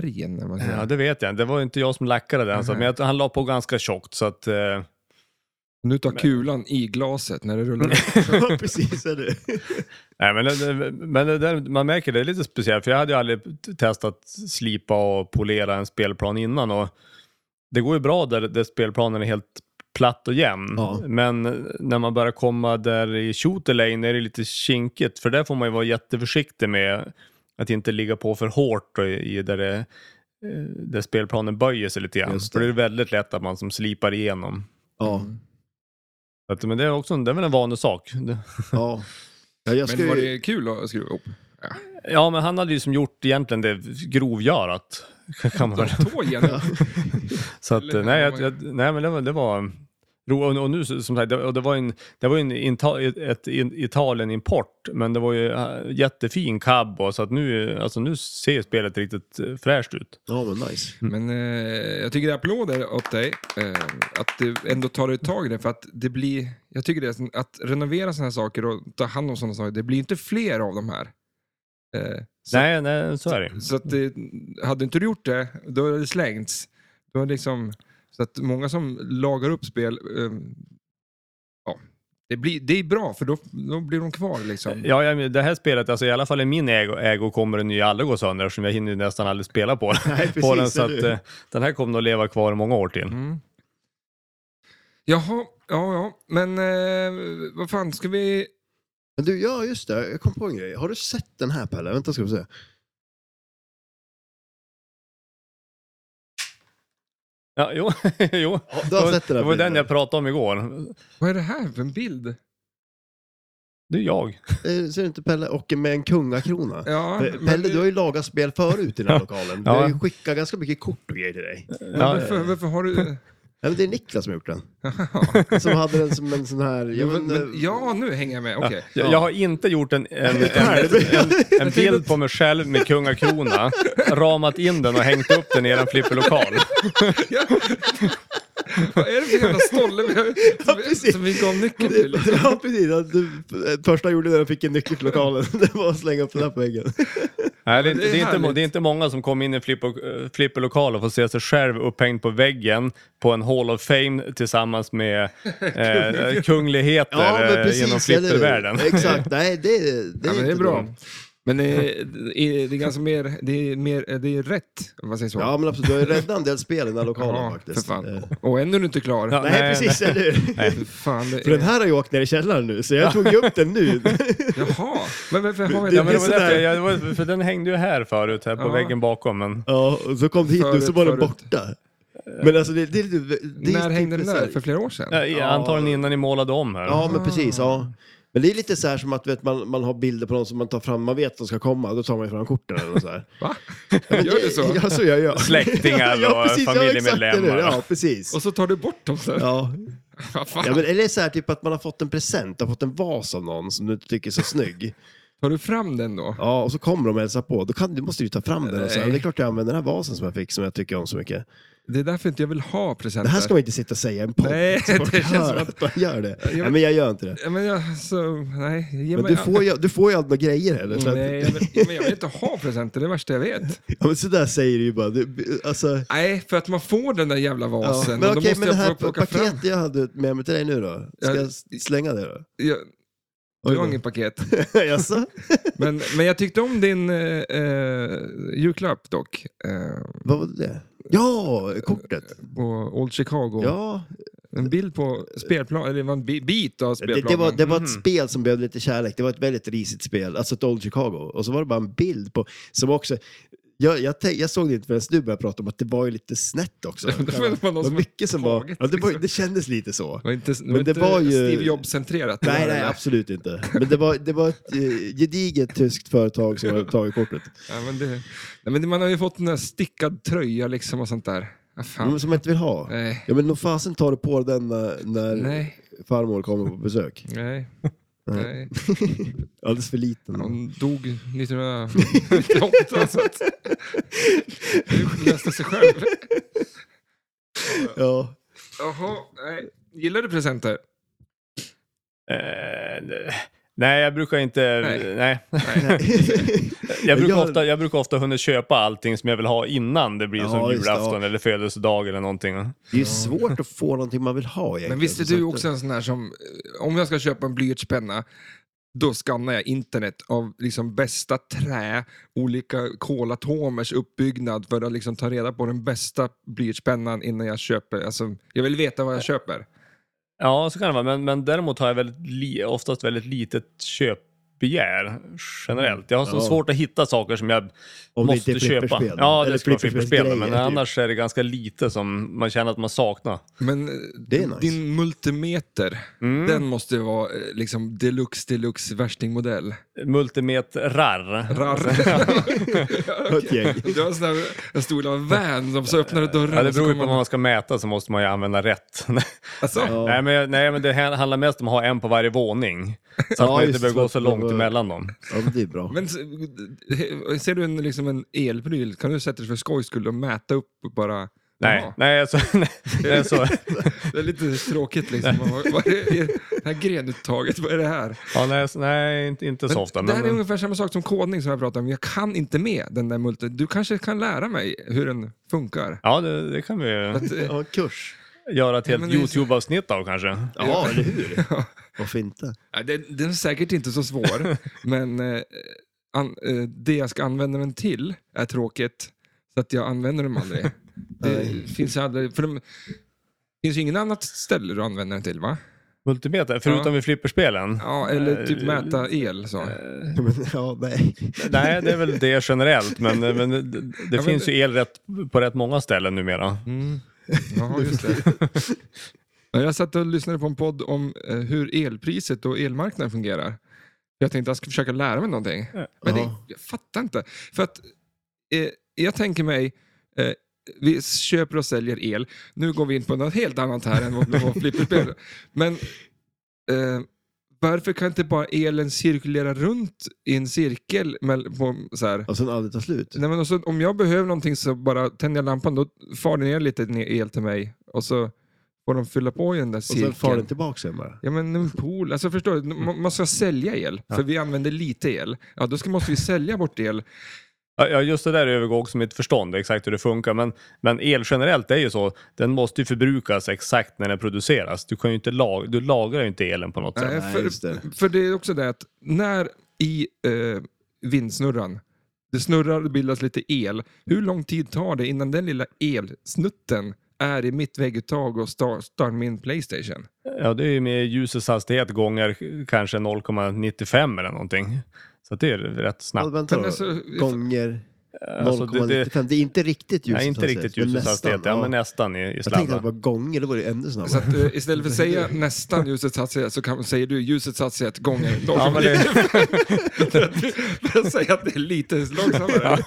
Speaker 1: färgen? när man säger?
Speaker 3: Ja, det vet jag inte. Det var ju inte jag som lackade den, så, att- men jag, han la på ganska tjockt. Så att, eh,
Speaker 1: Nu tar kulan i glaset när det rullar upp.
Speaker 2: Ja, precis. Är det.
Speaker 3: nej, men det, men det där, man märker det är lite speciellt, för jag hade ju aldrig t- testat slipa och polera en spelplan innan. Och det går ju bra där, där spelplanen är helt platt och jämn.
Speaker 2: Ja.
Speaker 3: Men eh, när man börjar komma där i shooter lane är det lite kinkigt, för där får man ju vara jätteförsiktig med att inte ligga på för hårt och i, i där det eh, där spelplanen böjer sig lite grann.
Speaker 2: Just
Speaker 3: För det är väldigt lätt att man som slipar igenom.
Speaker 2: Ja,
Speaker 3: Så Att, men det är, också, en- det är väl en vanlig sak. Det-
Speaker 2: ja. ja jag ska
Speaker 1: Men var
Speaker 2: ju...
Speaker 1: det kul att skruva ihop?
Speaker 3: Ja, men han hade ju som gjort egentligen det grovgörat. Kan man. väl-
Speaker 1: Tågen?
Speaker 3: Så att, eh, nej, jag, jag, nej, men det var... Det var ro- och, och nu så- som sagt, det, och det var ju en, det var ju en Ita, ett in, Italien-import, men det var ju eh, jättefin cab och så att nu, alltså, nu ser ju spelet riktigt eh, fräscht ut.
Speaker 2: Ja, men nice.
Speaker 1: Men eh, jag tycker det är applåder åt dig, eh, att du ändå tar dig tag i det. För att det blir, jag tycker det, är sån- att renovera sådana här saker och ta hand om sådana saker, det blir inte fler av de här. Eh, så,
Speaker 3: nej, nej, så är det
Speaker 1: så att det, hade inte du gjort det, då hade det slängts. Då hade liksom, så att många som lagar upp spel, eh, ja, det, blir, det är bra för då, då blir de kvar liksom.
Speaker 3: Ja, ja, men det här spelet, alltså, i alla fall i min ägo, ägo kommer det nya aldrig gå sönder eftersom jag hinner ju nästan aldrig spela på,
Speaker 2: Nej,
Speaker 3: på den.
Speaker 2: precis, eller
Speaker 3: Så att,
Speaker 2: hur?
Speaker 3: eh, den här kommer nog leva kvar i många år till.
Speaker 1: Mm. Jaha, ja, ja, men eh, vad fan, ska vi
Speaker 2: Men du, ja just det. Jag kom på en grej. Har du sett den här Pelle? Vänta ska vi se.
Speaker 3: Ja, jo, jo.
Speaker 2: Ja, du
Speaker 3: Det
Speaker 2: har
Speaker 3: var,
Speaker 2: sett den
Speaker 3: det
Speaker 2: här
Speaker 3: var den
Speaker 2: bilden.
Speaker 3: jag pratade om igår.
Speaker 1: Vad är det här för en bild?
Speaker 3: Det är jag.
Speaker 2: Eh, Ser du inte Pelle? Och med en kungakrona.
Speaker 1: Ja,
Speaker 2: Pe-
Speaker 1: men
Speaker 2: Pelle,
Speaker 1: det-
Speaker 2: du har ju lagat spel förut i den här lokalen. Vi
Speaker 3: Ja.
Speaker 2: har ju skickat ganska mycket kort och grejer till dig.
Speaker 3: Ja,
Speaker 1: varför, varför har du...
Speaker 2: Ja, men det är Niklas som har gjort den.
Speaker 1: Jaha.
Speaker 2: Som hade den som en eh, sån här...
Speaker 1: ja,
Speaker 2: Jag
Speaker 1: men,
Speaker 2: men,
Speaker 1: men, ja, nu hänger jag med. Okej.
Speaker 3: Jag, jag har inte gjort en, en, en, en, en bild på mig själv med kungakrona, ramat in den och hängt upp den i en flipperlokal.
Speaker 1: Vad är det för jävla stolle vi, har- som, vi,
Speaker 2: precis.
Speaker 1: som vi gav nyckeln till? liksom?
Speaker 2: Ja, precis. Att du, första jag gjorde när jag fick en nyckel till lokalen, det var att slänga upp den här på väggen.
Speaker 3: Nej, det, är
Speaker 1: Men
Speaker 3: inte-
Speaker 1: det är
Speaker 3: det, är inte, må-
Speaker 1: härligt.
Speaker 3: det är inte många som kommer in i en flipper, eh, flipperlokal och får se sig själv upphängd på väggen på en Hall of Fame tillsammans med eh, kungligheter eh, inom
Speaker 2: eller hur?
Speaker 3: flippervärlden.
Speaker 2: Exakt, nej det, det,
Speaker 1: Ja, men det är
Speaker 2: inte
Speaker 1: bra.
Speaker 2: dumt.
Speaker 1: Men det är, det är- det är ganska mer... Det är, mer, det är rätt, om man säger så.
Speaker 2: Ja men absolut, du har ju räddat en del spel i den här lokalen
Speaker 1: Ja,
Speaker 2: faktiskt.
Speaker 1: för
Speaker 2: Eh,
Speaker 1: fan. Och ännu är du inte klar.
Speaker 3: Ja.
Speaker 2: Nej,
Speaker 3: Nej,
Speaker 2: precis, eller hur?
Speaker 1: För Fan, det
Speaker 2: För den
Speaker 1: är...
Speaker 2: här har ju åkt ner i källaren nu, så jag tog ju upp den nu.
Speaker 1: Jaha, men varför har vi
Speaker 2: Det-
Speaker 3: Ja, men det var
Speaker 2: Sådär.
Speaker 3: därför jag, det var, för den hängde ju här förut, här på
Speaker 1: Ja.
Speaker 3: väggen bakom. Men,
Speaker 2: Ja, och så kom det hit nu så
Speaker 1: Förut,
Speaker 2: var den
Speaker 1: förut.
Speaker 2: borta. Men alltså det, det, det, det
Speaker 1: När
Speaker 2: är
Speaker 1: hängde
Speaker 2: typ
Speaker 1: den
Speaker 2: så
Speaker 1: där?
Speaker 2: här-
Speaker 1: För flera år sedan?
Speaker 3: ja. Antagligen innan ni målade om här.
Speaker 2: Ja men precis, ja. Men det är lite så här som att vet, man, man har bilder på någon som man tar fram, man vet att de ska komma, då tar man ju fram korten eller något så här.
Speaker 1: Va?
Speaker 2: Ja, men
Speaker 1: Gör du så?
Speaker 2: Ja, så gör jag.
Speaker 3: Släktingar och
Speaker 2: exakt,
Speaker 3: familjemedlemmar.
Speaker 2: eller hur? Ja, precis.
Speaker 1: Och så tar du bort dem sen?
Speaker 2: Ja.
Speaker 1: Vad fan?
Speaker 2: Ja, men, eller så här typ att man har fått en present, du har fått en vas av någon som du inte tycker är så snygg.
Speaker 1: Tar du fram den då?
Speaker 2: Ja, och så kommer de och hälsar på. Då kan, du måste du ju ta fram den och säga,
Speaker 1: Nej.
Speaker 2: det är klart jag använder den här vasen som jag fick som jag tycker om så mycket.
Speaker 1: Det är därför inte jag vill ha presenter.
Speaker 2: Det här ska man inte sitta och säga i en podd.
Speaker 1: Nej,
Speaker 2: så folk
Speaker 1: det känns
Speaker 2: hör
Speaker 1: som att-
Speaker 2: att man gör det.
Speaker 1: men-
Speaker 2: Nej, men jag gör inte det.
Speaker 1: Ja, men jag, så, nej, ge
Speaker 2: Men
Speaker 1: mig
Speaker 2: du får ju, du får ju aldrig några grejer heller. så att-
Speaker 1: Nej, jag vill, men jag vill inte ha presenter, det är det värsta jag vet.
Speaker 2: Ja, men så där säger du ju bara. Du, alltså,
Speaker 1: Nej, för att man får den där jävla
Speaker 2: ja.
Speaker 1: vasen.
Speaker 2: Men
Speaker 1: och då
Speaker 2: okej,
Speaker 1: måste
Speaker 2: men det
Speaker 1: jag
Speaker 2: här
Speaker 1: få plocka fram.
Speaker 2: paketet jag hade med mig till dig nu då? Ska
Speaker 1: Ja.
Speaker 2: jag s- slänga det då?
Speaker 1: Jag,
Speaker 2: Oj
Speaker 1: du
Speaker 2: då.
Speaker 1: har inget paket.
Speaker 2: Jaså?
Speaker 1: Men, men jag tyckte om din eh, eh, julklapp dock. Eh,
Speaker 2: Vad var det? Ja, kortet.
Speaker 1: på Old Chicago.
Speaker 2: Ja,
Speaker 1: En bild på spelplan, eller det var en bi- bit av
Speaker 2: det,
Speaker 1: spelplanen.
Speaker 2: det, var, det var ett
Speaker 1: Mhm.
Speaker 2: spel som behövde lite kärlek. Det var ett väldigt risigt spel, alltså ett Old Chicago. Och så var det bara en bild på, som också... Jag, jag, tänk- jag såg det inte förrän du började prata om att det var ju lite snett också.
Speaker 1: det var- det var någon
Speaker 2: Det
Speaker 1: som
Speaker 2: mycket som var...
Speaker 1: taget,
Speaker 2: Ja, det, var
Speaker 1: liksom.
Speaker 2: det kändes lite så.
Speaker 1: Det var inte, det
Speaker 2: Men
Speaker 1: var
Speaker 2: det
Speaker 1: inte
Speaker 2: var ju-
Speaker 1: Steve Jobs-centrerat.
Speaker 2: Nej,
Speaker 1: Det var
Speaker 2: nej,
Speaker 1: det.
Speaker 2: absolut inte. Men det var, det var ett eh, gediget tyskt företag som hade tagit kortet.
Speaker 1: Ja, men det, nej, men det- man har ju fått en där stickad tröja liksom och sånt där. Ja, fan.
Speaker 2: Men som man inte vill ha.
Speaker 1: Nej,
Speaker 2: Ja, men nog fasen tar du på den när, när
Speaker 1: nej,
Speaker 2: farmor kommer på besök.
Speaker 1: nej. nej.
Speaker 2: Alldeles för liten.
Speaker 1: Hon dog 1998 så att... Det löste sig själv.
Speaker 2: Ja.
Speaker 1: Jaha, nej. Gillar du presenter?
Speaker 3: Eh, nej, jag brukar inte...
Speaker 1: Nej.
Speaker 3: Nej.
Speaker 2: Nej.
Speaker 3: Jag, brukar
Speaker 2: Jag-
Speaker 3: Ofta, jag brukar ofta hinna köpa allting som jag vill ha innan det blir
Speaker 2: Ja,
Speaker 3: som
Speaker 2: just det,
Speaker 3: julafton eller födelsedag eller någonting.
Speaker 2: Det är ju svårt att få någonting man vill ha egentligen.
Speaker 1: Men visst är
Speaker 2: Så
Speaker 1: du
Speaker 2: att-
Speaker 1: också en sån här som, eh, om jag ska köpa en blyertspenna, då skannar jag internet av liksom bästa trä, olika kolatomers uppbyggnad för att liksom ta reda på den bästa blyertspennan innan jag köper. Alltså, jag vill veta vad jag köper.
Speaker 3: Ja, så kan det vara. Men, men däremot har jag väldigt li, oftast väldigt litet köpbegär generellt. Jag har så
Speaker 2: Ja.
Speaker 3: svårt att hitta saker som jag
Speaker 2: Om det inte
Speaker 3: måste
Speaker 2: är
Speaker 3: köpa.
Speaker 2: flipperspel.
Speaker 3: Ja,
Speaker 2: Eller
Speaker 3: det ska vara
Speaker 2: flipperspelsgrejer,
Speaker 3: flipperspel. Men
Speaker 2: typ.
Speaker 3: annars är det ganska lite som man känner att man saknar.
Speaker 1: Men eh,
Speaker 2: är nice.
Speaker 1: din multimeter,
Speaker 3: Mm.
Speaker 1: den måste ju vara eh, liksom deluxe, deluxe värstingmodell.
Speaker 3: Multimetrar.
Speaker 1: Rar.
Speaker 2: Ett gäng.
Speaker 1: Du har en sån här en stor lilla van som så öppnar du dörren.
Speaker 3: Ja, det
Speaker 1: och så
Speaker 3: beror ju på
Speaker 1: kommer
Speaker 3: vad man ska mäta så måste man ju använda rätt.
Speaker 1: Alltså,
Speaker 2: Ja.
Speaker 3: nej, men, jag- nej, men det här handlar mest om att ha en på varje våning. Så att
Speaker 2: Ja,
Speaker 3: man inte
Speaker 2: just
Speaker 3: behöver
Speaker 2: det.
Speaker 3: gå så långt
Speaker 2: Man-
Speaker 3: emellan dem.
Speaker 2: ja, men det är bra.
Speaker 1: Men se- ser du en, liksom en elpryl, kan du sätta dig för skojs skull och mäta upp bara?
Speaker 3: Nej,
Speaker 1: Jaha.
Speaker 3: nej, alltså, nej, det är så.
Speaker 1: Det är lite tråkigt liksom. vad, vad är det det här grenuttaget? Vad är det här?
Speaker 3: Ja, nej, så- nej, inte, inte så ofta.
Speaker 1: det här
Speaker 3: Men,
Speaker 1: är ungefär samma sak som kodning som jag pratade om. Jag kan inte med den där multi. Du kanske kan lära mig hur den funkar?
Speaker 3: ja, det, det kan vi ju
Speaker 1: Att, eh,
Speaker 2: Ja, kurs.
Speaker 3: göra ett
Speaker 1: men
Speaker 3: helt
Speaker 1: det är så-
Speaker 3: YouTube-avsnitt av kanske.
Speaker 2: Ja, eller hur? Varför inte?
Speaker 1: ja, den, den är säkert inte så svår, men eh, an, eh, det jag ska använda den till är tråkigt, så att jag använder dem aldrig. Det finns aldrig, för de, det finns ju ingen annat ställe du använder den till, va?
Speaker 3: Multimeter, förutom
Speaker 1: Ja.
Speaker 3: vid flipperspelen.
Speaker 1: Ja, eller typ mäta el. Så.
Speaker 2: Ja, men, ja, nej.
Speaker 3: Nej, det är väl det generellt. Men, men det, det finns ju el rätt, på rätt många ställen numera.
Speaker 1: Mm. Ja, just det. Ja, Jag satt och lyssnade på en podd om eh, hur elpriset och elmarknaden fungerar. Jag tänkte att jag ska försöka lära mig någonting. Men det,
Speaker 2: Ja.
Speaker 1: jag fattar inte. För att eh, jag tänker mig, eh, vi köper och säljer el. Nu går vi in på något helt annat här än vad vad flipperspel. Men eh, varför kan inte bara elen cirkulera runt i en cirkel? Med, på, så här,
Speaker 2: Och sen aldrig ta slut.
Speaker 1: Nej, men och så om jag behöver någonting så bara tänder jag lampan, då far det ner lite ner- el till mig och så får de fylla på i den där
Speaker 2: Och sen far den
Speaker 1: cirkeln.
Speaker 2: tillbaka sen bara.
Speaker 1: Ja men en pool, alltså förstår du, man man ska sälja el, för vi använder lite el. Ja, då ska, måste vi sälja bort el.
Speaker 3: Ja, Ja, just det där övergår också mitt förstånd, exakt hur det funkar. Men, men el generellt är ju så, den måste ju förbrukas exakt när den produceras. Du, kan ju inte lag, du lagrar ju inte elen på något sätt.
Speaker 1: Nej, Eh, för,
Speaker 2: just det.
Speaker 1: för det är också det att när i eh, vindsnurran, det snurrar och bildas lite el, hur lång tid tar det innan den lilla elsnutten är i mitt vägguttag och star- startar min Playstation?
Speaker 3: Ja, det är ju med ljusets hastighet gånger kanske 0,95 eller någonting. Så att det är rätt
Speaker 2: Ja,
Speaker 3: snabbt.
Speaker 2: vänta
Speaker 1: Men
Speaker 2: då.
Speaker 1: alltså,
Speaker 2: Gånger
Speaker 3: Alltså, det,
Speaker 2: 0,95.
Speaker 3: det,
Speaker 2: det, är inte riktigt ljusets
Speaker 3: nej, inte riktigt
Speaker 2: men
Speaker 3: ljusets
Speaker 2: nästan,
Speaker 3: hastighet. Ja, men nästan i, i
Speaker 2: Jag tänkte att
Speaker 3: sladden.
Speaker 2: det var gånger, då var det
Speaker 1: Så
Speaker 2: ännu snabbare.
Speaker 1: att, eh, istället för att säga nästan ljusets hastighet så kan, säger du ljusets hastighet gånger 0,9.
Speaker 3: Ja, men det,
Speaker 1: för att säga att det är lite långsammare.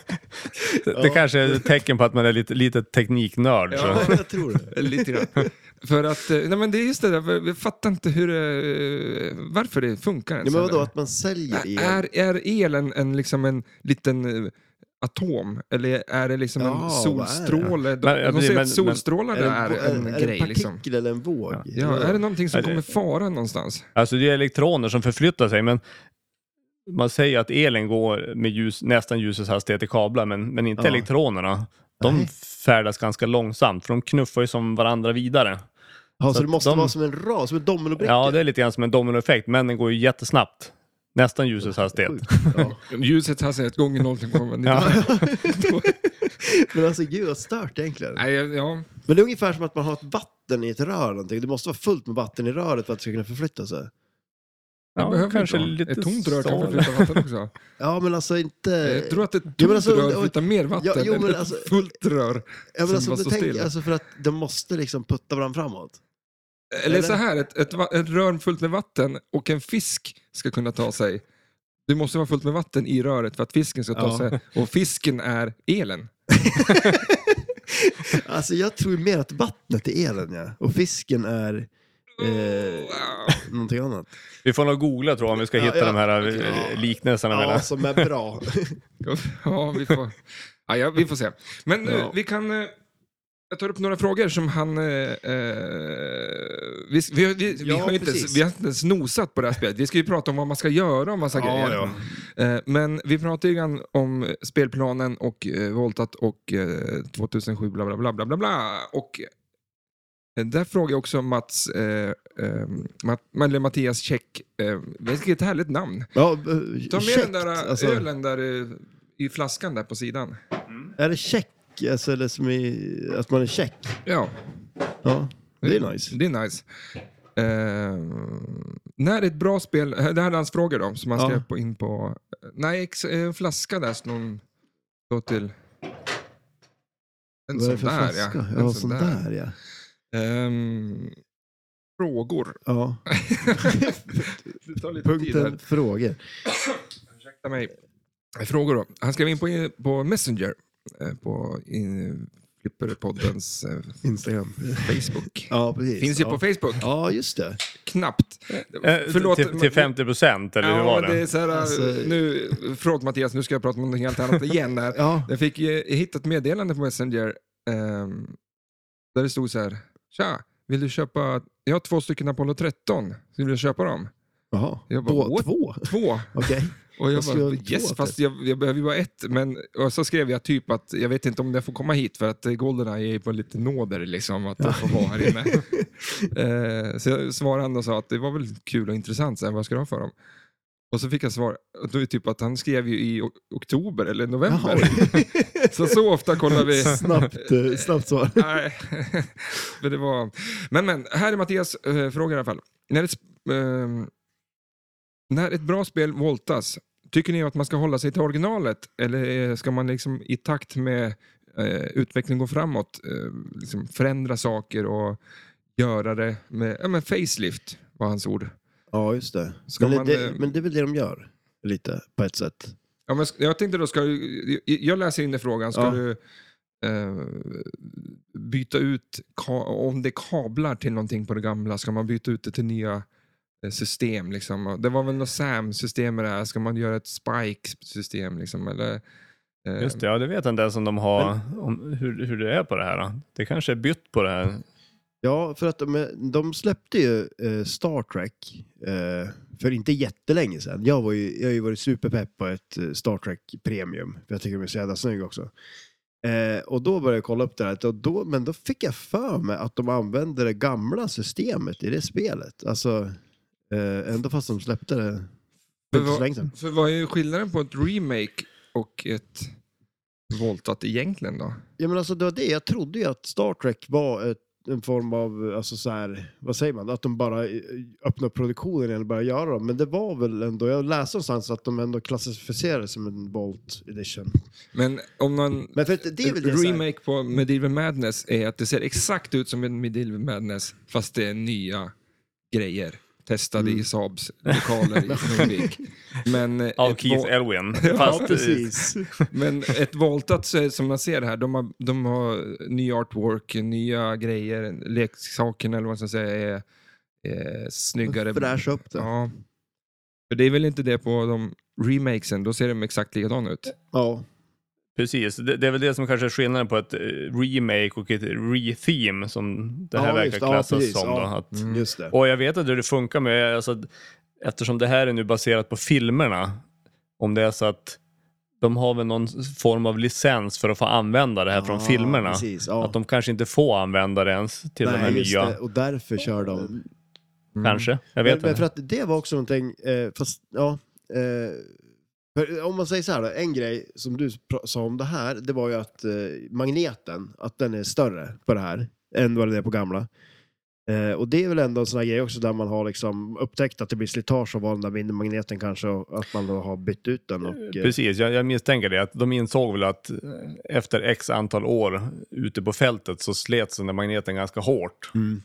Speaker 3: det kanske är ett tecken på att man är lite, lite tekniknörd. Så.
Speaker 2: Ja, jag tror det.
Speaker 1: Lite grann. För att, eh, nej men det är just det där, för vi fattar inte hur det, eh, varför det funkar ens.
Speaker 2: Ja, men vadå,
Speaker 1: eller?
Speaker 2: att man säljer el?
Speaker 1: Alltså, Är, är el en, en, liksom en liten eh, atom? Eller är det liksom
Speaker 2: Ja,
Speaker 1: en
Speaker 2: vad är det?
Speaker 1: solstråle? De,
Speaker 3: Men, ja,
Speaker 1: de
Speaker 3: precis,
Speaker 1: säger
Speaker 3: men-
Speaker 1: att
Speaker 3: men-
Speaker 1: solstrålar
Speaker 2: det
Speaker 1: är, en,
Speaker 2: är det
Speaker 1: grej.
Speaker 2: en partikel
Speaker 1: liksom.
Speaker 2: eller en våg?
Speaker 1: Ja, är det någonting som
Speaker 3: Ja, det-
Speaker 1: kommer fara någonstans?
Speaker 3: Alltså det är elektroner som förflyttar sig, men man säger att elen går med ljus, nästan ljusets hastighet i kablar, men, men inte
Speaker 2: Ja.
Speaker 3: elektronerna. De
Speaker 2: Nej.
Speaker 3: färdas ganska långsamt, för de knuffar ju som varandra vidare.
Speaker 2: Ja,
Speaker 3: Så
Speaker 2: så det
Speaker 3: att
Speaker 2: måste
Speaker 3: de-
Speaker 2: vara som en rad, som en dominobricka?
Speaker 3: Ja, det är lite grann som en dominoeffekt, men den går ju jättesnabbt. Nästan ljusets hastighet.
Speaker 2: Sjukt. Ja.
Speaker 1: Ljusets hastighet gånger 0,9.
Speaker 3: Ja.
Speaker 2: Men alltså gud vad stört egentligen.
Speaker 1: Nej, ja.
Speaker 2: Men det är ungefär som att man har ett vatten i ett rör eller någonting. Det måste vara fullt med vatten i röret för att det ska kunna förflytta sig.
Speaker 1: Det behöver
Speaker 3: kanske
Speaker 1: inte vara.
Speaker 3: lite
Speaker 1: Ett tomt rör
Speaker 3: så,
Speaker 1: kan
Speaker 3: eller?
Speaker 1: förflytta vatten också.
Speaker 2: Ja, men alltså inte...
Speaker 1: Jag tror att ett tomt
Speaker 2: men alltså,
Speaker 1: rör
Speaker 2: och-
Speaker 1: flyttar mer vatten
Speaker 2: Ja, jo,
Speaker 1: än
Speaker 2: men
Speaker 1: ett
Speaker 2: alltså-
Speaker 1: fullt rör.
Speaker 2: ja,
Speaker 1: som
Speaker 2: men alltså,
Speaker 1: bara
Speaker 2: om du
Speaker 1: står
Speaker 2: tänker,
Speaker 1: still.
Speaker 2: alltså för att de måste liksom putta varandra framåt.
Speaker 1: Eller
Speaker 2: Eller?
Speaker 1: så här, ett, ett, va- ett rör fullt med vatten och en fisk ska kunna ta sig. Det måste vara fullt med vatten i röret för att fisken ska ta
Speaker 2: Ja.
Speaker 1: sig. Och fisken är elen.
Speaker 2: Alltså jag tror mer att vattnet är elen, ja. Och fisken är... Eh, någonting annat.
Speaker 3: Vi får nog googla tror jag om vi ska
Speaker 2: Ja,
Speaker 3: hitta
Speaker 2: ja.
Speaker 3: de här eh, liknelserna mellan.
Speaker 2: Ja, som är bra.
Speaker 1: Ja, vi får, ja, ja, vi får se. Men nu,
Speaker 2: Ja.
Speaker 1: vi kan... eh, Jag tar upp några frågor som han... Eh, eh, vi, vi, vi, vi,
Speaker 2: Ja,
Speaker 1: har ju inte, ens-
Speaker 2: precis.
Speaker 1: vi har inte ens nosat på det här spelet. Vi ska ju prata om vad man ska göra och massa grejer. Eh, Men vi pratade ju grann om eh, spelplanen och eh, Voltat och eh, 2007 bla bla bla bla bla. bla. Och eh, där frågade jag också Mats, eh, eh, Matt, eller Mattias Käck, eh, vilket härligt namn.
Speaker 2: Ja, eh,
Speaker 1: Ta med
Speaker 2: käckt,
Speaker 1: den där eh,
Speaker 2: alltså.
Speaker 1: ölen där eh, i flaskan där på sidan.
Speaker 2: Är det check? Alltså, eller som i, att man är check?
Speaker 1: Ja,
Speaker 2: Ja, det är nice.
Speaker 1: det är nice. Eh, när ett bra spel, eh, det här är hans frågor då, som han
Speaker 2: Ja.
Speaker 1: skrev på, in på. Nej, ex, eh, en flaska där som någon står till. En
Speaker 2: Vad är
Speaker 1: sån
Speaker 2: det för
Speaker 1: där
Speaker 2: flaska?
Speaker 1: ja. En
Speaker 2: Ja, sån där ja.
Speaker 1: Ehm, frågor.
Speaker 2: ja.
Speaker 1: Det tar lite tid här.
Speaker 2: Punkten frågor.
Speaker 1: Ursäkta mig. Eh, Frågor då. Han skrev in på, på Messenger. eh, På in, Flipperpoddens eh,
Speaker 2: Instagram.
Speaker 1: Facebook.
Speaker 2: Ja, precis.
Speaker 1: Finns ju
Speaker 2: ja.
Speaker 1: på Facebook.
Speaker 2: Ja, just det.
Speaker 1: Knappt.
Speaker 3: Eh, till, till 50 procent, eller
Speaker 1: Ja,
Speaker 3: hur var
Speaker 1: men det är så här,
Speaker 2: Alltså-
Speaker 1: nu, förlåt Mattias, nu ska jag prata om något helt annat igen. Här.
Speaker 2: Ja.
Speaker 1: Jag fick eh, hitta ett meddelande på Messenger ehm, där det stod så här. Tja, vill du köpa? Jag har två stycken Apollo 13. Vill du köpa dem?
Speaker 2: Jaha.
Speaker 1: Jag bara,
Speaker 2: Två-
Speaker 1: what?
Speaker 2: Två?
Speaker 1: Två.
Speaker 2: Okej.
Speaker 1: Och jag
Speaker 2: Vad ska
Speaker 1: bara,
Speaker 2: jag då,
Speaker 1: yes,
Speaker 2: typ?"
Speaker 1: fast jag, jag behöver ju bara ett. Men, och så skrev jag typ att jag vet inte om jag får komma hit för att eh, Goldeneye är på lite nåder liksom att jag får vara här inne. eh, så jag svarade han och sa att det var väl kul och intressant, så här, vad ska du ha för dem? Och så fick jag svar, och då är det typ att han skrev ju i o- oktober eller november. så så ofta kollar vi.
Speaker 2: Snabbt, eh, snabbt svar.
Speaker 1: Nej, men det var... Men, men, här är Mattias eh, fråga i alla fall. När ett, sp- ehm, när ett bra spel voltas, tycker ni att man ska hålla sig till originalet eller eh, ska man liksom i takt med eh, utvecklingen gå framåt eh, liksom förändra saker och göra det med ja, men facelift, var hans ord.
Speaker 2: Ja, just det.
Speaker 1: Ska
Speaker 2: Men,
Speaker 1: man, eh,
Speaker 2: det. men det är väl det de gör, lite, på ett sätt.
Speaker 1: Ja, men sk- jag tänkte då, ska du, jag läser in den frågan, ska
Speaker 2: Ja.
Speaker 1: du eh, byta ut, ka, om det är kablar till någonting på det gamla, ska man byta ut det till nya eh, system? Liksom? Och Det var väl något SAM-system med det här, ska man göra ett Spike-system? Liksom, eller, eh,
Speaker 3: Just det, ja, det vet jag inte ens om de har, om, hur, hur det är på det här. då. Det kanske är bytt på det här.
Speaker 2: Ja, för att de, de släppte ju eh, Star Trek eh, för inte jättelänge sedan. Jag, var ju, jag har ju varit superpepp på ett eh, Star Trek Premium, för jag tycker de är så jävla snygga också. Eh, och då började jag kolla upp det här, och då, men då fick jag för mig att de använde det gamla systemet i det spelet. Alltså, eh, ändå fast de släppte det för inte så länge sedan.
Speaker 1: För vad är skillnaden på ett remake och ett voltat egentligen då?
Speaker 2: Ja, men alltså, det var det. Jag trodde ju att Star Trek var ett en form av, alltså så här, vad säger man, att de bara eh, öppnar produktionen igen och börjar göra dem. Men det var väl ändå, jag läste någonstans att de ändå klassificerades som en Bolt Edition.
Speaker 1: Men om
Speaker 3: Mm.
Speaker 1: man...
Speaker 2: Men för att det är väl det så här-
Speaker 1: remake på Medieval Madness är att det ser exakt ut som en Medieval Madness fast det är nya grejer. Testade
Speaker 2: Mm.
Speaker 1: i Saabs lokaler i Norvik. Men, eh,
Speaker 3: Av
Speaker 1: ett
Speaker 3: Keith
Speaker 1: va-
Speaker 3: Elwin.
Speaker 2: Ja,
Speaker 3: Fast eh,
Speaker 2: precis.
Speaker 1: men ett voltat så är, som man ser här, de har, de har ny artwork, nya grejer, leksakerna eller vad man ska säga är, är snyggare.
Speaker 2: Fräscha upp det.
Speaker 1: Ja. För det är väl inte det på de remakesen, då ser de exakt likadana ut.
Speaker 2: Ja.
Speaker 3: Precis, det, det är väl det som kanske är skillnaden på ett eh, remake och ett re-theme som det här
Speaker 2: Ja,
Speaker 3: verkar
Speaker 2: just det. Ja,
Speaker 3: klassas
Speaker 2: precis.
Speaker 3: som. Då,
Speaker 2: Ja. Mm.
Speaker 3: att,
Speaker 2: Just det.
Speaker 3: Och jag vet inte hur det funkar med, alltså, att- eftersom det här är nu baserat på filmerna, om det är så att de har väl någon form av licens för att få använda det här från
Speaker 2: Ja,
Speaker 3: filmerna.
Speaker 2: Precis, ja.
Speaker 3: Att de kanske inte får använda det ens till de här
Speaker 2: Nej, just
Speaker 3: nya,
Speaker 2: det. Och därför kör de.
Speaker 1: Mm.
Speaker 3: kanske. Jag vet
Speaker 2: men, men
Speaker 3: inte.
Speaker 2: för att det var också någonting, eh, fast ja. Eh, för om man säger så här då, en grej som du pra- sa om det här, det var ju att eh, magneten, att den är större på det här än vad den är på gamla. Eh, och det är väl ändå en sån här grej också där man har liksom upptäckt att det blir slitage av den där mindre magneten kanske och att man då har bytt ut den. Och, eh,
Speaker 3: Precis, jag, jag misstänker det. Att de insåg väl att eh, efter x antal år ute på fältet så slets den där magneten ganska hårt.
Speaker 2: Mm.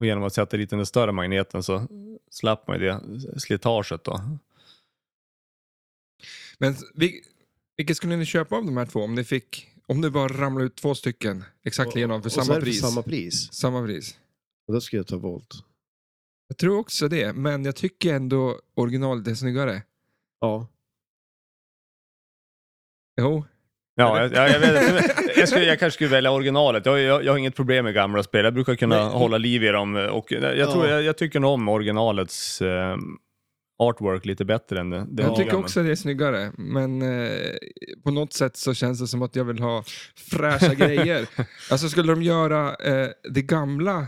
Speaker 3: Och genom att sätta dit den där större magneten så slapp man ju det slitaget då.
Speaker 1: Men vi, vilket skulle ni köpa av de här två om ni fick, om det bara ramlade ut två stycken exakt likadana för
Speaker 2: och så är
Speaker 1: samma
Speaker 2: det
Speaker 1: pris?
Speaker 2: Samma pris.
Speaker 1: Samma pris.
Speaker 2: Och då ska jag ta Volt.
Speaker 1: Jag tror också det, men jag tycker ändå originalet är snyggare.
Speaker 2: Ja.
Speaker 1: Jo,
Speaker 3: Ja, jag, jag, jag, vet, jag, skulle, jag kanske skulle välja originalet. Jag, jag, jag har inget problem med gamla spel. Jag brukar kunna hålla liv i dem. eh, Och jag, jag, tror,
Speaker 2: Ja.
Speaker 3: jag, jag tycker nog om originalets eh, artwork lite bättre än det. det
Speaker 1: jag
Speaker 3: nya,
Speaker 1: tycker
Speaker 3: men-
Speaker 1: också det är snyggare, men eh, på något sätt så känns det som att jag vill ha fräscha grejer. Alltså skulle de göra eh, det gamla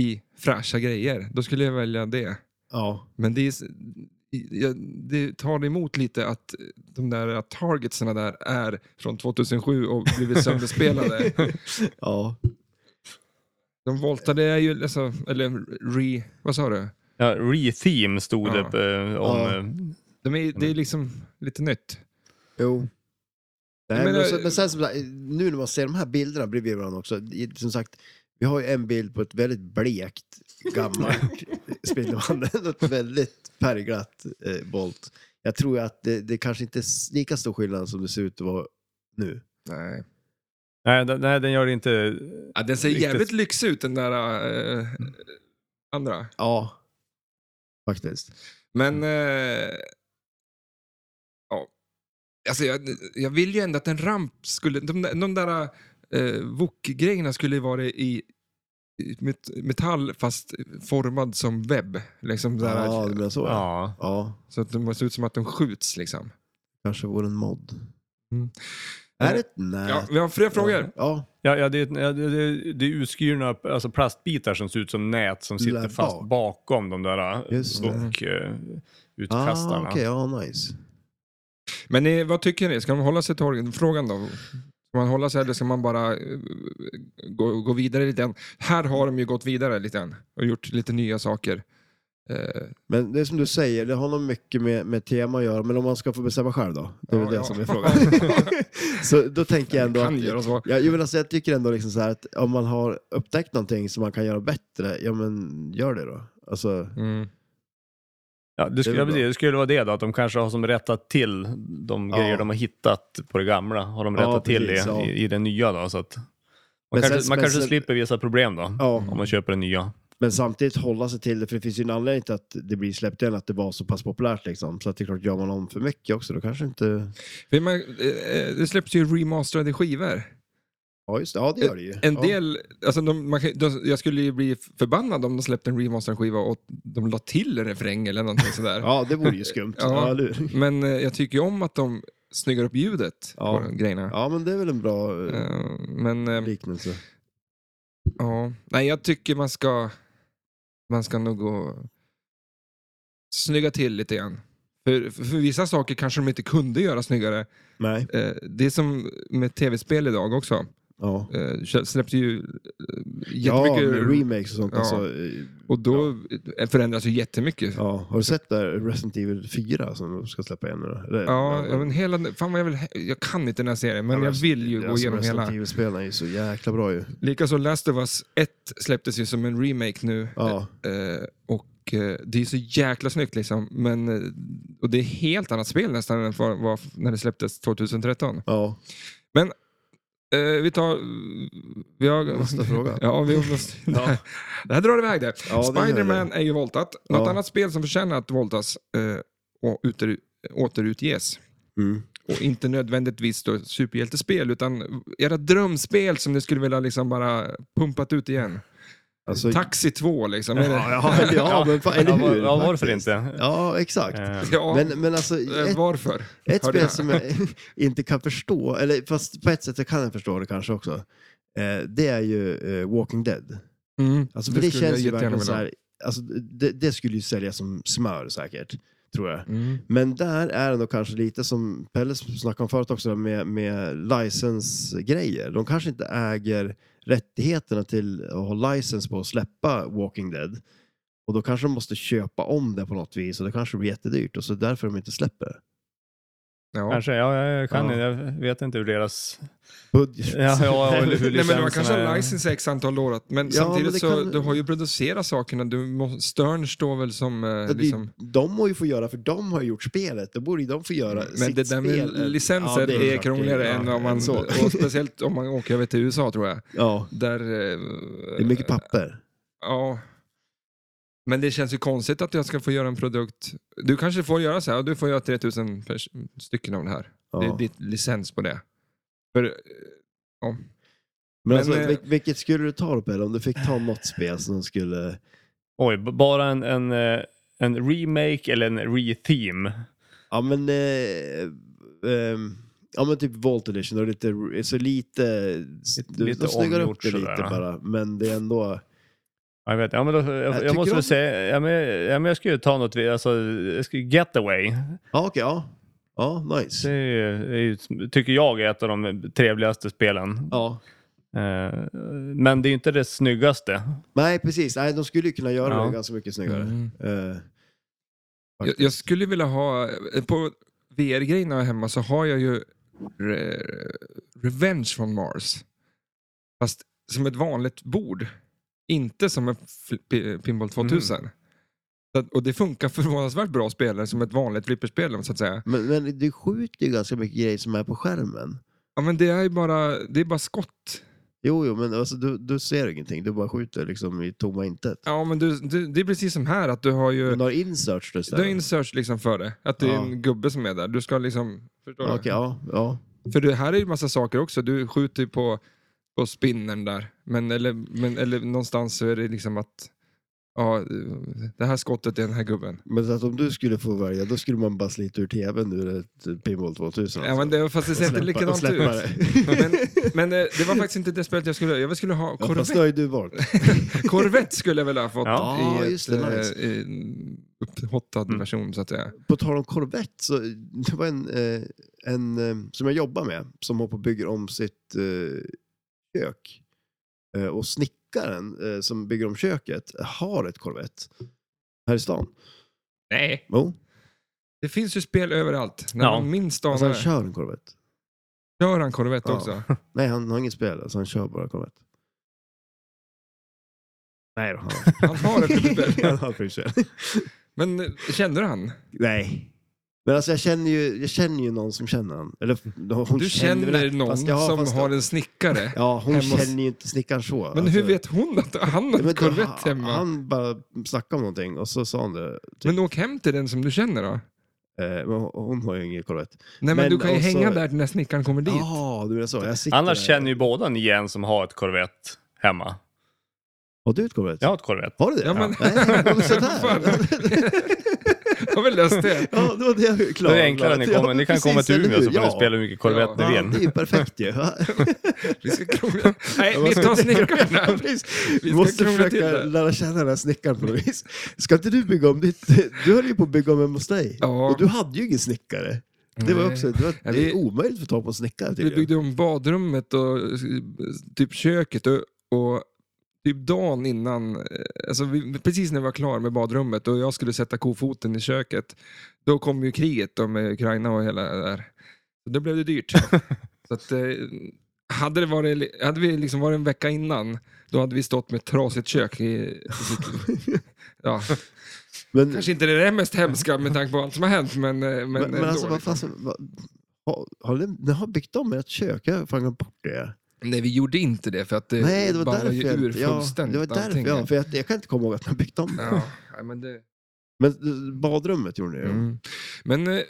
Speaker 1: i fräscha grejer, då skulle jag välja det.
Speaker 2: Ja.
Speaker 1: Men det, är, s- i- jag- det tar emot lite att de där targetsarna där är från 2007 och blivit sönderspelade.
Speaker 2: Ja.
Speaker 1: de voltade är ju, alltså, eller re, vad sa du?
Speaker 3: Ja, Re-theme stod
Speaker 1: Ja.
Speaker 3: det eh, om.
Speaker 2: Ja.
Speaker 3: eh,
Speaker 1: De är, det är liksom lite nytt.
Speaker 2: Jo. Nej,
Speaker 1: Jag
Speaker 2: men,
Speaker 1: menar-
Speaker 2: och så- men sen som sagt, nu när man ser de här bilderna bredvid varandra också, i- som sagt, vi har ju en bild på ett väldigt blekt gammalt Spindelmannen och ett väldigt färgglatt eh, Bolt. Jag tror ju att det, det kanske inte är s- lika stor skillnad som det ser ut att vara nu.
Speaker 1: Nej.
Speaker 3: Nej, den- nej, den gör det inte.
Speaker 1: Ja, den ser
Speaker 3: Riktigt.
Speaker 1: jävligt lyxig ut den där eh, andra.
Speaker 2: Ja, faktiskt.
Speaker 1: Men...
Speaker 2: Mm.
Speaker 1: Eh, ja. Alltså jag, jag vill ju ändå att en ramp skulle... De, där- de där eh, wok-grejerna skulle ju vara i i met- metall fast formad som webb. Liksom där,
Speaker 2: Ja, du menar så? Ja.
Speaker 3: Ja.
Speaker 2: ja,
Speaker 1: Så att de ser ut som att de skjuts liksom.
Speaker 2: kanske vore en mod.
Speaker 1: Mm.
Speaker 2: Är det ett nät?
Speaker 1: Ja, vi har fler frågor.
Speaker 2: Ja,
Speaker 3: Ja, ja, det, är- ja, det, det, det är utskurna alltså plastbitar som ser ut som nät som sitter
Speaker 2: Där
Speaker 3: fast
Speaker 2: bak.
Speaker 3: bakom de där eh,
Speaker 2: Just det.
Speaker 3: bokutkastarna.
Speaker 2: ah, okej, ja, nice.
Speaker 1: Men eh, vad tycker ni? Ska de hålla sig till origin- frågan då? Ska man hålla sig eller ska man bara eh, gå, gå vidare lite grann? Här har de ju gått vidare lite grann och gjort lite nya saker. Eh,
Speaker 2: Men det är som du säger, det har nog mycket med, med tema att göra, men om man ska få bestämma själv då? Det är
Speaker 1: Ja,
Speaker 2: väl det
Speaker 1: ja.
Speaker 2: som är frågan. så då tänker jag ändå
Speaker 1: kan göra
Speaker 2: att...
Speaker 1: så.
Speaker 2: Ja, jag, vill alltså, jag tycker ändå liksom så här att om man har upptäckt någonting som man kan göra bättre, ja men gör det då. Alltså,
Speaker 1: Mm.
Speaker 3: Ja, det,
Speaker 2: Det är
Speaker 3: skulle,
Speaker 2: väl
Speaker 3: det, det skulle vara det då, att de kanske har som rättat till de
Speaker 2: Ja.
Speaker 3: grejer de har hittat på det gamla. Har de
Speaker 2: Ja,
Speaker 3: rättat till
Speaker 2: precis,
Speaker 3: det
Speaker 2: ja.
Speaker 3: i, i det nya då. Så att man
Speaker 2: Men
Speaker 3: kanske,
Speaker 2: sen-
Speaker 3: man
Speaker 2: men
Speaker 3: kanske
Speaker 2: sen-
Speaker 3: slipper vissa problem då,
Speaker 2: Ja.
Speaker 3: om man köper det nya.
Speaker 2: men samtidigt hålla sig till det, för det finns ju en anledning till att det blir släppt igen, att det var så pass populärt liksom. Så att det är klart, gör man om för mycket också, då kanske inte...
Speaker 1: För man, eh, det släpps ju remasterade skivor.
Speaker 2: Ja, just det. Ja, det gör det ju.
Speaker 1: En
Speaker 2: ja.
Speaker 1: del, alltså de, man, kan- de, jag skulle ju bli förbannad om de släppte en remasterad skiva och de la till en refräng eller någonting sådär.
Speaker 2: Ja, det vore ju skumt.
Speaker 1: Ja.
Speaker 2: ja. eller hur?
Speaker 1: Men eh, jag tycker ju om att de snyggar upp ljudet
Speaker 2: Ja.
Speaker 1: på de grejerna.
Speaker 2: ja, men det är väl en bra eh,
Speaker 1: Eh, Men eh,
Speaker 2: liknelse.
Speaker 1: Ja, nej jag tycker man ska man ska nog gå snygga till lite grann. För, för vissa saker kanske de inte kunde göra snyggare.
Speaker 2: Nej.
Speaker 1: Eh, det är som med tv-spel idag också.
Speaker 2: Ja,
Speaker 1: Eh, släpps ju eh,
Speaker 2: ja
Speaker 1: jättemycket...
Speaker 2: med remakes och sånt.
Speaker 1: Ja.
Speaker 2: Alltså, eh,
Speaker 1: och då eh, förändras ju jättemycket. Ja,
Speaker 2: ja. Har du sett där Resident Evil 4 som de ska släppa igen nu? då? Eller-
Speaker 1: ja, men hela... Fan vad jag vill... Jag kan inte den här serien, men jag
Speaker 2: Rest-
Speaker 1: vill ju gå
Speaker 2: alltså,
Speaker 1: igenom hela.
Speaker 2: Resident Evil-spelen är ju så jäkla bra ju.
Speaker 1: Likaså Last of Us 1 släpptes ju som en remake nu.
Speaker 2: Ja.
Speaker 1: Eh, och eh, det är så jäkla snyggt liksom. Men, eh, och det är helt annat spel nästan än vad vad när det släpptes 2013.
Speaker 2: Ja,
Speaker 1: Eh, vi tar... Vi har,
Speaker 2: nästa fråga.
Speaker 1: Ja, vi måste, det, här, det här drar iväg det.
Speaker 2: Ja, det gör det.
Speaker 1: Spider-Man är ju voltat. Något
Speaker 2: Ja.
Speaker 1: annat spel som förtjänar att voltas eh, och uter, återutges.
Speaker 2: Mm.
Speaker 1: Och inte nödvändigtvis då superhjältespel, utan era drömspel som ni skulle vilja liksom bara pumpat ut igen.
Speaker 2: Alltså,
Speaker 1: Taxi 2 liksom. är det-
Speaker 2: Ja, ja, men fan, eller
Speaker 3: Ja, var-
Speaker 2: hur?
Speaker 3: ja, varför
Speaker 2: Faktiskt.
Speaker 3: inte?
Speaker 2: Ja, exakt.
Speaker 3: Eh,
Speaker 1: Ja,
Speaker 2: Men, men alltså,
Speaker 1: eh,
Speaker 2: ett,
Speaker 1: varför?
Speaker 2: ett
Speaker 1: Hörde
Speaker 2: spel
Speaker 1: jag.
Speaker 2: som jag inte kan förstå, eller fast på ett sätt jag kan jag förstå det kanske också, eh, det är ju eh, Walking Dead.
Speaker 1: Mm,
Speaker 2: Alltså, för det,
Speaker 1: skulle
Speaker 2: känns
Speaker 1: jag
Speaker 2: ju
Speaker 1: jättegärna
Speaker 2: verkligen så
Speaker 1: vilja
Speaker 2: här, alltså, det, det skulle ju säljas som smör säkert, tror jag.
Speaker 1: ha. Mm.
Speaker 2: Men där är det nog kanske lite som Pelle snackade om förut också, med, med licensgrejer. De kanske inte äger rättigheterna till att ha licens på att släppa Walking Dead. Och då kanske de måste köpa om det på något vis och det kanske blir jättedyrt och så därför de inte släpper det.
Speaker 1: Ja.
Speaker 3: Kanske, ja, jag kan
Speaker 2: Ja.
Speaker 3: Jag vet inte hur deras...
Speaker 2: Budget.
Speaker 3: Ja, ja, eller
Speaker 1: Nej,
Speaker 3: hur
Speaker 1: men
Speaker 3: licenserna
Speaker 1: man kanske
Speaker 3: är.
Speaker 1: har license x antal år, att- men
Speaker 2: Ja,
Speaker 1: samtidigt
Speaker 2: men det
Speaker 1: så
Speaker 2: kan-
Speaker 1: du har ju producerat sakerna. Du må, Stern står väl som... Eh,
Speaker 2: Det-
Speaker 1: liksom,
Speaker 2: De må ju få göra, för de har ju gjort spelet. Då borde ju de få göra
Speaker 1: men
Speaker 2: sitt
Speaker 1: det där med
Speaker 2: spel.
Speaker 1: licenser
Speaker 2: Ja, det
Speaker 1: är,
Speaker 2: klart det är-
Speaker 1: krångligare än om man...
Speaker 2: så.
Speaker 1: Och speciellt om man åker över till USA tror jag.
Speaker 2: Ja,
Speaker 1: Där... Eh,
Speaker 2: det är mycket papper.
Speaker 1: Ja. Men det känns ju konstigt att jag ska få göra en produkt. Du kanske får göra så här, du får göra 3000 pers- stycken av det här.
Speaker 2: Ja.
Speaker 1: Det är ditt licens på det. För, eh, ja.
Speaker 2: Men alltså,
Speaker 1: Men, eh,
Speaker 2: vil- vilket skulle du ta då Pelle? Om du fick ta något spel som skulle...
Speaker 3: Oj, b- bara en, en, eh, en remake eller en re-theme.
Speaker 2: Ja men... Eh, ehm, ja men typ Volt Edition, och lite, så lite... du,
Speaker 3: lite
Speaker 2: de snyggar upp
Speaker 3: omgjort
Speaker 2: det
Speaker 3: sådär,
Speaker 2: lite
Speaker 3: ja.
Speaker 2: bara. Men det är ändå...
Speaker 3: Ja, Jag vet, ja, men då, jag, jag,
Speaker 2: tycker
Speaker 3: måste
Speaker 2: om-
Speaker 3: väl säga, ja, men, ja, men jag skulle ju ta något, vi- alltså, jag skulle, Getaway.
Speaker 2: Ja okej, ja. Ja,
Speaker 3: Det är,
Speaker 2: nice.
Speaker 3: ju- är ju, tycker jag är ett av de trevligaste spelen.
Speaker 2: Ja.
Speaker 3: Eh, men det är ju inte det snyggaste.
Speaker 2: Nej precis, Nej, de skulle ju kunna göra
Speaker 3: Ja.
Speaker 2: det ganska mycket snyggare.
Speaker 1: Mm.
Speaker 2: Eh,
Speaker 1: Jag, jag skulle vilja ha, eh, på VR-grejerna hemma så har jag ju re, Revenge från Mars. Fast som ett vanligt bord. Inte som en fl- pi- Pinball 2000. Så att- Och det funkar förvånansvärt bra spelare som ett vanligt flipperspel så att säga.
Speaker 2: men, men du skjuter ju ganska mycket grejer som är på skärmen.
Speaker 1: Ja, men det är ju bara, det är bara skott.
Speaker 2: Jo, jo, men alltså, du, du ser ingenting. Du bara skjuter liksom i tomma intet.
Speaker 1: Ja, men du, du, det är precis som här att du har ju...
Speaker 2: Du har inserts du
Speaker 1: Du har
Speaker 2: ställer.
Speaker 1: insearch liksom för det. Att det är
Speaker 2: Ja.
Speaker 1: en gubbe som är där. Du ska liksom... Förstår
Speaker 2: Okej,
Speaker 1: du?
Speaker 2: ja, ja.
Speaker 1: För det här är ju massa saker också. Du skjuter ju på, på spinnen där. Men eller, men eller någonstans så är det liksom att... Ja, det här skottet är den här gubben.
Speaker 2: Men så att om du skulle få välja, då skulle man bara slita ur tvn ur ett typ Pinball alltså. 2000.
Speaker 1: Ja, men det, fast det ser inte likadant ut. Men, men eh, det var faktiskt inte det spelet jag skulle... Jag skulle ha
Speaker 2: Ja, fast
Speaker 1: Corvette.
Speaker 2: då har ju du valt.
Speaker 1: Corvette skulle jag väl ha fått
Speaker 2: Ja.
Speaker 1: i
Speaker 2: Ja,
Speaker 1: ett,
Speaker 2: just det, nice. Mm.
Speaker 1: eh, i en upphottad version så att säga.
Speaker 2: På tal om Corvette, så det var en, eh, en eh, som jag jobbar med som håller på och bygger om sitt eh, kök. Eh, Och snickaren eh, som bygger om köket har ett Corvette här i stan.
Speaker 1: Nej.
Speaker 2: Jo,
Speaker 1: Det finns ju spel överallt. När
Speaker 3: Ja.
Speaker 1: man minst anar
Speaker 2: alltså han
Speaker 1: det.
Speaker 2: kör en Corvette.
Speaker 1: Kör han Corvette
Speaker 2: Ja.
Speaker 1: också?
Speaker 2: Nej, han har inget spel, alltså han kör bara Corvette. Nej då.
Speaker 1: Han har ett flipperspel.
Speaker 2: Han har flygspel.
Speaker 1: Men eh, känner du han?
Speaker 2: Nej. Men alltså jag känner ju, jag känner ju någon som känner han. Eller hon
Speaker 1: Du
Speaker 2: väl-
Speaker 1: känner någon
Speaker 2: fast jag har-
Speaker 1: som
Speaker 2: fast jag-
Speaker 1: har en snickare.
Speaker 2: Ja, hon
Speaker 1: hemma hos-
Speaker 2: känner ju inte snickaren så. alltså.
Speaker 1: Men hur vet hon att han har
Speaker 2: men
Speaker 1: en
Speaker 2: då-
Speaker 1: Corvette hemma?
Speaker 2: Han bara snackade om någonting och så sa han det. Typ.
Speaker 1: Men åk hem till den som du känner då.
Speaker 2: Eh, men hon- hon har ju ingen Corvette.
Speaker 1: Nej men,
Speaker 2: Men
Speaker 1: du kan ju
Speaker 2: också-
Speaker 1: hänga där när snickaren kommer dit.
Speaker 2: Ja, du menar så. Jag sitter
Speaker 3: Annars
Speaker 2: där.
Speaker 3: känner ju båda ni igen som har ett Corvette hemma.
Speaker 2: Har du ett Corvette?
Speaker 3: Jag har ett Corvette.
Speaker 2: Har du det?
Speaker 1: Ja, men-
Speaker 2: Nej, det var
Speaker 1: Fan.
Speaker 2: sådär.
Speaker 1: Har vi löst det?
Speaker 2: ja, det var det jag
Speaker 3: Då
Speaker 2: klarade.
Speaker 3: är det enklare att ni kommer. Ni kan komma till Umeå så får ni spela hur mycket Corvette
Speaker 1: Ja.
Speaker 3: ni
Speaker 2: Ja,
Speaker 3: vill.
Speaker 2: det är ju perfekt ju. Ja,
Speaker 1: Vi ska krångla... Nej, vi tar snickarna.
Speaker 2: precis.
Speaker 1: Vi
Speaker 2: Vi
Speaker 1: ska
Speaker 2: måste
Speaker 1: krångla till
Speaker 2: försöka
Speaker 1: det.
Speaker 2: lära känna den här snickaren på något vis. Ska inte du bygga om ditt... Du höll ju på att bygga om hemma hos dig.
Speaker 1: Ja.
Speaker 2: Och du hade ju ingen snickare. Det var också det var,
Speaker 1: Ja,
Speaker 2: det
Speaker 1: vi-
Speaker 2: är omöjligt att få tag på en snickare
Speaker 1: Vi
Speaker 2: tydligen.
Speaker 1: byggde om badrummet och eh, typ köket och, och typ dagen innan, eh, alltså vi, precis när vi var klar med badrummet och jag skulle sätta kofoten i köket, då kom ju kriget då med Ukraina och hela det där. Så då blev det dyrt. Så att, eh, hade, det varit, hade vi liksom varit en vecka innan, då hade vi stått med ett trasigt kök. I, i sitt- ja,
Speaker 2: Men, men,
Speaker 1: kanske inte det där mest hemska med tanke på allt som har hänt, men, eh, men,
Speaker 2: men,
Speaker 1: ändå,
Speaker 2: alltså vad
Speaker 1: liksom.
Speaker 2: fan, som- vad, har, har ni, ni har byggt om ert kök? Jag har fan glömt bort det.
Speaker 1: Nej, vi gjorde inte det för att det
Speaker 2: Nej, det var
Speaker 1: bara
Speaker 2: därför.
Speaker 1: ju ur
Speaker 2: jag- Ja,
Speaker 1: fullständigt
Speaker 2: det var därför.
Speaker 1: allting.
Speaker 2: Ja, för jag, jag kan inte komma ihåg att ni har byggt om det.
Speaker 1: Ja, nej, men det...
Speaker 2: Men eh, badrummet gjorde ni ju.
Speaker 1: Mm. Men eh,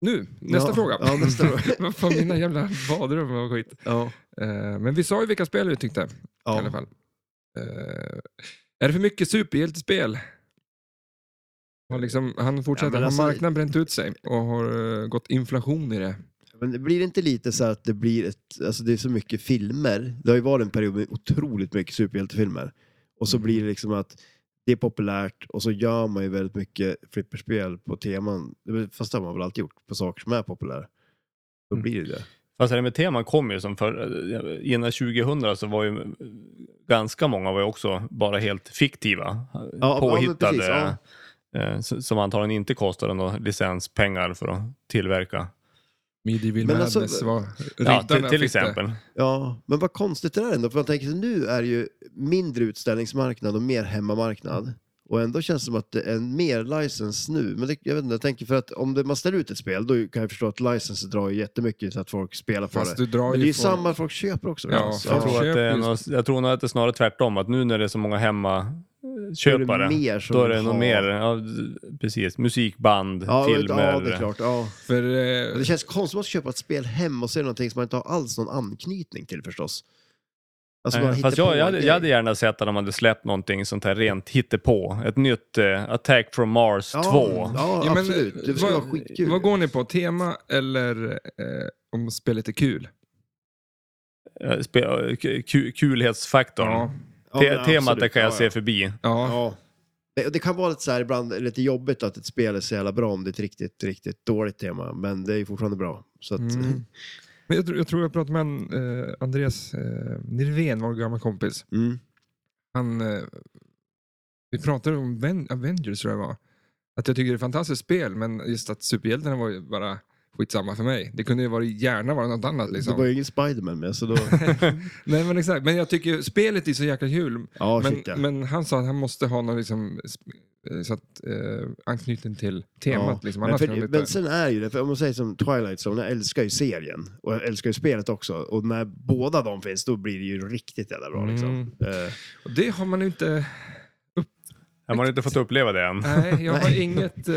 Speaker 1: nu, nästa
Speaker 2: ja,
Speaker 1: fråga.
Speaker 2: Ja, nästa fråga.
Speaker 1: Vad fan, mina jävla badrum och skit.
Speaker 2: Ja.
Speaker 1: Eh, men vi sa ju vilka spel vi tyckte i alla
Speaker 2: Ja.
Speaker 1: fall. Eh, är det för mycket superhjältespel? Och liksom, han fortsätter,
Speaker 2: Ja, men
Speaker 1: har
Speaker 2: alltså-
Speaker 1: marknaden bränt ut sig och har eh, gått inflation i det?
Speaker 2: Men det blir inte lite så att det blir ett, alltså det är så mycket filmer. Det har ju varit en period med otroligt mycket superhjältefilmer. Och så blir det liksom att det är populärt och så gör man ju väldigt mycket flipperspel på teman. Fast det har man väl alltid gjort på saker som är populära. Då
Speaker 3: Mm.
Speaker 2: blir det det.
Speaker 3: Fast det här med teman kom ju som för, innan 2000 så var ju ganska många var ju också bara helt fiktiva.
Speaker 2: ja,
Speaker 3: påhittade.
Speaker 2: men precis,
Speaker 3: eh, s- Som antagligen inte kostade några licenspengar för att tillverka.
Speaker 1: Medieval
Speaker 2: Men
Speaker 1: Madness
Speaker 2: alltså-
Speaker 1: var
Speaker 3: Ja,
Speaker 1: riddarna
Speaker 3: till,
Speaker 1: fick
Speaker 3: till
Speaker 1: det.
Speaker 3: exempel.
Speaker 2: Ja, men vad konstigt det där ändå. För man tänker sig, nu är det ju mindre utställningsmarknad och mer hemmamarknad. Och ändå känns det som att det är mer license nu. Men det, jag vet inte, jag tänker för att om det, man ställer ut ett spel, då kan jag förstå att license drar ju jättemycket så att folk spelar på
Speaker 1: Fast
Speaker 2: det.
Speaker 1: du drar
Speaker 2: Men det är
Speaker 1: ju
Speaker 2: ju
Speaker 1: folk-
Speaker 2: samma folk köper också.
Speaker 1: Ja,
Speaker 2: så,
Speaker 3: Jag tror, att det är
Speaker 1: Köp
Speaker 3: något, jag tror nog att det är snarare tvärtom, att nu när det är så många
Speaker 2: Då är det
Speaker 3: hemmaköpare,
Speaker 2: mer som
Speaker 3: då är det
Speaker 2: vill
Speaker 3: nog
Speaker 2: ha-
Speaker 3: mer, ja, precis, musikband,
Speaker 2: Ja,
Speaker 3: filmer.
Speaker 2: ja, det är klart. Ja.
Speaker 1: För,
Speaker 2: Men
Speaker 1: eh,
Speaker 2: det känns konstigt att köpa ett spel hem och se någonting som man inte har alls någon anknytning till förstås. Alltså,
Speaker 3: Nej,
Speaker 2: man hittar
Speaker 3: Fast jag,
Speaker 2: på
Speaker 3: jag, hade,
Speaker 2: grejer.
Speaker 3: jag hade gärna sett att de hade släppt någonting sånt här rent hittepå. Ett nytt eh, Attack from Mars 2.
Speaker 2: Ja,
Speaker 1: Ja, men,
Speaker 2: absolut. Det skulle
Speaker 1: vad-
Speaker 2: vara skitkul.
Speaker 1: Vad går ni på? Tema eller eh, om spelet är kul?
Speaker 3: Eh, spe- eh, ku- ku- Kulhetsfaktorn.
Speaker 1: Ja.
Speaker 2: Ja,
Speaker 3: Te-
Speaker 2: men
Speaker 3: temat
Speaker 2: absolut.
Speaker 3: det kan jag
Speaker 2: Ja,
Speaker 3: se
Speaker 2: ja.
Speaker 3: förbi.
Speaker 1: ja.
Speaker 2: Ja. Det- och Det kan vara lite, så här, ibland, lite jobbigt att ett spel är så jävla bra om det är ett riktigt, riktigt dåligt tema, men det är ju fortfarande bra. Så att,
Speaker 1: Mm. Men jag, tror- jag tror jag pratade med en, eh, Andreas eh, Nirven, vår gamla kompis.
Speaker 2: Mm.
Speaker 1: Han, eh, vi pratade om Ven- Avengers tror jag det var. Att jag tycker det är ett fantastiskt spel, men just att superhjältarna var ju bara skitsamma för mig. Det kunde ju vara, gärna vara något annat.
Speaker 2: Det var
Speaker 1: Liksom.
Speaker 2: ju ingen Spiderman med, så då...
Speaker 1: Nej, men, exakt. men jag tycker ju spelet är så jäkla kul.
Speaker 2: Ja,
Speaker 1: men,
Speaker 2: shit ja.
Speaker 1: men han sa att han måste ha någon liksom, sp- eh, så att, eh, anknytning till temat.
Speaker 2: Ja.
Speaker 1: Liksom.
Speaker 2: men,
Speaker 1: Annars kan de
Speaker 2: för,
Speaker 1: inte...
Speaker 2: men sen är ju det, för om man säger som Twilight Zone, jag älskar ju serien och jag älskar ju spelet också. Och när båda de finns, då blir det ju riktigt jävla bra liksom.
Speaker 1: Mm.
Speaker 2: Eh,
Speaker 1: Och det har man ju inte...
Speaker 3: Har man inte fått uppleva det än?
Speaker 1: Nej, jag har
Speaker 2: Nej.
Speaker 1: inget... Eh,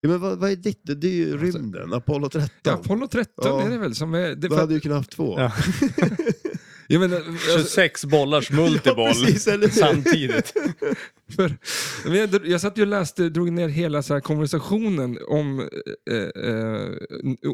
Speaker 2: ja, men vad, vad är ditt? Det är ju rymden, Apollo 13.
Speaker 1: Alltså- Ja, Apollo 13
Speaker 2: Ja.
Speaker 1: är det väl som är... Det,
Speaker 2: Då
Speaker 1: för,
Speaker 2: hade du kunnat haft två.
Speaker 3: Ja.
Speaker 1: jag menar, alltså,
Speaker 3: 26 bollars multiboll
Speaker 2: precis, eller hur?
Speaker 3: samtidigt.
Speaker 1: för, jag, menar, jag satt ju och läste, drog ner hela så här konversationen om eh, eh,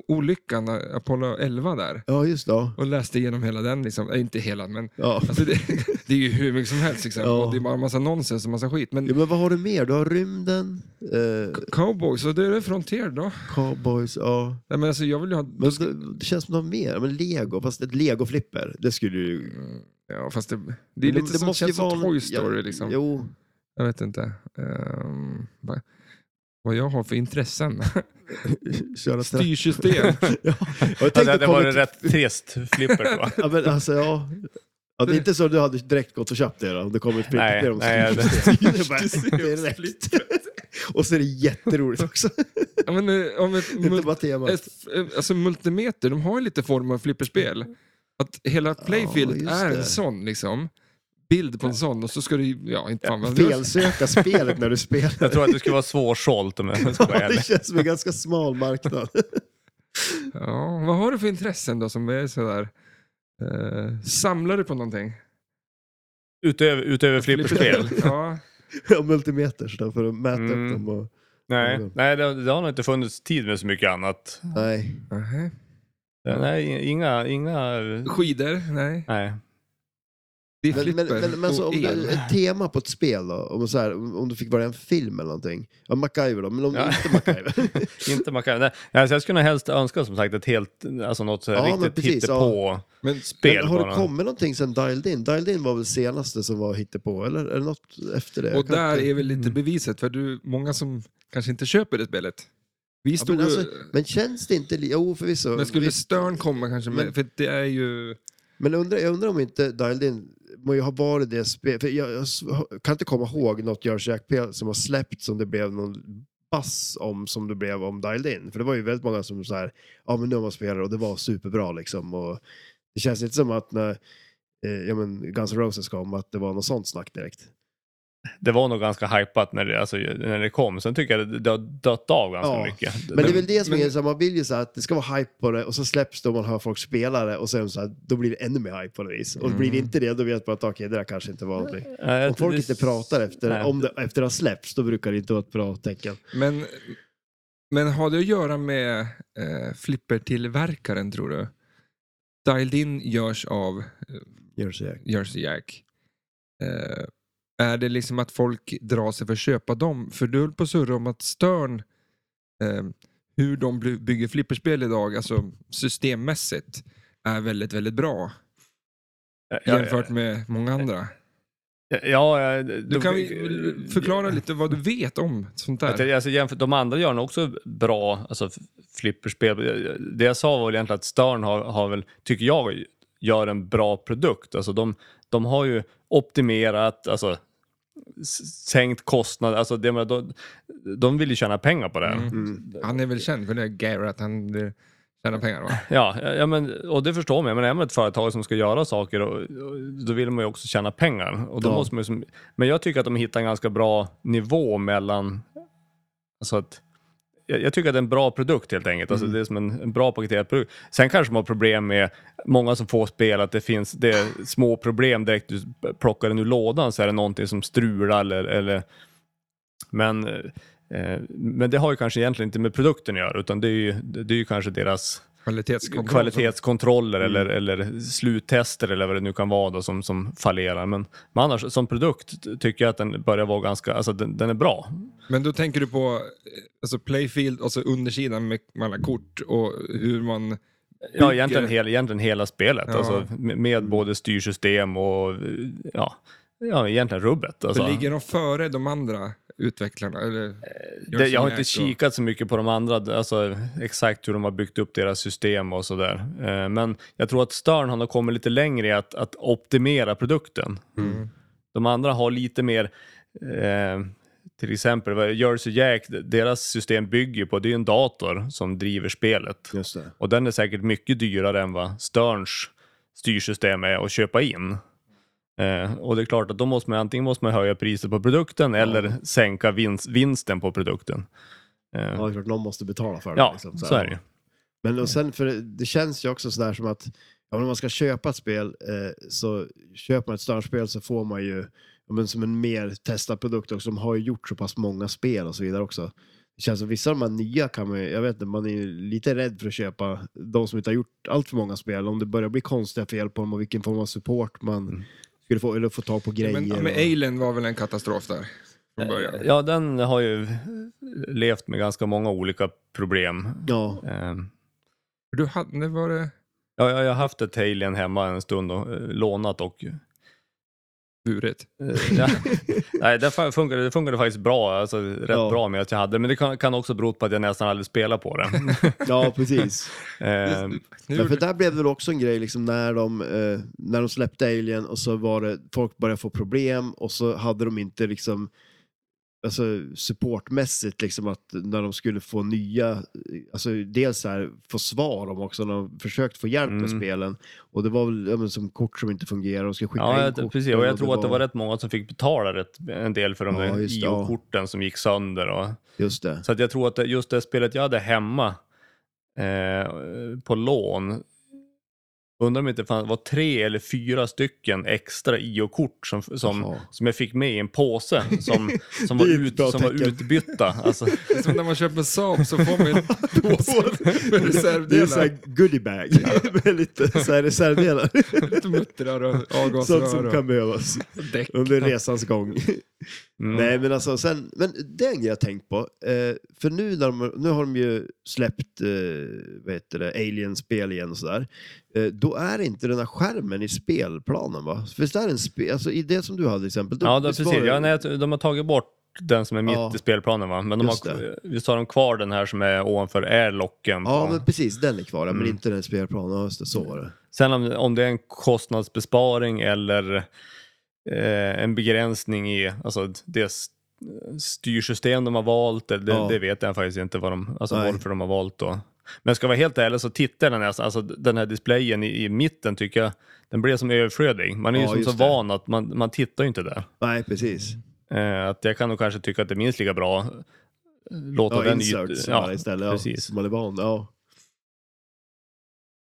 Speaker 1: olyckan, eh, Apollo 11 där.
Speaker 2: Ja, just det. Ja.
Speaker 1: Och läste igenom hela den, liksom. Eh, inte hela men
Speaker 2: Ja.
Speaker 1: alltså det, det är ju hur mycket som helst. Liksom.
Speaker 2: Ja.
Speaker 1: Och det är bara en massa nonsens och massa skit. Men
Speaker 2: Ja, men vad har du mer? Du har rymden, eh,
Speaker 1: cowboys, och det är det Frontier då?
Speaker 2: cowboys, ja.
Speaker 1: Nej, men alltså, jag vill ju ha...
Speaker 2: Men det, det känns som de har mer. Men lego, fast ett legoflipper, det skulle ju...
Speaker 1: Mm, Ja, fast det, det är lite som, känns som Toy Story.
Speaker 2: ja,
Speaker 1: liksom.
Speaker 2: Jo.
Speaker 1: Jag vet inte. Ehm, vad, vad jag har för intressen.
Speaker 2: Köra tra-
Speaker 1: Styrsystem.
Speaker 2: ja. Och jag
Speaker 3: Ja,
Speaker 2: tänkte
Speaker 3: det hade
Speaker 2: komma
Speaker 3: varit
Speaker 2: till-
Speaker 3: rätt trist flippert va?
Speaker 2: Ja, men alltså, ja. Ja, det är inte så att du hade direkt gått och köpt det då, om det kom ett
Speaker 3: Nej,
Speaker 2: flipper om
Speaker 3: nej,
Speaker 2: det bara, direkt. Och så är det jätteroligt också.
Speaker 1: Ja, men, eh, om ett,
Speaker 2: Det är inte
Speaker 1: mul-
Speaker 2: bara temat.
Speaker 1: ett, eh, alltså, multimeter, de har ju lite form av flipperspel. Att hela playfield
Speaker 2: Mm. just
Speaker 1: är en
Speaker 2: det.
Speaker 1: sån liksom. Bild på en sån och så ska du, ja inte fan vad det är.
Speaker 2: Felsöka spelet när du spelar.
Speaker 3: Jag tror att det skulle vara svårsålt om jag ska vara
Speaker 2: Ja,
Speaker 3: ärlig.
Speaker 2: det känns som en ganska smal marknad.
Speaker 1: Ja, vad har du för intressen då som är sådär? Uh, samlar du på någonting?
Speaker 3: Utöver, utöver flipperspel?
Speaker 1: ja.
Speaker 2: Ja, multimeters då, för att mäta
Speaker 3: Mm.
Speaker 2: upp dem. Och,
Speaker 3: Nej,
Speaker 2: Mm.
Speaker 3: nej det, det har nog inte funnits tid med så mycket annat.
Speaker 2: nej.
Speaker 1: Nähä.
Speaker 3: Nej, inga... inga
Speaker 1: Skidor? Nej.
Speaker 3: nej.
Speaker 1: Det är
Speaker 2: Men, men,
Speaker 1: flipper
Speaker 2: men, men så
Speaker 1: och
Speaker 2: om
Speaker 1: el.
Speaker 2: du, ett tema på ett spel då? Om, så här, om om du fick vara i en film eller någonting? Ja, MacGyver då, men om
Speaker 3: Ja.
Speaker 2: inte MacGyver?
Speaker 3: Inte MacGyver. Nej, alltså jag skulle helst önska som sagt ett helt, alltså något så här
Speaker 2: Ja, men
Speaker 3: riktigt
Speaker 2: precis,
Speaker 3: hittepå
Speaker 1: Men-
Speaker 3: spel
Speaker 2: men har det
Speaker 3: bara.
Speaker 2: kommit någonting sen Dialed In? Dialed In var väl senaste som var hittepå, eller är det något efter det? Jag
Speaker 1: Och
Speaker 2: kan
Speaker 1: där
Speaker 2: inte- mm.
Speaker 1: är väl lite beviset, för du, många som kanske inte köper det spelet. Vi
Speaker 2: ja,
Speaker 1: stod...
Speaker 2: men, alltså, men känns det inte... li- Jo, förvisso.
Speaker 1: men skulle
Speaker 2: Vi-
Speaker 1: Stern komma kanske med,
Speaker 2: Men-
Speaker 1: för det är ju...
Speaker 2: Men undrar, jag undrar om inte Dialed In må ju ha varit det spel, för jag, jag s- kan inte komma ihåg något Jersey Jack-spel som har släppt som det blev någon bass om som det blev om Dialed In. För det var ju väldigt många som så här, ja men nu har man spelat och det var superbra liksom. Och det känns inte som att när eh, ja, men Guns N' Roses kom, att det var något sånt snack direkt.
Speaker 3: Det var nog ganska hypat när det, alltså, när det kom. Sen tycker jag det, det har dött av ganska
Speaker 2: Ja,
Speaker 3: mycket.
Speaker 2: Men det är väl det som
Speaker 1: men-
Speaker 2: är, så här, man vill ju så här, att det ska vara hype på det och så släpps det och man hör folk spela det och sen så här, då blir det ännu mer hype på något vis. Och blir
Speaker 3: Mm.
Speaker 2: det inte det, då vet man att okej, det där kanske inte var någonting.
Speaker 3: Nej,
Speaker 2: Om
Speaker 3: jag-
Speaker 2: folk
Speaker 3: det-
Speaker 2: inte pratar efter,
Speaker 3: eh, Nej.
Speaker 2: om det, efter det har släppts, då brukar det inte vara ett bra tecken.
Speaker 1: Men, men har det att göra med eh, flippertillverkaren, tror du? Dialed In görs av eh,
Speaker 2: Gör så här.
Speaker 1: Jersey Jack. Eh, är det liksom att folk drar sig för att köpa dem? För du höll på att surra om att Stern, eh, hur de bly- bygger flipperspel idag, alltså systemmässigt, är väldigt, väldigt bra
Speaker 3: Ja,
Speaker 1: jämfört med många andra.
Speaker 3: Ja, ja, ja,
Speaker 1: Du
Speaker 3: de-
Speaker 1: kan ju förklara lite vad du vet om sånt
Speaker 3: Jag
Speaker 1: där.
Speaker 3: tänkte, Alltså, jämfört, de andra gör nog också bra alltså, f- flipperspel. Det jag sa var väl egentligen att Stern har, har väl, tycker jag, gör en bra produkt. Alltså, de, de har ju optimerat, alltså, s- sänkt kostnader. Alltså, det, jag menar, de, de vill ju tjäna pengar på det här.
Speaker 1: Han är väl känd för det, Gary, att han eh, tjänar pengar va?
Speaker 3: Ja, ja, ja, men, och det förstår man. Jag menar, är man ett företag som ska göra saker, och, och, då vill man ju också tjäna pengar. Och då
Speaker 2: Ja.
Speaker 3: måste man ju som, men jag tycker att de hittar en ganska bra nivå mellan... Alltså att, jag, jag tycker att det är en bra produkt helt enkelt. Alltså Det är som en, en bra paketerad produkt. Sen kanske man har problem med många som får spel, att det finns det är små problem direkt du plockar den ur lådan så är det någonting som strular eller... eller men, eh, men det har ju kanske egentligen inte med produkten att göra, utan det är ju, det är ju kanske deras
Speaker 1: Kvalitetskontroll.
Speaker 3: kvalitetskontroller
Speaker 1: Mm.
Speaker 3: eller, eller sluttester eller vad det nu kan vara då, som, som fallerar. Men, men annars som produkt ty- tycker jag att den börjar vara ganska, alltså den, den är bra.
Speaker 1: Men då tänker du på eh, alltså playfield och så undersidan med med alla kort och hur man...
Speaker 3: Ja, egentligen, hela, egentligen hela spelet,
Speaker 1: Ja.
Speaker 3: alltså, med, med både styrsystem och ja, ja egentligen rubbet. Alltså.
Speaker 1: För ligger de före de andra utvecklarna? Eller,
Speaker 3: Det, jag har
Speaker 1: Jack
Speaker 3: inte
Speaker 1: och-
Speaker 3: kikat så mycket på de andra, alltså, exakt hur de har byggt upp deras system och sådär. Eh, Men jag tror att Stern han har kommit lite längre i att, att optimera produkten. De andra har lite mer, eh, till exempel vad Jersey Jack, deras system bygger ju på, det är ju en dator som driver spelet.
Speaker 2: Just det.
Speaker 3: Och den är säkert mycket dyrare än vad Sterns styrsystem är att köpa in. Eh, och det är klart att då måste man antingen måste man höja priset på produkten eller sänka vinst, vinsten på produkten. Eh,
Speaker 2: Ja, det är klart, någon måste betala för det.
Speaker 3: ja,
Speaker 2: liksom,
Speaker 3: så,
Speaker 2: här.
Speaker 3: är det ju.
Speaker 2: Men
Speaker 1: Mm.
Speaker 2: och sen, för det, det känns ju också sådär som att ja, men om man ska köpa ett spel eh, så köper man ett större spel så får man ju ja, men som en mer testad produkt också. De har ju gjort så pass många spel och så vidare också. Det känns som vissa av de här nya kan man ju, jag vet inte, man är ju lite rädd för att köpa de som inte har gjort allt för många spel. Om det börjar bli konstiga fel på dem och vilken form av support man skulle få, eller få tag på grejer.
Speaker 1: Mm. Men, men
Speaker 2: och-
Speaker 1: Alien var väl en katastrof där från början?
Speaker 3: Ja, den har ju levt med ganska många olika problem.
Speaker 2: ja,
Speaker 3: Eh,
Speaker 1: Du hade, när var det
Speaker 3: ja, jag har haft ett Alien hemma en stund och eh, lånat och
Speaker 1: buret?
Speaker 3: Eh, ja. Nej, det fa- funkade, det funkade faktiskt bra, alltså, rätt
Speaker 2: Ja.
Speaker 3: bra med att jag hade det. Men det kan, kan också bero på att jag nästan aldrig spelar på det.
Speaker 2: ja, precis.
Speaker 3: Eh,
Speaker 1: Nu
Speaker 2: Men för
Speaker 1: gjorde-
Speaker 2: där blev det väl också en grej liksom när de, eh, när de släppte Alien och så var det, folk började få problem och så hade de inte liksom, alltså supportmässigt liksom att när de skulle få nya, eh, alltså dels så här, få svar om också när de försökt få hjälp med
Speaker 3: Mm.
Speaker 2: spelen och det var väl ja, men, som kort som inte fungerar, de ska skicka
Speaker 3: ja,
Speaker 2: in
Speaker 3: jag,
Speaker 2: kort
Speaker 3: precis. Och jag tror att det var rätt många som fick betala rätt, en del för de
Speaker 2: Ja,
Speaker 3: där
Speaker 2: just det, ja.
Speaker 3: IO-korten som gick sönder. Och,
Speaker 2: Just det.
Speaker 3: så att jag tror att det- just det spelet jag hade hemma eh, på lån Undrar om det inte fann, var tre eller fyra stycken extra IO-kort som, som,
Speaker 2: Jaha.
Speaker 3: som jag fick med i en påse som, som, var,
Speaker 2: Det är ett
Speaker 3: ut,
Speaker 2: bra
Speaker 3: som var
Speaker 2: tecken.
Speaker 3: utbytta. Alltså,
Speaker 1: Som när man köper Saab så får man ju en påse med
Speaker 2: Det är så
Speaker 1: reservdelar.
Speaker 2: här goodiebag med lite så här reservdelar.
Speaker 1: Lite muttrar och
Speaker 2: Sånt som
Speaker 1: avgasrör och
Speaker 2: kan behövas
Speaker 1: däck.
Speaker 2: under resans gång.
Speaker 3: Mm.
Speaker 2: Nej, men alltså sen, men det är en grej jag tänkt på. Eh, för nu, när de, nu har de ju släppt eh, vad heter det, Alien-spel igen och sådär. Eh, då är inte den här skärmen i spelplanen va? Visst är det en spel, alltså i det som du hade till exempel. då-
Speaker 3: ja, det,
Speaker 2: visst
Speaker 3: precis.
Speaker 2: var det-
Speaker 3: Ja, nej, de har tagit bort den som är mitt
Speaker 2: Ja.
Speaker 3: i spelplanen va? Men de
Speaker 2: Just
Speaker 3: har, visst har de kvar den här som är ovanför airlocken?
Speaker 2: ja,
Speaker 3: på-
Speaker 2: men precis, den är kvar ja, men
Speaker 3: Mm.
Speaker 2: inte den spelplanen. Ja, just det, så var det.
Speaker 3: Sen om, om det är en kostnadsbesparing eller eh, en begränsning i alltså, det s- styrsystem de har valt, det,
Speaker 2: Ja.
Speaker 3: det vet jag faktiskt inte vad de, alltså,
Speaker 2: Nej.
Speaker 3: varför de har valt då. Men ska jag vara helt ärlig så tittar den här, alltså, den här displayen i, i mitten tycker jag, den blir som överflödig. Man är
Speaker 2: Ja,
Speaker 3: ju som
Speaker 2: just
Speaker 3: så
Speaker 2: det.
Speaker 3: van att man, man tittar ju inte där.
Speaker 2: Nej, precis.
Speaker 3: Eh, att jag kan nog kanske tycka att det är minst lika bra eh, låta
Speaker 2: Ja,
Speaker 3: den
Speaker 2: inserts
Speaker 3: ja,
Speaker 2: ja, istället. Ja,
Speaker 3: precis.
Speaker 2: Som man är van. Ja.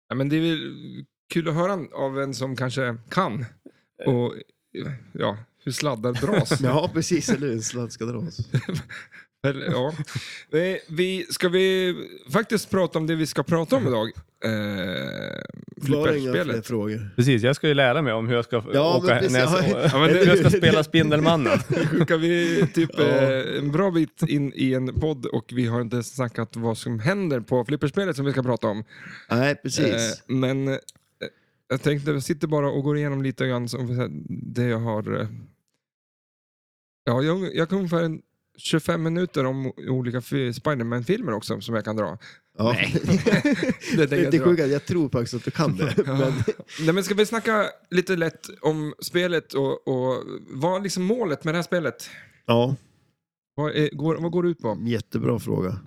Speaker 1: Ja, men det är väl kul att höra av en som kanske kan. Och ja, hur sladdar dras.
Speaker 2: ja, precis. Eller hur? En sladd ska dras.
Speaker 1: Eller, ja. Eh, Vi, ska vi faktiskt prata om det vi ska prata om idag? Eh,
Speaker 2: Klara inga fler
Speaker 1: Flipperspelet.
Speaker 2: frågor.
Speaker 3: Precis, jag ska ju lära mig om hur jag ska,
Speaker 2: Ja,
Speaker 3: åka,
Speaker 2: men
Speaker 3: när
Speaker 2: precis.
Speaker 3: jag, ska-
Speaker 2: Ja,
Speaker 1: Ja, men
Speaker 3: hur jag
Speaker 1: nu
Speaker 3: ska spela Spindelmannen.
Speaker 1: skickar vi typ
Speaker 2: Ja.
Speaker 1: eh, en bra bit in i en podd och vi har inte ens snackat vad som händer på flipperspelet som vi ska prata om.
Speaker 2: Nej, precis.
Speaker 1: Eh, men eh, jag tänkte, jag sitter bara och går igenom lite grann som det jag har... eh, Ja, jag, jag kan ungefär en 25 minuter om o- olika fi- Spiderman-filmer också som jag kan dra.
Speaker 2: Ja.
Speaker 1: Det
Speaker 2: Det,
Speaker 1: tänker jag
Speaker 2: det
Speaker 1: dra.
Speaker 2: sjuka är att jag tror faktiskt att du kan det. Men,
Speaker 1: Nej, men ska vi snacka lite lätt om spelet och, och vad är liksom målet med det här spelet?
Speaker 2: ja,
Speaker 1: Vad, är, går, vad går det ut på?
Speaker 2: jättebra fråga.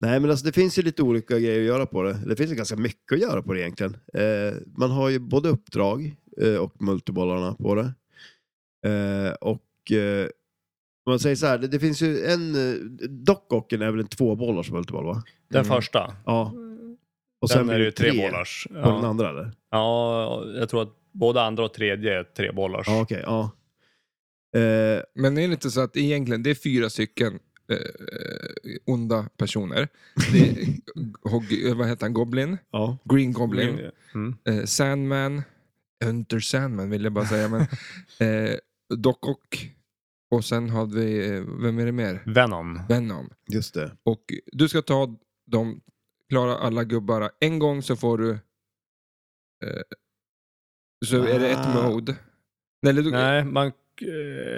Speaker 2: Nej, men alltså det finns ju lite olika grejer att göra på det. Det finns ju ganska mycket att göra på det egentligen. Eh, man har ju både uppdrag eh, och multibollarna på det. Eh, och eh, om man säger så här, det, det finns ju en... eh, Dockocken är väl en tvåbollars multiboll, va?
Speaker 3: Den
Speaker 1: Mm.
Speaker 3: första.
Speaker 2: Ja. Och
Speaker 3: Sen,
Speaker 2: blir
Speaker 3: är det ju tre,
Speaker 2: tre
Speaker 3: bollars.
Speaker 2: På den
Speaker 3: Ja.
Speaker 2: andra, eller?
Speaker 3: ja, jag tror att både andra och tredje är tre bollars.
Speaker 2: Ja, okej. ja. Eh,
Speaker 1: Men det är inte så att egentligen, det är fyra stycken eh, onda personer. Det är, Hog- eh, vad heter han? Goblin?
Speaker 2: ja.
Speaker 1: Green Goblin?
Speaker 3: Mm.
Speaker 1: eh, Sandman, Hunter Sandman vill jag bara säga, men eh, Doc Ock och sen hade vi, eh, vem är det mer?
Speaker 3: Venom.
Speaker 1: Venom.
Speaker 2: Just det.
Speaker 1: Och du ska ta dem, klara alla gubbar en gång så får du... Eh, så är det ett
Speaker 2: Ah.
Speaker 1: mode. Nej, eller du,
Speaker 3: Nej, man... eh,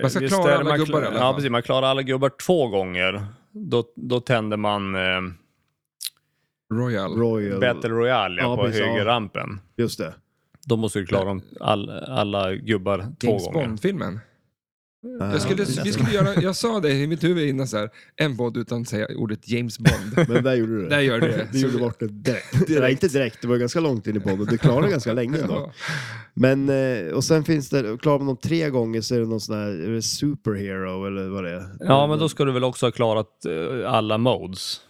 Speaker 1: Man ska
Speaker 3: visst
Speaker 1: klara
Speaker 3: är det-
Speaker 1: alla
Speaker 3: man kla-
Speaker 1: gubbar i alla
Speaker 3: Ja,
Speaker 1: fall.
Speaker 3: precis. Man klarar alla gubbar två gånger. Då, då tänder man eh,
Speaker 1: Royal.
Speaker 2: Royal.
Speaker 3: Battle Royale ja,
Speaker 2: Ja,
Speaker 3: på
Speaker 2: precis, ja.
Speaker 3: högerrampen.
Speaker 2: Just det.
Speaker 3: Då måste du klara dem all, alla gubbar två
Speaker 1: James
Speaker 3: gånger.
Speaker 1: Bond-filmen.
Speaker 2: Eh,
Speaker 1: Jag, skulle, vi skulle göra, jag sa det i mitt huvud innan, så här, en podd utan att säga ordet James Bond.
Speaker 2: Men där gjorde du
Speaker 1: Där
Speaker 2: det.
Speaker 1: gör du det.
Speaker 2: Du gjorde bort det direkt. Nej, inte direkt. Det var ganska långt in i podden. Du klarade det ganska länge ändå.
Speaker 1: Ja.
Speaker 2: Men, eh, och sen finns det, klarar man dem tre gånger så är det någon sån här är det superhero eller vad det är.
Speaker 3: Ja, men då ska du väl också ha klarat eh, alla modes?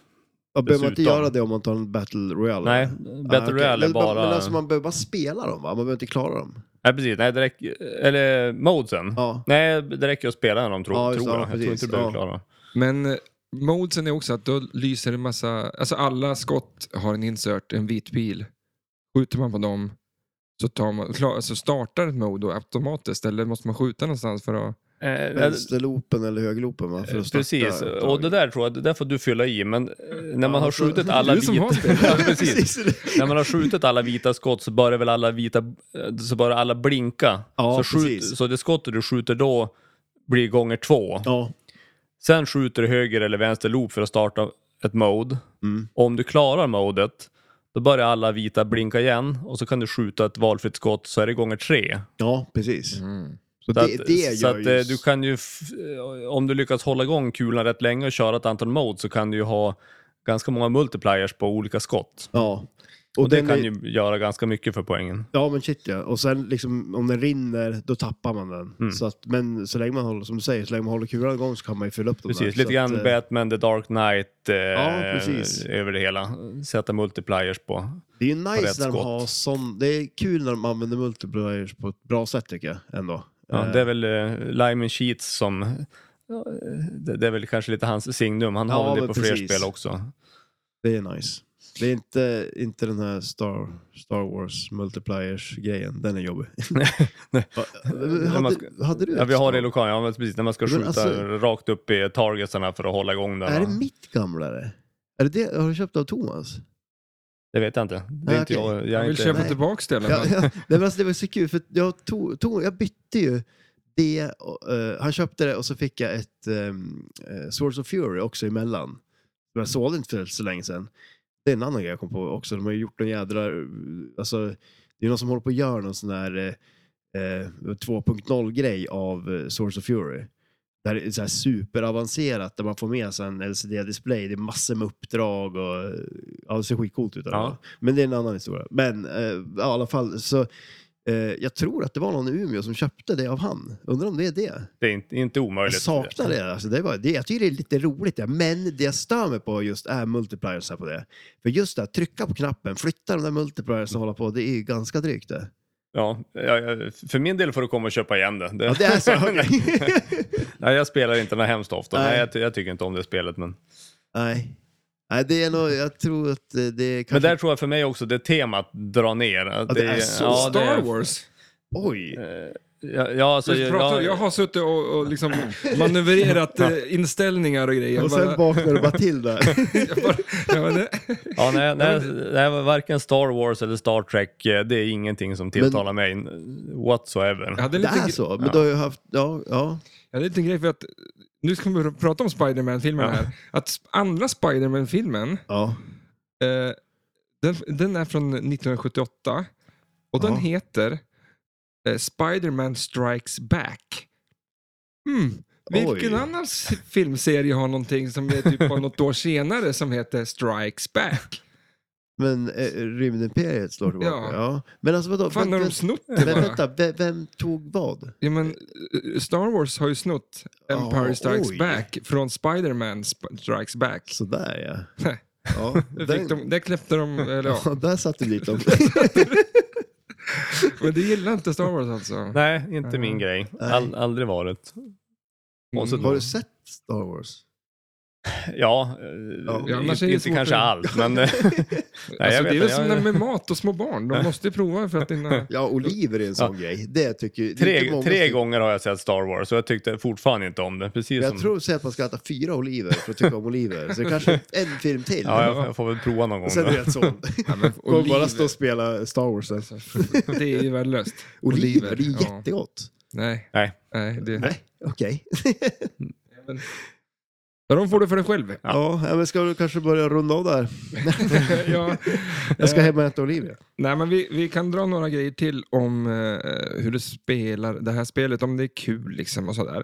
Speaker 2: Ja, behöver man inte
Speaker 3: dessutom.
Speaker 2: göra det om man tar en Battle Royale?
Speaker 3: Nej,
Speaker 2: Ah,
Speaker 3: Battle
Speaker 2: okej.
Speaker 3: Royale är
Speaker 2: men,
Speaker 3: bara...
Speaker 2: Men alltså man behöver bara spela dem va? Man behöver inte klara dem.
Speaker 3: Nej, precis. Nej, det räcker... Eller modesen.
Speaker 2: Ja.
Speaker 3: Nej, det räcker att spela dem, tror,
Speaker 2: Ja, just
Speaker 3: tror
Speaker 2: det,
Speaker 3: jag.
Speaker 2: ja,
Speaker 3: jag tror
Speaker 2: precis,
Speaker 3: inte du behöver
Speaker 2: ja.
Speaker 3: klara.
Speaker 1: Men eh, modesen är också att då lyser en massa, alltså alla skott har en insert, en vit pil. Skjuter man på dem så tar man, klar, alltså startar ett mode då automatiskt eller måste man skjuta någonstans för att...
Speaker 3: Eh,
Speaker 2: Vänsterloopen eller högerloopen va? För att starta
Speaker 3: Precis,
Speaker 2: ett
Speaker 3: och det
Speaker 2: tag.
Speaker 3: där tror jag, det där får du fylla i. Men eh, när man har
Speaker 2: alltså,
Speaker 3: skjutit alla
Speaker 1: du som
Speaker 3: vita...
Speaker 1: har spelat.
Speaker 3: Ja, precis.
Speaker 2: Precis.
Speaker 3: När man har skjutit alla vita skott så börjar väl alla vita... eh, Så börjar alla blinka.
Speaker 2: Ja,
Speaker 3: så, skjut,
Speaker 2: precis.
Speaker 3: så det skottet du skjuter då blir gånger två.
Speaker 2: Ja,
Speaker 3: Sen skjuter du höger eller vänster loop för att starta ett mode.
Speaker 2: Mm.
Speaker 3: Och om du klarar modet, då börjar alla vita blinka igen och så kan du skjuta ett valfritt skott så är det gånger tre.
Speaker 2: ja precis. Så,
Speaker 3: Så,
Speaker 2: det,
Speaker 3: att,
Speaker 2: det
Speaker 3: så
Speaker 2: gör
Speaker 3: att,
Speaker 2: ju...
Speaker 3: eh, du kan ju, f- eh, om du lyckas hålla igång kulan rätt länge och köra ett antal modes så kan du ju ha ganska många multipliers på olika skott.
Speaker 2: Ja. Och,
Speaker 3: Och det
Speaker 2: den
Speaker 3: kan
Speaker 2: är-
Speaker 3: ju göra ganska mycket för poängen.
Speaker 2: Ja, men shit ja. Och sen liksom, om den rinner, då tappar man den.
Speaker 3: Mm.
Speaker 2: Så att, men så länge man håller, som du säger, så länge man håller kulan igång så kan man ju fylla upp den där.
Speaker 3: Precis,
Speaker 2: Så
Speaker 3: lite grann
Speaker 2: att, eh,
Speaker 3: Batman, The Dark Knight eh,
Speaker 2: precis.
Speaker 3: över det hela. Sätta multipliers på.
Speaker 2: Det är ju
Speaker 3: rätt
Speaker 2: nice när de
Speaker 3: skott.
Speaker 2: har sån... Det är kul när de använder multipliers på ett bra sätt tycker jag ändå.
Speaker 3: Ja,
Speaker 2: Eh,
Speaker 3: det är väl eh, Lyman Sheets som... ja, eh, Det det är väl kanske lite hans signum. Han
Speaker 2: Ja,
Speaker 3: har väl det
Speaker 2: men
Speaker 3: på
Speaker 2: precis.
Speaker 3: fler spel också.
Speaker 2: Det är nice. Det är inte, inte den här Star, Star Wars multipliers-grejen. Den är jobbig. eh,
Speaker 3: När man
Speaker 2: hade,
Speaker 3: ska-
Speaker 2: hade du
Speaker 3: Ja,
Speaker 2: ett
Speaker 3: vi har
Speaker 2: sånt?
Speaker 3: det i lokalen. Ja, men precis. När man ska
Speaker 2: Men
Speaker 3: skjuta
Speaker 2: alltså-
Speaker 3: rakt upp i targetsarna för att hålla igång den.
Speaker 2: Är det
Speaker 3: va?
Speaker 2: mitt gamla det? Är det det? Har du köpt av Thomas?
Speaker 3: Det vet jag inte. Det är
Speaker 2: Nej,
Speaker 3: inte
Speaker 2: okej.
Speaker 3: jag.
Speaker 1: Jag
Speaker 3: jag är
Speaker 1: vill
Speaker 3: inte...
Speaker 1: köpa
Speaker 2: Nej.
Speaker 1: tillbaka det i alla
Speaker 2: Ja,
Speaker 1: fall.
Speaker 2: ja, nej, men alltså, det var så kul för att jag, tog, tog, jag bytte ju det. Och, eh, han köpte det och så fick jag ett um, Swords of Fury också emellan. Men jag sålde inte för så länge sedan. Det är en annan grej jag kom på också. De har ju gjort en jädra... eh, Alltså, det är någon som håller på att göra någon sån här eh, eh, 2.0-grej av eh, Swords of Fury. Där det är så här superavancerat där man får med sig en LCD-display. Det är massor med uppdrag och ja, det ser skitcoolt ut.
Speaker 3: Ja.
Speaker 2: Men det är en annan historia. Men eh, ja, i alla fall så eh, jag tror att det var någon i Umeå som köpte det av han. Undrar om det är det.
Speaker 3: Det är inte, inte
Speaker 2: Jag
Speaker 3: omöjligt.
Speaker 2: saknar det. Alltså, det, var, det. Jag tycker det är lite roligt, det. men det jag stör mig på just är multipliers här på det. För just det, att trycka på knappen, flytta de där multipliers och hålla på, det är ju ganska drygt det.
Speaker 3: Ja, jag- jag- för min del får du komma och köpa igen det. det...
Speaker 2: Ja, det är så.
Speaker 3: Nej. Nej, jag spelar inte den här hemskt ofta.
Speaker 2: Nej.
Speaker 3: Nej. jag, ty- jag tycker inte om det spelet. Men,
Speaker 2: Nej. Nej, det är nog, jag tror att eh, det är
Speaker 3: men
Speaker 2: kanske...
Speaker 3: där tror jag för mig också, det temat dra ner. Att
Speaker 2: det är så
Speaker 3: det är-
Speaker 1: Star Wars?
Speaker 2: Oj!
Speaker 3: Ja, ja, alltså,
Speaker 1: Du pratar, jag, har suttit och, och liksom manövrerat eh, inställningar och grejer.
Speaker 2: Och sen
Speaker 1: Bara-
Speaker 2: vaknar du bara till där.
Speaker 1: jag bara, jag bara, nej.
Speaker 3: Ja, nej, nej, nej, varken Star Wars eller Star Trek, eh, det är ingenting som tilltalar mig whatsoever.
Speaker 1: jag hade en
Speaker 2: Det
Speaker 1: liten
Speaker 2: är
Speaker 1: gre-
Speaker 2: så, men du har ju haft... Ja, ja.
Speaker 1: Jag hade en liten grej för att eh, nu ska vi prata om Spider-Man-filmen
Speaker 3: Ja.
Speaker 1: här. Att sp- andra Spider-Man-filmen,
Speaker 2: ja.
Speaker 1: eh, den, den är från 1978 och den
Speaker 2: Ja.
Speaker 1: heter eh, Spider-Man Strikes Back. Hmm. Vilken
Speaker 2: Oj.
Speaker 1: annan s- filmserie har någonting som är typ bara något år senare som heter Strikes Back?
Speaker 2: Men eh, rymdimperiet slår tillbaka. Ja.
Speaker 1: Ja.
Speaker 2: Men alltså vadå?
Speaker 1: Fan, har
Speaker 2: vem,
Speaker 1: de snott det bara?
Speaker 2: vem, vänta, vem, vem tog vad?
Speaker 1: Ja, men eh, Star Wars har ju snott Empire
Speaker 2: Ja,
Speaker 1: Strikes
Speaker 2: oj.
Speaker 1: Back från Spider-Man Sp- Strikes Back.
Speaker 2: Sådär ja. ja
Speaker 1: Det fick de, där kläppte de, eller ja.
Speaker 2: Ja, där satte du dit dem.
Speaker 1: Men det gillar inte Star Wars alltså.
Speaker 3: Nej, inte
Speaker 2: Mm.
Speaker 3: min grej. All, aldrig varit. Och så,
Speaker 1: Mm.
Speaker 2: Har du sett Star Wars?
Speaker 3: Ja, eh,
Speaker 1: Ja, annars
Speaker 3: inte,
Speaker 1: är det
Speaker 3: inte
Speaker 1: svårt
Speaker 3: kanske
Speaker 1: att-
Speaker 3: allt, men... Nej,
Speaker 1: Alltså,
Speaker 3: jag
Speaker 1: det är
Speaker 3: vet
Speaker 1: väl
Speaker 3: inte.
Speaker 1: som
Speaker 3: Jag-
Speaker 1: med mat och små barn, de måste ju prova för att hinna...
Speaker 2: Ja, Oliver är en sån grej. Det tycker det är inte
Speaker 3: Tre,
Speaker 2: många
Speaker 3: tre
Speaker 2: som-
Speaker 3: gånger har jag sett Star Wars och jag tyckte fortfarande inte om det. Precis
Speaker 2: Jag
Speaker 3: som,
Speaker 2: tror så att man ska äta fyra oliver för att tycka om oliver. Så det kanske är en film till.
Speaker 3: ja, jag, jag får väl prova någon gång.
Speaker 2: Sen är
Speaker 3: då.
Speaker 2: det helt sån. Och bara stå och spela Star Wars. Alltså.
Speaker 1: Det är ju värdelöst.
Speaker 2: Oliver, det är
Speaker 1: ja.
Speaker 2: jättegott.
Speaker 1: Nej,
Speaker 3: Nej.
Speaker 1: nej. Det...
Speaker 2: Nej, okej.
Speaker 1: Ja, de får det för dig själv.
Speaker 2: Ja. ja, men ska du kanske börja runda av där?
Speaker 1: ja.
Speaker 2: Jag
Speaker 1: Eh.
Speaker 2: ska hem och äta oliver.
Speaker 1: Nej, men vi, vi kan dra några grejer till om eh, hur du spelar det här spelet, om det är kul liksom och sådär.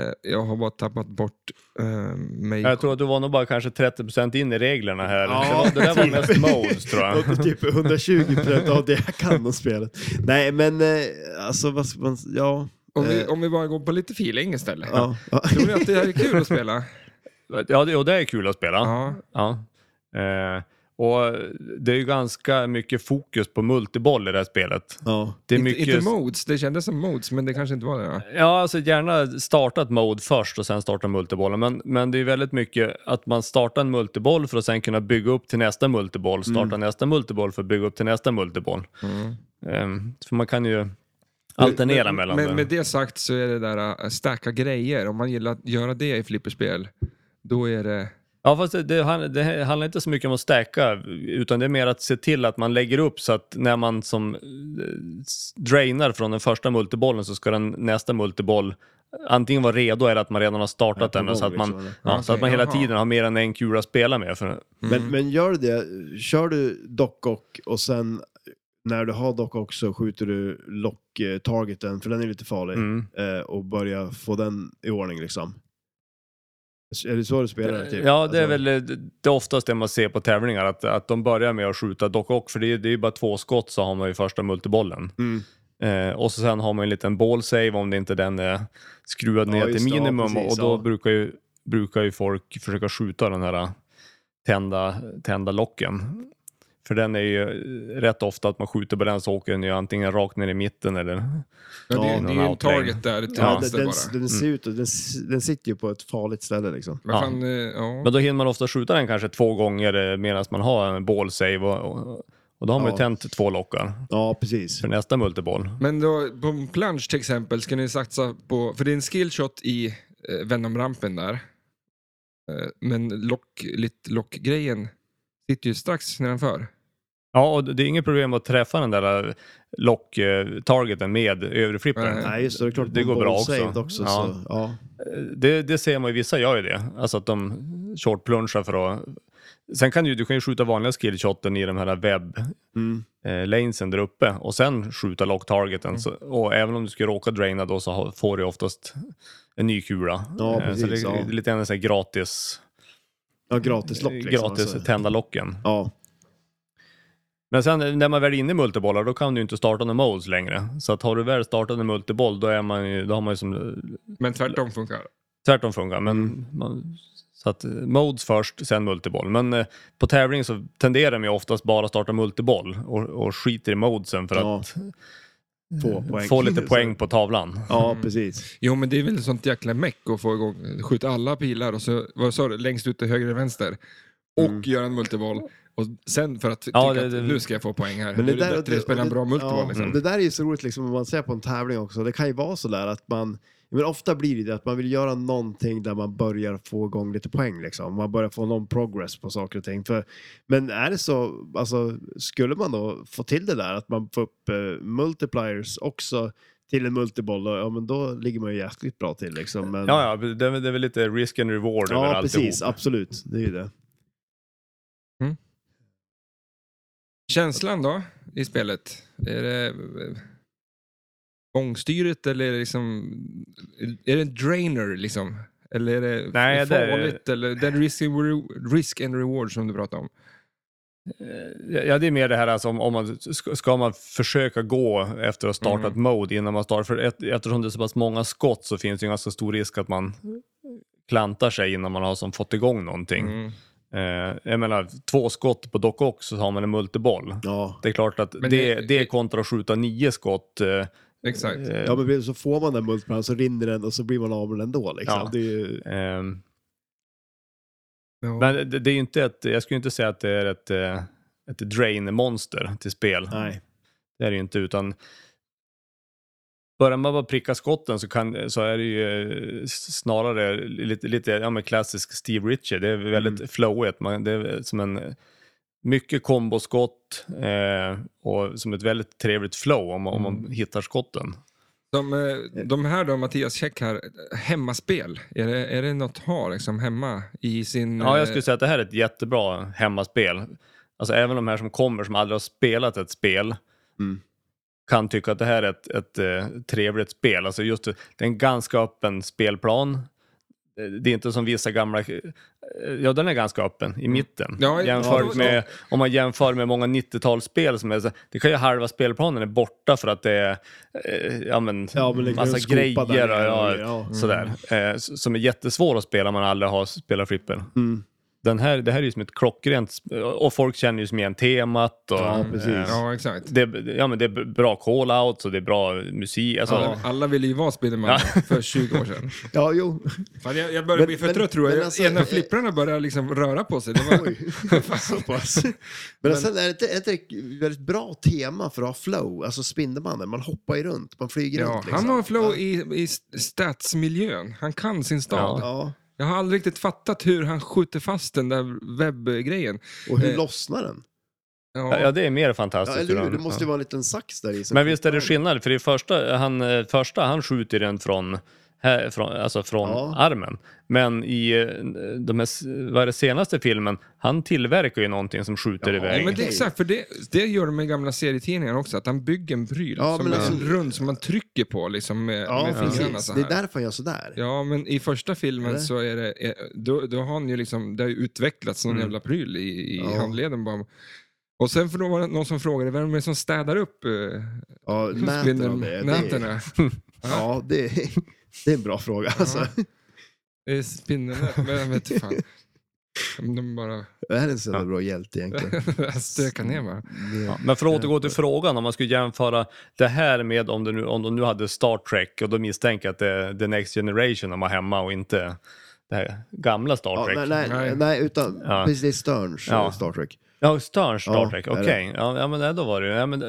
Speaker 1: Eh, jag har bara tappat bort eh, mig.
Speaker 3: Jag tror att du var nog bara kanske 30% in i reglerna här. det, var, det där var mest modes tror jag.
Speaker 2: Och typ 120 procent av det jag kan om spelet. Nej, men eh, alltså vad ska man... Ja.
Speaker 1: om, vi,
Speaker 3: eh-
Speaker 1: om vi bara går på lite feeling istället.
Speaker 2: ja. ja.
Speaker 1: Tror ni att det här är kul att spela?
Speaker 3: Ja, det, och det är kul att spela.
Speaker 1: Ja.
Speaker 3: Ja. Eh, och det är ju ganska mycket fokus på multiboll i det här spelet.
Speaker 2: ja.
Speaker 3: Det är
Speaker 1: Inte-
Speaker 3: mycket...
Speaker 1: Inte modes, det kändes som modes, men det kanske inte var det. va?
Speaker 3: Ja, alltså gärna starta ett mode först och sen starta multibollen. Men, men det är väldigt mycket att man startar en multiboll för att sen kunna bygga upp till nästa multiboll, starta
Speaker 2: Mm.
Speaker 3: nästa multiboll för att bygga upp till nästa multiboll. Ehm, för man kan ju alternera
Speaker 1: Mm. men,
Speaker 3: mellan
Speaker 1: men
Speaker 3: det.
Speaker 1: med det sagt så är det där äh, stacka grejer, om man gillar att göra det i flipperspel, då är det... mm.
Speaker 3: Ja, fast det, det, handlar- det handlar inte så mycket om att stacka, utan det är mer att se till att man lägger upp så att när man som eh, s- drainar från den första multibollen så ska den nästa multiboll antingen vara redo eller att man redan har startat
Speaker 2: Ja, på
Speaker 3: den. och Så
Speaker 2: gång
Speaker 3: att man,
Speaker 2: liksom, eller?
Speaker 3: ja, så
Speaker 1: Okej,
Speaker 3: att man hela
Speaker 1: jaha.
Speaker 3: tiden har mer än en kula att spela med. För,
Speaker 2: Men,
Speaker 3: Mm.
Speaker 2: men gör det, kör du dockok och sen när du har dockok så skjuter du lock-targeten, för den är lite farlig,
Speaker 3: Mm.
Speaker 2: eh, och börjar få den i ordning liksom. Är det så du spelar typ?
Speaker 3: Ja, det är
Speaker 2: Alltså,
Speaker 3: väl eh, det är oftast det man ser på tävlingar, att, att de börjar med att skjuta dock och, för det är, det är ju bara två skott så har man ju första multibollen.
Speaker 2: Mm.
Speaker 3: Eh, och så sen har man en liten ball-save om det inte den är skruvad
Speaker 2: Ja,
Speaker 3: ner till
Speaker 2: just det, ja,
Speaker 3: minimum
Speaker 2: precis,
Speaker 3: och då
Speaker 2: ja.
Speaker 3: brukar, ju, brukar ju folk försöka skjuta den här eh, tända, tända locken. För den är ju eh, rätt ofta att man skjuter på den så åker den ju antingen rakt ner i mitten eller...
Speaker 2: Ja,
Speaker 1: det, är- det är ju en
Speaker 3: någon
Speaker 1: target där till
Speaker 2: Ja, den,
Speaker 1: vänster
Speaker 2: den,
Speaker 1: bara.
Speaker 3: Mm.
Speaker 2: den, ser ut, och- den, den sitter ju på ett farligt ställe liksom.
Speaker 1: Men
Speaker 3: Ja.
Speaker 1: fan, eh, ja.
Speaker 3: Men då hinner man ofta skjuta den kanske två gånger eh, medan man har en ball-save och, och, och då har man
Speaker 2: Ja.
Speaker 3: ju tänt två lockar
Speaker 2: Ja, precis.
Speaker 3: för nästa multiboll.
Speaker 1: Men då, på en plunge till exempel ska ni satsa på, för det är en skillshot i eh, Venom-rampen där. Eh, men lock, lit- lockgrejen sitter ju strax nedanför.
Speaker 3: Ja, och det är inget problem att träffa den där eh, lock-targeten med överflipparen.
Speaker 2: Nej, just det. Det, är klart,
Speaker 3: Det går
Speaker 2: ball
Speaker 3: bra också.
Speaker 2: saved också
Speaker 3: Ja.
Speaker 2: så, ja.
Speaker 3: Eh, Det, det ser man ju, vissa gör ju det. Alltså att de short plunchar för att... Sen kan du, du kan ju skjuta vanliga skillshoten i de här webb
Speaker 2: Mm.
Speaker 3: eh, lanesen där uppe och sen skjuta lock-targeten. Så, och även om du skulle råka draina då så har- får du oftast en ny kula.
Speaker 2: Ja,
Speaker 3: Eh, så
Speaker 2: precis,
Speaker 3: det,
Speaker 2: ja.
Speaker 3: det är lite grann så här gratis,
Speaker 2: ja, gratis lock liksom.
Speaker 3: Eh, gratis
Speaker 2: alltså.
Speaker 3: tända locken.
Speaker 2: Ja,
Speaker 3: Men sen eh, när man väl är inne i multibollar då kan du ju inte starta några modes längre. Så att har du väl startat en multiboll då, är man ju, då har man ju som eh,
Speaker 1: Men tvärtom funkar det.
Speaker 3: tvärtom funkar. Men
Speaker 2: Mm.
Speaker 3: man, så att eh, modes först, sen multiboll. Men eh, på tävling så tenderar man ju oftast bara starta multiboll och, och skiter i modesen för
Speaker 2: Ja,
Speaker 3: att
Speaker 2: få poäng.
Speaker 3: få lite poäng på tavlan.
Speaker 2: Ja, precis.
Speaker 1: Jo, men det är väl ett sånt jäkla meck att få igång, skjuta alla pilar och så, vad sa du, längst ut till höger och vänster. Och göra en multiboll. Och sen för att
Speaker 3: Mm. Ja,
Speaker 1: tycka
Speaker 3: det- det-
Speaker 1: att nu ska jag få poäng här.
Speaker 2: Men det,
Speaker 1: Då är
Speaker 2: där,
Speaker 1: bättre att spela en bra multiboll.
Speaker 2: ja,
Speaker 3: Mm.
Speaker 1: liksom.
Speaker 2: det där är ju så roligt liksom, om man ser på en tävling också. Det kan ju vara så där att man, men ofta blir det ju det att man vill göra någonting där man börjar få igång lite poäng. Liksom. Man börjar få någon progress på saker och ting. För, men är det så, alltså, skulle man då få till det där att man får upp eh, multipliers också till en multiboll, då, ja, men då ligger man ju jäkligt bra till. Liksom. Men,
Speaker 3: Ja, ja, det är, väl- det är väl lite risk and reward över
Speaker 2: ja
Speaker 3: alltihop.
Speaker 2: precis. Absolut, det är ju det.
Speaker 1: Känslan då i spelet? Är det eh, ångstyret eller är det liksom... Är det en drainer liksom? Eller är det
Speaker 3: Nej, det är-
Speaker 1: farligt? Eller den risk and, re- risk and reward som du pratade om?
Speaker 3: Ja, det är mer det här alltså, om, om man, ska- ska man försöka gå efter att starta ett mode innan man startar? För ett, eftersom det är så pass många skott så finns det ju en ganska stor risk att man klantar sig innan man har som fått igång någonting.
Speaker 1: Mm.
Speaker 3: Eh, jag menar, två skott på dock också så har man en multiboll.
Speaker 2: Ja.
Speaker 3: Det är klart att det,
Speaker 1: Men
Speaker 3: det,
Speaker 1: det-
Speaker 3: är kontra att skjuta nio skott. Eh,
Speaker 1: Exakt.
Speaker 2: Ja, men så får man den multipliern så rinner den och så blir man av med den ändå. Liksom.
Speaker 3: Ja.
Speaker 2: Det är ju...
Speaker 3: ehm,
Speaker 1: Ja.
Speaker 3: Men det, det är ju inte ett, jag skulle inte säga att det är ett, eh, ett drain-monster till spel.
Speaker 2: Nej.
Speaker 3: Det är det ju inte, utan börjar man bara pricka skotten så, kan, så är det ju eh, snarare lite, lite ja, men klassisk Steve Ritchie. Det är väldigt flowigt. Man, det är som en, mycket komboskott eh, och som ett väldigt trevligt flow om, man- om man hittar skotten.
Speaker 1: De, eh, de här då, Mattias Käck här, hemmaspel, är det, är det något att ha liksom hemma i sin...
Speaker 3: Ja,
Speaker 1: eh,
Speaker 3: jag skulle säga att det här är ett jättebra hemmaspel. Alltså även de här som kommer som aldrig har spelat ett spel
Speaker 2: Mm.
Speaker 3: kan tycka att det här är ett, ett eh, trevligt spel. Alltså just det, det är en ganska öppen spelplan. Eh, Det är inte som vissa gamla... eh, Ja, den är ganska öppen i mitten.
Speaker 1: Mm. Ja,
Speaker 3: Jämfört
Speaker 1: ja,
Speaker 3: med, om man jämför med många 90-talsspel som är så, det kan ju halva spelplanen är borta för att det är eh, ja, men,
Speaker 2: Ja, men det kan ju
Speaker 3: massa
Speaker 2: skopa där
Speaker 3: grejer och,
Speaker 2: nere
Speaker 3: ja,
Speaker 2: och- ja. Mm.
Speaker 3: sådär. Eh, s- som är jättesvår att spela om man aldrig har spelat flipper.
Speaker 2: Mm.
Speaker 3: Den här, det här är ju som ett klockrent, sp- och folk känner ju som igen temat. Och,
Speaker 2: Ja,
Speaker 1: Mm.
Speaker 2: precis.
Speaker 3: eh,
Speaker 1: Ja, exakt.
Speaker 3: det, ja, men det är bra call-outs och det är bra musik. Alltså,
Speaker 1: Alla, alla ville ju vara Spiderman för 20 år sedan.
Speaker 2: Ja, jo.
Speaker 1: Fan, jag, jag börjar
Speaker 2: Men-
Speaker 1: bli för
Speaker 2: men-
Speaker 1: trött tror jag.
Speaker 2: men alltså-
Speaker 1: en av flipprarna börjar liksom röra på sig. Det var,
Speaker 2: Så pass. Men, sen är det ett, ett, väldigt bra tema för att ha flow, alltså Spindelmannen. Man hoppar ju runt, man flyger
Speaker 1: ja,
Speaker 2: runt. Liksom.
Speaker 1: han har en flow i, i stadsmiljön. Han kan sin stad.
Speaker 2: Ja,
Speaker 1: Jag har aldrig riktigt fattat hur han skjuter fast den där webbgrejen.
Speaker 2: och hur
Speaker 1: Eh,
Speaker 2: lossnar den?
Speaker 1: Ja,
Speaker 3: ja, det är mer
Speaker 2: Ja,
Speaker 3: fantastiskt.
Speaker 2: eller
Speaker 3: hur
Speaker 2: hur?
Speaker 3: de-
Speaker 2: Det måste ju vara en liten sax där i. som-
Speaker 3: Men visst är det skillnad, för i första, han, eh, första han skjuter den från här från, alltså från
Speaker 2: Ja.
Speaker 3: armen. Men i eh, de här, s- vad är det, senaste filmen, han tillverkar ju någonting som skjuter
Speaker 1: Ja,
Speaker 3: iväg.
Speaker 1: men det är exakt, för det, det gör de i gamla serietidningarna också, att han bygger en pryl
Speaker 2: Ja,
Speaker 1: som
Speaker 2: men
Speaker 1: är
Speaker 2: alltså-
Speaker 1: liksom rund som man trycker på liksom, med,
Speaker 2: Ja,
Speaker 1: med fingrarna
Speaker 2: precis.
Speaker 1: så
Speaker 2: Det är
Speaker 1: här.
Speaker 2: därför han gör sådär.
Speaker 1: Ja, men i första filmen
Speaker 2: Eller?
Speaker 1: så är det, är- då, då har han ju liksom, det har ju utvecklats någon jävla pryl i, i
Speaker 2: Mm. Ja.
Speaker 1: handleden bara. Och sen för då var det någon som frågade, vem är det som städar upp eh,
Speaker 2: Ja, näten av
Speaker 1: spindeln-
Speaker 2: det. det är,
Speaker 1: nätterna?
Speaker 2: ja, det är, det är en bra fråga. Alltså.
Speaker 1: Det är spindelnät, men jag vet inte fan. Om De bara
Speaker 2: Det här är en så jävla bra hjälte egentligen.
Speaker 1: stökar ner bara.
Speaker 3: Ja, men för att
Speaker 2: Eh,
Speaker 3: återgå till frågan, om man skulle jämföra det här med om, det nu, om de nu hade Star Trek och då misstänker jag att det är The Next Generation de har hemma och inte det här gamla Star
Speaker 2: Ja,
Speaker 3: Trek.
Speaker 2: nej, nej,
Speaker 1: Nej.
Speaker 2: nej, utan
Speaker 3: Ja.
Speaker 2: precis det är Sterns
Speaker 3: Ja.
Speaker 2: eh, Star Trek.
Speaker 3: Ja, Stern Star
Speaker 2: Ja,
Speaker 3: Trek,
Speaker 2: det är det.
Speaker 3: okej. Ja, ja, men nej, då var det ju... Ja, men, eh,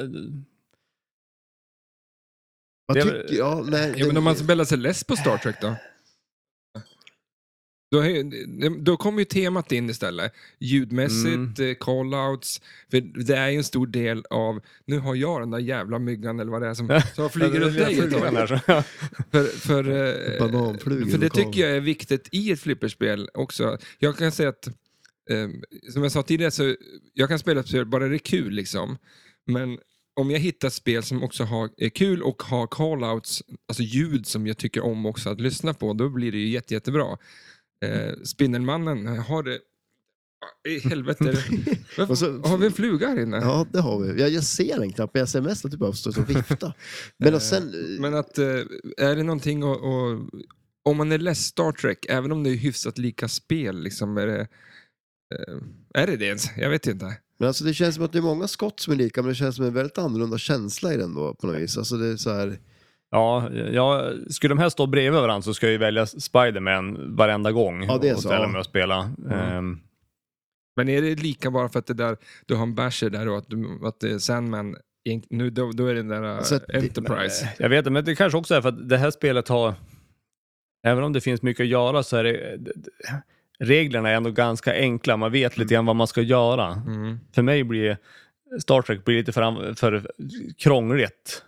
Speaker 2: Vad
Speaker 3: Det är väl-
Speaker 2: tycker ja, nej,
Speaker 1: Ja, men
Speaker 2: det-
Speaker 1: om man spelar sig less på Star Trek då? Då, är- då kommer ju temat in istället. Ljudmässigt, eh, callouts. För det är ju en stor del av, nu har jag den där jävla myggan eller vad det är som, som flyger runt dig ett
Speaker 3: flugan
Speaker 1: tag.
Speaker 3: här, så- ja.
Speaker 1: För, för, eh,
Speaker 2: Bananflugor
Speaker 1: för det
Speaker 2: lokalt.
Speaker 1: tycker jag är viktigt i ett flipperspel också. Jag kan säga att, eh, som jag sa tidigare, så jag kan spela ett spel bara det är kul. liksom. Men om jag hittar ett spel som också har, är kul och har call-outs, alltså ljud som jag tycker om också att lyssna på, då blir det ju jätte, jättebra. Eh, Spindelmannen har det... Ah, I helvete. Varför,
Speaker 2: Och så-
Speaker 1: har vi en fluga här inne?
Speaker 2: Ja, det har vi. Jag, jag ser den knappt, men jag ser mest att du bara står och viftar. Men alltså, och sen...
Speaker 1: Men att, eh, är det någonting att, att... Om man är less Star Trek, även om det är hyfsat lika spel, liksom, är det... eh, Är det det ens? Jag vet inte.
Speaker 2: Men alltså det känns som att det är många skott som är lika, men det känns som en väldigt annorlunda känsla i den då på något vis. Alltså det är så här,
Speaker 3: Ja, ja, skulle de här stå bredvid varandra så ska jag ju välja Spiderman varenda gång.
Speaker 2: Ja, det är
Speaker 3: och
Speaker 2: så,
Speaker 3: ställa
Speaker 2: ja.
Speaker 3: mig och spela. Ehm,
Speaker 1: Men är det lika bara för att det där, du har en basher där och att, du- att det är Sandman, egent- nu, då, då är det den där eh,
Speaker 2: Alltså att det-
Speaker 1: Enterprise.
Speaker 3: Jag vet inte, men det kanske också är för att det här spelet har... Även om det finns mycket att göra så är det... Reglerna är ändå ganska enkla. Man vet
Speaker 2: Mm.
Speaker 3: lite grann vad man ska göra.
Speaker 1: Mm.
Speaker 3: För mig blir Star Trek blir lite för, för krångligt.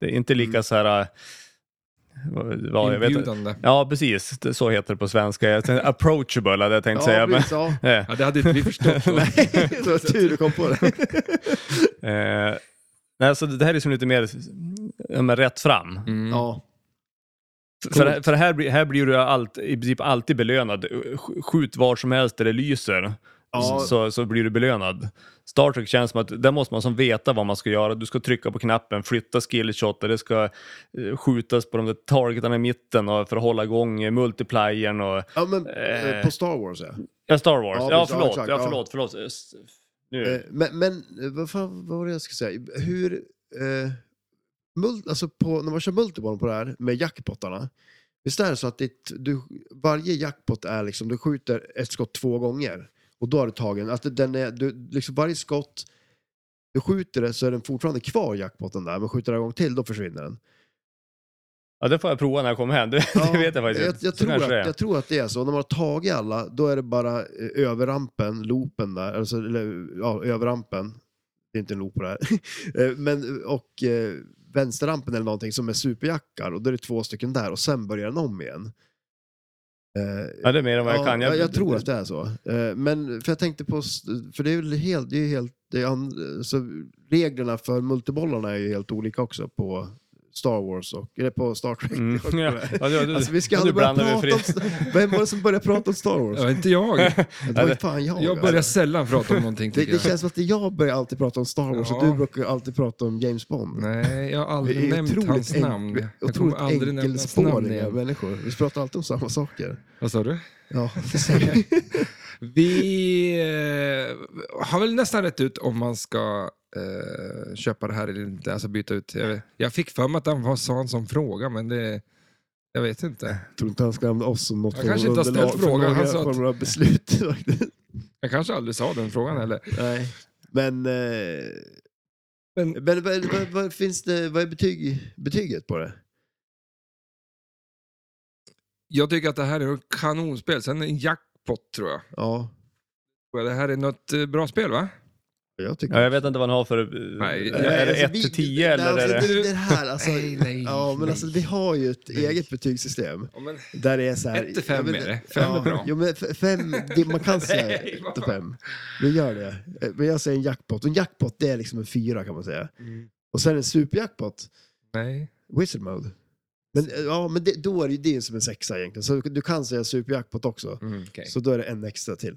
Speaker 3: Det är inte lika
Speaker 2: Mm.
Speaker 3: så här... äh, vad- Vad, jag vet, inte.
Speaker 1: Inbjudande.
Speaker 3: ja, precis. Det- Så heter det på svenska. Jag tänkte, approachable hade jag tänkt säga.
Speaker 2: ja,
Speaker 3: Men,
Speaker 2: precis, ja.
Speaker 3: eh,
Speaker 1: Ja, det hade inte vi förstått. då.
Speaker 2: Det var tur du kom på
Speaker 3: Mm.
Speaker 2: det.
Speaker 3: eh, nej, så det här är som lite mer ja, men rätt fram.
Speaker 1: Mm.
Speaker 2: Ja,
Speaker 3: För, för här, blir- här blir du allt, i princip alltid belönad. Sk- Skjut var som helst där det lyser,
Speaker 2: ja,
Speaker 3: så, så blir du belönad. Star Trek känns som att där måste man som veta vad man ska göra. Du ska trycka på knappen, flytta skillshot, det ska eh, skjutas på de där targetarna i mitten och för att hålla igång eh, multipliern och...
Speaker 2: ja men
Speaker 3: Eh.
Speaker 2: eh, på Star Wars ja.
Speaker 3: Ja, Star Wars.
Speaker 2: Ja,
Speaker 3: Ja,
Speaker 2: precis. Ja,
Speaker 3: förlåt,
Speaker 2: exakt,
Speaker 3: ja,
Speaker 2: ja.
Speaker 3: förlåt, förlåt. Eh, s- Nu.
Speaker 2: Eh, Men, men eh, vad, fan, vad var det jag skulle säga? Hur, eh, mul- alltså på, när man kör multiball på det här med jackpottarna. Visst är det så att ditt, du, varje jackpot är liksom, du skjuter ett skott två gånger och då har du tagen. Att den är, du, liksom varje skott du skjuter det så är den fortfarande kvar jackpotten där, men skjuter du en gång till då försvinner den.
Speaker 3: Ja, det får jag prova när jag kommer hem. Det, det vet jag faktiskt
Speaker 2: jag,
Speaker 3: inte.
Speaker 2: jag,
Speaker 3: Så
Speaker 2: tror
Speaker 3: kanske det är.
Speaker 2: att, jag tror att det är så. När man har tagit alla, då är det bara eh, överrampen, loopen där. Alltså, eller, ja, överrampen. Det är inte en loop på det här. Eh, Men, och eh, vänsterrampen eller någonting som är superjackar. Och då är det två stycken där och sen börjar den om igen. Eh,
Speaker 3: Ja, det är mer än vad jag kan.
Speaker 2: jag, jag tror att det är så. Eh, Men för jag tänkte på, s- för det är väl helt, det är ju helt, det är an, så reglerna för multibollarna är ju helt olika också på Star Wars och, eller på Star Trek.
Speaker 3: Mm.
Speaker 2: Och-
Speaker 3: Ja, ja, ja, du-
Speaker 2: Alltså vi ska
Speaker 3: ja, du
Speaker 2: aldrig börja
Speaker 3: blandar
Speaker 2: prata
Speaker 3: mig
Speaker 2: om... Vem var det som började prata om Star Wars?
Speaker 1: Ja, inte jag.
Speaker 2: Det var ju fan jag. alltså.
Speaker 1: Jag börjar sällan prata om någonting.
Speaker 2: Oh, det,
Speaker 1: tycker
Speaker 2: det
Speaker 1: jag.
Speaker 2: känns som att jag börjar alltid prata om Star Wars och
Speaker 1: Ja.
Speaker 2: du brukar alltid prata om James Bond.
Speaker 1: Nej, jag har
Speaker 2: Vi
Speaker 1: aldrig
Speaker 2: är
Speaker 1: nämnt hans
Speaker 2: enk-
Speaker 1: namn. Jag kommer
Speaker 2: otroligt
Speaker 1: aldrig nämna hans namn
Speaker 2: enkelspåriga
Speaker 1: igen.
Speaker 2: människor. Vi pratar alltid om samma saker.
Speaker 1: Vad sa du?
Speaker 2: Ja, det säger vi.
Speaker 1: Vi eh, har väl nästan rätt ut om man ska eh, köpa det här eller inte. Alltså byta ut. Jag, vet- jag fick för mig att han var sa en sån fråga, men det... Jag vet inte.
Speaker 2: tror inte han ska använda oss som något
Speaker 1: Jag kanske inte har
Speaker 2: underlag
Speaker 1: ställt
Speaker 2: för
Speaker 1: frågan.
Speaker 2: några
Speaker 1: Han sa att-
Speaker 2: former av beslut. faktiskt.
Speaker 1: Jag kanske aldrig sa den frågan heller.
Speaker 2: Nej. Men, eh,
Speaker 1: Men-
Speaker 2: men, vad- vad, vad, finns det, vad är betyg, betyget på det?
Speaker 1: Jag tycker att det här är ett kanonspel. Sen en jackpot, tror jag.
Speaker 2: Ja,
Speaker 1: Det här är något eh, bra spel, va?
Speaker 2: Jag tycker
Speaker 3: Ja, jag vet inte vad han har för... eh,
Speaker 1: Nej,
Speaker 3: är det 1
Speaker 2: alltså, vi-
Speaker 3: till 10 eller
Speaker 2: alltså,
Speaker 3: är det...
Speaker 2: det? Det här, alltså, ja, men alltså, vi har ju ett eget betygssystem.
Speaker 1: Ja, men,
Speaker 2: Där det är så här,
Speaker 1: Ett till fem
Speaker 2: ja, men-
Speaker 1: är det. Fem är bra.
Speaker 2: Jo, men f- fem, det, man kan säga
Speaker 1: Nej,
Speaker 2: ett
Speaker 1: vad
Speaker 2: till
Speaker 1: fan.
Speaker 2: fem. Vi gör det. Eh, Men jag säger en jackpot. Och en jackpot, det är liksom en fyra kan man säga. Och sen en superjackpot,
Speaker 1: Mm. nej.
Speaker 2: wizard mode. Men, eh, ja, men det, då är det ju det som en sexa egentligen. Så du kan säga superjackpot också.
Speaker 1: Mm, okej.
Speaker 2: Så då är det en extra till.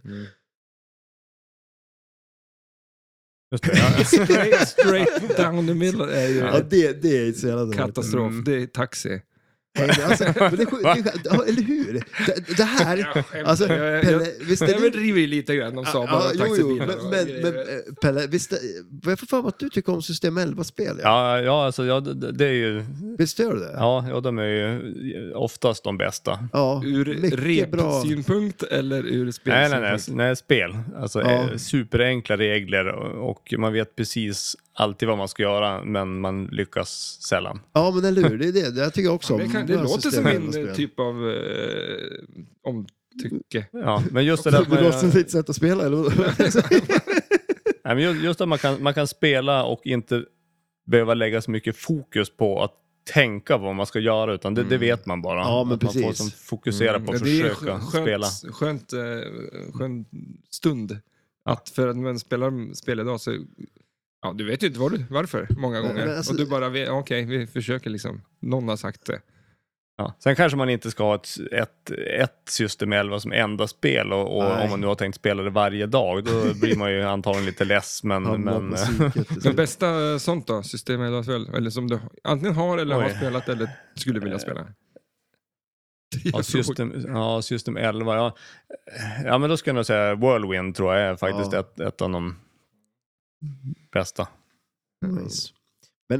Speaker 3: Just det, ja.
Speaker 1: straight, straight down the middle är ju
Speaker 2: Ja, det, det är så jävla dåligt.
Speaker 1: katastrof.
Speaker 3: Mm.
Speaker 1: Det är taxi.
Speaker 2: Nej, men Alltså, men det, är sjukt- det, är sjukt- ja, eller hur? Det, det här... Alltså,
Speaker 1: jag, jag, jag,
Speaker 2: Pelle, visst är
Speaker 1: jag
Speaker 2: det
Speaker 1: överdriver ju lite grann om Saab
Speaker 2: Ja,
Speaker 1: och
Speaker 2: jo, jo,
Speaker 1: taxibilar.
Speaker 2: men,
Speaker 1: och
Speaker 2: men,
Speaker 1: grejer.
Speaker 2: men eh, Pelle, visst, eh, jag får för mig att du tycker om System 11-spel? Ja.
Speaker 3: Ja, ja, alltså, ja, det det är ju...
Speaker 2: Visst gör du det?
Speaker 3: Ja, ja, de är ju oftast de bästa.
Speaker 2: Ja,
Speaker 1: Ur repsynpunkt eller ur
Speaker 3: Nej, nej,
Speaker 1: spelsynpunkt?
Speaker 3: nej, nej, spel. Alltså
Speaker 2: Ja.
Speaker 3: eh, superenkla regler och och man vet precis alltid vad man ska göra, men man lyckas sällan.
Speaker 2: Ja, men eller hur? Det är det. Det här tycker jag också
Speaker 1: Det,
Speaker 2: om.
Speaker 1: kan, det
Speaker 2: Bra
Speaker 1: låter
Speaker 2: System
Speaker 1: som min
Speaker 2: 11-spel.
Speaker 1: eh, typ av eh, omtycke.
Speaker 3: Ja, men eh, just det där att
Speaker 2: Det
Speaker 3: man,
Speaker 2: låter som ditt sätt att spela, eller? vad?
Speaker 3: nej, men ju- just att man, kan, man kan spela och inte behöva lägga så mycket fokus på att tänka vad man ska göra, utan det, det vet man bara.
Speaker 2: Ja, men
Speaker 3: att man får
Speaker 2: precis.
Speaker 3: som fokusera på att
Speaker 1: Mm. det är
Speaker 3: försöka
Speaker 1: skö- skönt,
Speaker 3: spela.
Speaker 1: Skönt, eh, skön stund. Att för att man spelar spel idag så... Ja, du vet ju inte var du, varför många
Speaker 2: Men-
Speaker 1: gånger.
Speaker 2: men alltså-
Speaker 1: och du bara, vet- okej, vi försöker liksom. Någon har sagt det.
Speaker 3: Ja. Sen kanske man inte ska ha ett, ett, ett system 11 som enda spel och, och
Speaker 2: Nej.
Speaker 3: om man nu har tänkt spela det varje dag, då blir man ju antagligen lite less. Men,
Speaker 2: Hamnar
Speaker 3: men, eh,
Speaker 2: på psyket liksom. till
Speaker 1: Det
Speaker 2: slut.
Speaker 1: bästa eh, sånt då, system eller spel? Eller som du antingen har eller har
Speaker 3: Oj.
Speaker 1: spelat eller skulle vilja spela?
Speaker 3: ja, system, ja, system 11, ja. ja men då skulle jag nog säga Whirlwind tror jag är faktiskt
Speaker 2: Ja. Alltså,
Speaker 3: ett, ett av de bästa.
Speaker 2: Nice. Mm.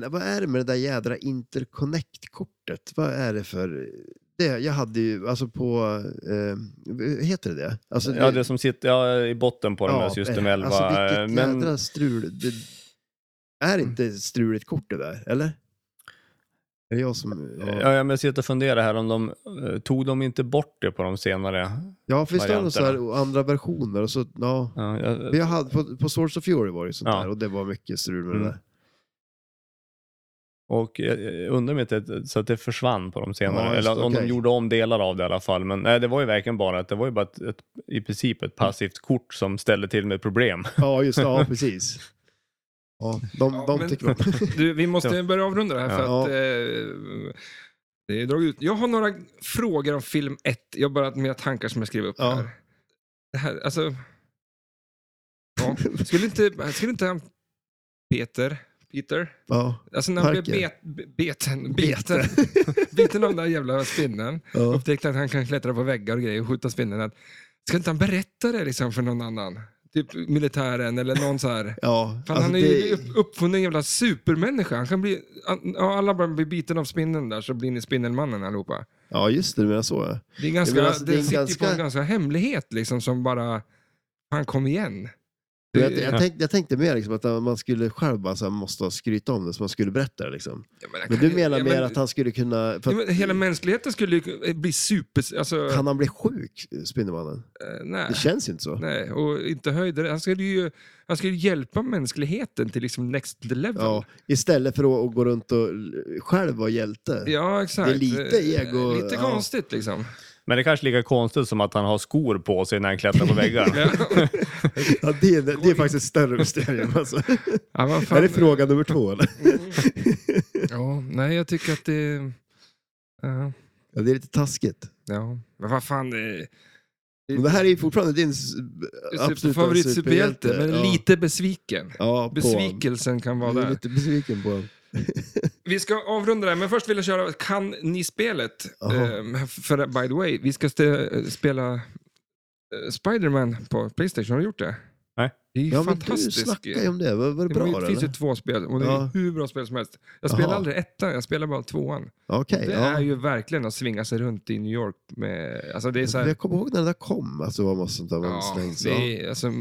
Speaker 2: Men vad är det med det där jädra interconnect-kortet? Vad är det för... Det, jag hade ju, alltså på... Eh, heter det det? Alltså,
Speaker 3: Ja, det som sitter ja, i botten på den här system
Speaker 2: eh,
Speaker 3: 11.
Speaker 2: Alltså vilket
Speaker 3: men, Mm.
Speaker 2: jädra strul. Det är inte struligt kort det där, eller? Är det jag som... Ja,
Speaker 3: ja, ja, men jag sitter och funderar här om de, eh, tog de inte bort det på de senare?
Speaker 2: ja finns det några så
Speaker 3: varianterna.
Speaker 2: här och andra versioner? Och så, ja.
Speaker 3: Ja, jag,
Speaker 2: Vi hade, på, på Swords of Fury var det ju sånt
Speaker 3: Ja.
Speaker 2: där och det var mycket strul med det
Speaker 3: Mm.
Speaker 2: där.
Speaker 3: Och jag jag undrar om inte så att det försvann på de senare,
Speaker 2: Ja, just
Speaker 3: eller om
Speaker 2: okej.
Speaker 3: de gjorde om delar av det i alla fall. Men nej, det var ju verkligen bara att det var ju bara ett, ett, i princip ett passivt kort som ställde till med problem.
Speaker 2: Ja, just det. Ja, precis. Ja, de,
Speaker 1: Ja,
Speaker 2: de
Speaker 1: men-
Speaker 2: tycker om.
Speaker 1: Du, vi måste börja avrunda det här för
Speaker 2: Ja.
Speaker 1: att eh, det är dragit ut. Jag har några frågor om film 1. Jag har bara mina tankar som jag skrev upp
Speaker 2: Ja.
Speaker 1: här. Det här, alltså... Ja. Skulle inte, skulle inte han... Peter? Peter?
Speaker 2: Ja,
Speaker 1: Alltså när han blev
Speaker 2: Parker.
Speaker 1: bet, beten, beten, biten av den där jävla spinnen.
Speaker 2: ja.
Speaker 1: Upptäckte att han kan klättra på väggar och grejer och skjuta spinnen. Att, ska inte han berätta det liksom för någon annan? Typ militären eller någon så här.
Speaker 2: ja.
Speaker 1: Fan,
Speaker 2: alltså,
Speaker 1: han är
Speaker 2: det-
Speaker 1: ju upp- uppfunnen en jävla supermänniska. Han kan bli, an- ja, alla bara blir biten av spindeln där så blir ni Spindelmannen allihopa.
Speaker 2: Ja, just det. Du menar så. ja.
Speaker 1: Det, är ganska,
Speaker 2: men alltså,
Speaker 1: det,
Speaker 2: det är
Speaker 1: sitter
Speaker 2: en
Speaker 1: ju på en
Speaker 2: ganska-
Speaker 1: ganska hemlighet liksom som bara, han kom igen.
Speaker 2: Men Jag, jag, tänkte, jag tänkte mer liksom att man skulle själv bara så här, måste skryta om det, så man skulle berätta det liksom.
Speaker 1: Ja, men,
Speaker 2: Men
Speaker 1: kan-
Speaker 2: du menar
Speaker 1: ja,
Speaker 2: mer
Speaker 1: men-
Speaker 2: att han skulle kunna... För
Speaker 1: ja,
Speaker 2: att,
Speaker 1: men, hela mänskligheten skulle ju bli super... Alltså,
Speaker 2: Kan han bli sjuk, Spindelmannen?
Speaker 1: eh, nej.
Speaker 2: Det känns ju inte så.
Speaker 1: Nej, och inte höjder. Han skulle ju, han skulle ju hjälpa mänskligheten till liksom next level.
Speaker 2: Ja, istället för att gå runt och själv vara hjälte.
Speaker 1: Ja, exakt. Eh,
Speaker 2: Det är lite ego,
Speaker 1: Lite
Speaker 2: ja.
Speaker 1: konstigt liksom.
Speaker 3: Men det är kanske lika konstigt som att han har skor på sig när han klättrar på väggar.
Speaker 1: Ja,
Speaker 2: Ja, det, är, det är faktiskt ett större mysterium. Alltså.
Speaker 1: ja, vad fan.
Speaker 2: Är det fråga nummer två? Eller?
Speaker 1: Ja, nej, jag tycker att det... ja,
Speaker 2: Ja, det är lite taskigt.
Speaker 1: ja, men vad fan. Det,
Speaker 2: Men det här är ju fortfarande din s-
Speaker 1: super,
Speaker 2: absoluta
Speaker 1: favorit superhjälte, men
Speaker 2: ja.
Speaker 1: lite besviken.
Speaker 2: ja, på honom.
Speaker 1: Besvikelsen kan vara
Speaker 2: Jag är
Speaker 1: där.
Speaker 2: lite besviken på honom.
Speaker 1: Vi ska avrunda det här, men först vill jag köra Kan ni-spelet.
Speaker 2: Jaha.
Speaker 1: Ehm, för by the way, vi ska st- spela eh, Spider-Man på Playstation. Har du gjort det?
Speaker 3: Nej.
Speaker 1: Det är ju
Speaker 2: Ja, men du
Speaker 1: fantastiskt.
Speaker 2: snackade ju om det. Var, var det bra?
Speaker 1: det finns ju
Speaker 2: eller?
Speaker 1: två spel och det är
Speaker 2: Ja.
Speaker 1: hur bra spel som helst. Jag
Speaker 2: Jaha.
Speaker 1: spelar aldrig ettan, jag spelar bara tvåan.
Speaker 2: Okej,
Speaker 1: Det
Speaker 2: ja.
Speaker 1: är ju verkligen att svinga sig runt i New York. Med, alltså det är så här,
Speaker 2: Jag kommer ihåg när det där kom, att det var massa sånt där man
Speaker 1: Ja,
Speaker 2: slängs.
Speaker 1: det är, alltså,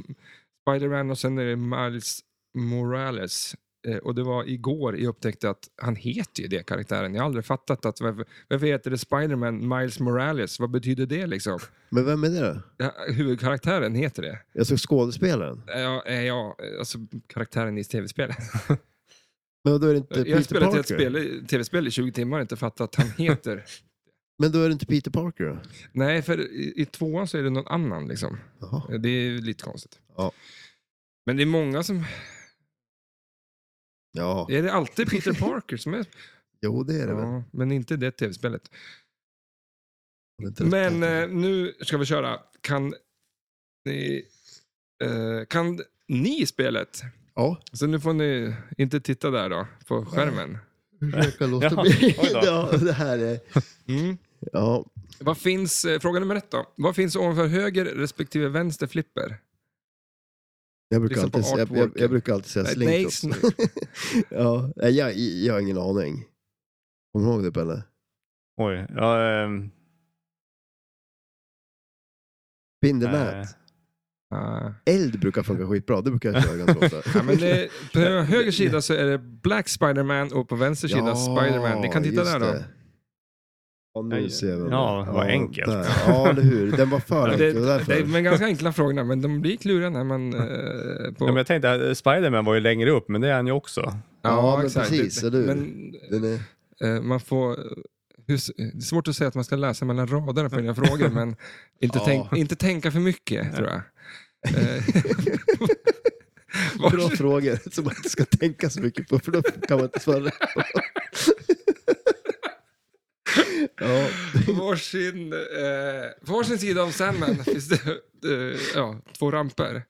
Speaker 1: Spider-Man och sen är det Miles Morales. eh, och det var igår jag upptäckte att han heter ju det karaktären. Jag har aldrig fattat att varför, varför heter det Spiderman Miles Morales? Vad betyder det liksom?
Speaker 2: Men vem är det då?
Speaker 1: Ja, huvudkaraktären heter det.
Speaker 2: Jag såg skådespelaren.
Speaker 1: Ja, eh, ja alltså karaktären i tv-spelet.
Speaker 2: Men då är det inte
Speaker 1: Jag
Speaker 2: Peter
Speaker 1: har spelat
Speaker 2: Parker?
Speaker 1: ett spel- tv-spel i 20 timmar och inte fattat att han heter...
Speaker 2: Men då är det inte Peter Parker då?
Speaker 1: Nej, för i, i tvåan så är det någon annan liksom.
Speaker 2: Jaha.
Speaker 1: Det är ju lite konstigt.
Speaker 2: Ja.
Speaker 1: Men det är många som...
Speaker 2: Ja,
Speaker 1: Är det alltid Peter Parker som är...
Speaker 2: jo det är det väl.
Speaker 1: Ja, men inte det tv-spelet.
Speaker 2: Det är inte
Speaker 1: Men
Speaker 2: rätt.
Speaker 1: eh, nu ska vi köra. Kan ni, eh, kan ni i spelet?
Speaker 2: Ja,
Speaker 1: Så nu får ni inte titta där då, på skärmen.
Speaker 2: försöka låta
Speaker 3: Ja,
Speaker 2: bli.
Speaker 3: oj då.
Speaker 2: ja, det här är...
Speaker 1: Mm.
Speaker 2: Ja,
Speaker 1: Vad finns, eh, fråga nummer ett då. Vad finns ovanför höger respektive vänster flipper?
Speaker 2: jag brukar,
Speaker 1: Lyssna på
Speaker 2: alltid, jag, jag,
Speaker 1: artworken.
Speaker 2: jag brukar alltid säga
Speaker 1: Nej,
Speaker 2: slink
Speaker 1: nej,
Speaker 2: också.
Speaker 1: snyggt.
Speaker 2: ja, nej, jag, jag har ingen aning. Kommer du ihåg det Pelle?
Speaker 3: Oj. Ja, ehm,
Speaker 2: Spindelnät.
Speaker 3: eh,
Speaker 1: Ah.
Speaker 2: Eld brukar funka skitbra, det brukar jag köra ganska ofta.
Speaker 1: Ja, men det, på höger sida så är det Black Spiderman och på vänster sida Spiderman. Ni kan titta
Speaker 2: just
Speaker 1: där då.
Speaker 2: det. Ja, nu
Speaker 3: Nej,
Speaker 2: ser vi.
Speaker 3: ja, vad enkelt.
Speaker 2: Där. Ja, eller hur. Den var för
Speaker 1: Ja,
Speaker 2: enkel.
Speaker 1: Det,
Speaker 2: det var därför.
Speaker 1: det, men ganska enkla frågorna, men de blir kluriga när man... Eh, på,
Speaker 3: ja, men jag tänkte att eh, Spiderman var ju längre upp, men det är han ju också.
Speaker 2: Ja, men precis,
Speaker 1: Det-
Speaker 2: eller hur?
Speaker 1: Men
Speaker 2: Den är...
Speaker 1: eh, man får... Hur, s- det är svårt att säga att man ska läsa mellan raderna på dina frågor, men inte,
Speaker 2: Ja.
Speaker 1: tänk, inte tänka för mycket, tror jag. Eh,
Speaker 2: Bra
Speaker 1: Varsågod.
Speaker 2: frågor som man inte ska tänka så mycket på, för då kan man inte svara rätt på. ja,
Speaker 1: varsin, eh, varsin sida av Sandman finns det eh, ja, två ramper.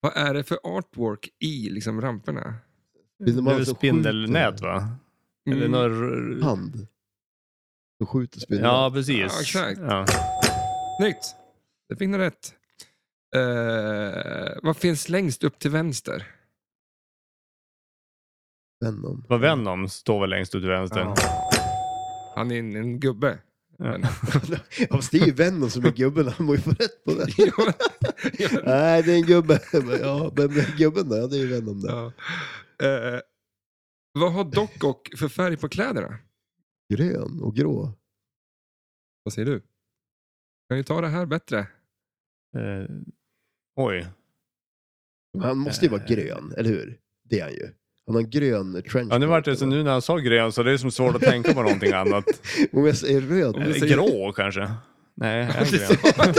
Speaker 1: Vad är det för artwork i liksom, ramperna?
Speaker 2: Spindelmannen
Speaker 3: Det är väl
Speaker 2: som
Speaker 3: spindelnät va?
Speaker 1: Mm.
Speaker 3: Eller några...
Speaker 2: hand. Som skjuter spindeln.
Speaker 3: Ja, precis.
Speaker 1: Ja, exakt.
Speaker 3: Ja.
Speaker 1: Snyggt! Det fick ni rätt. Eh, vad finns längst upp till vänster?
Speaker 2: Venom.
Speaker 3: Vad Venom står väl längst ut till vänster.
Speaker 1: Han är en, en gubbe. Men-
Speaker 2: Ja, fast det är ju Venom som är gubben, han må ju få rätt på det.
Speaker 1: Ja, men-
Speaker 2: Nej, det är en gubbe. Ja, vem är gubben då? Ja, det är ju Venom där.
Speaker 1: ja. Eh, vad har Doc och för färg på kläderna?
Speaker 2: Grön och grå.
Speaker 1: Vad säger du? Kan ju ta det här bättre.
Speaker 3: Eh, oj.
Speaker 2: Men han måste ju vara
Speaker 3: Eh.
Speaker 2: grön, eller hur? Det är han ju. Han har en grön trenchcoat.
Speaker 3: Ja, nu vart det så nu när han sa grön så det är som svårt att tänka på någonting annat.
Speaker 2: Om jag säger röd.
Speaker 3: Eh,
Speaker 1: säger-
Speaker 3: Grå kanske? Nej, är han grön?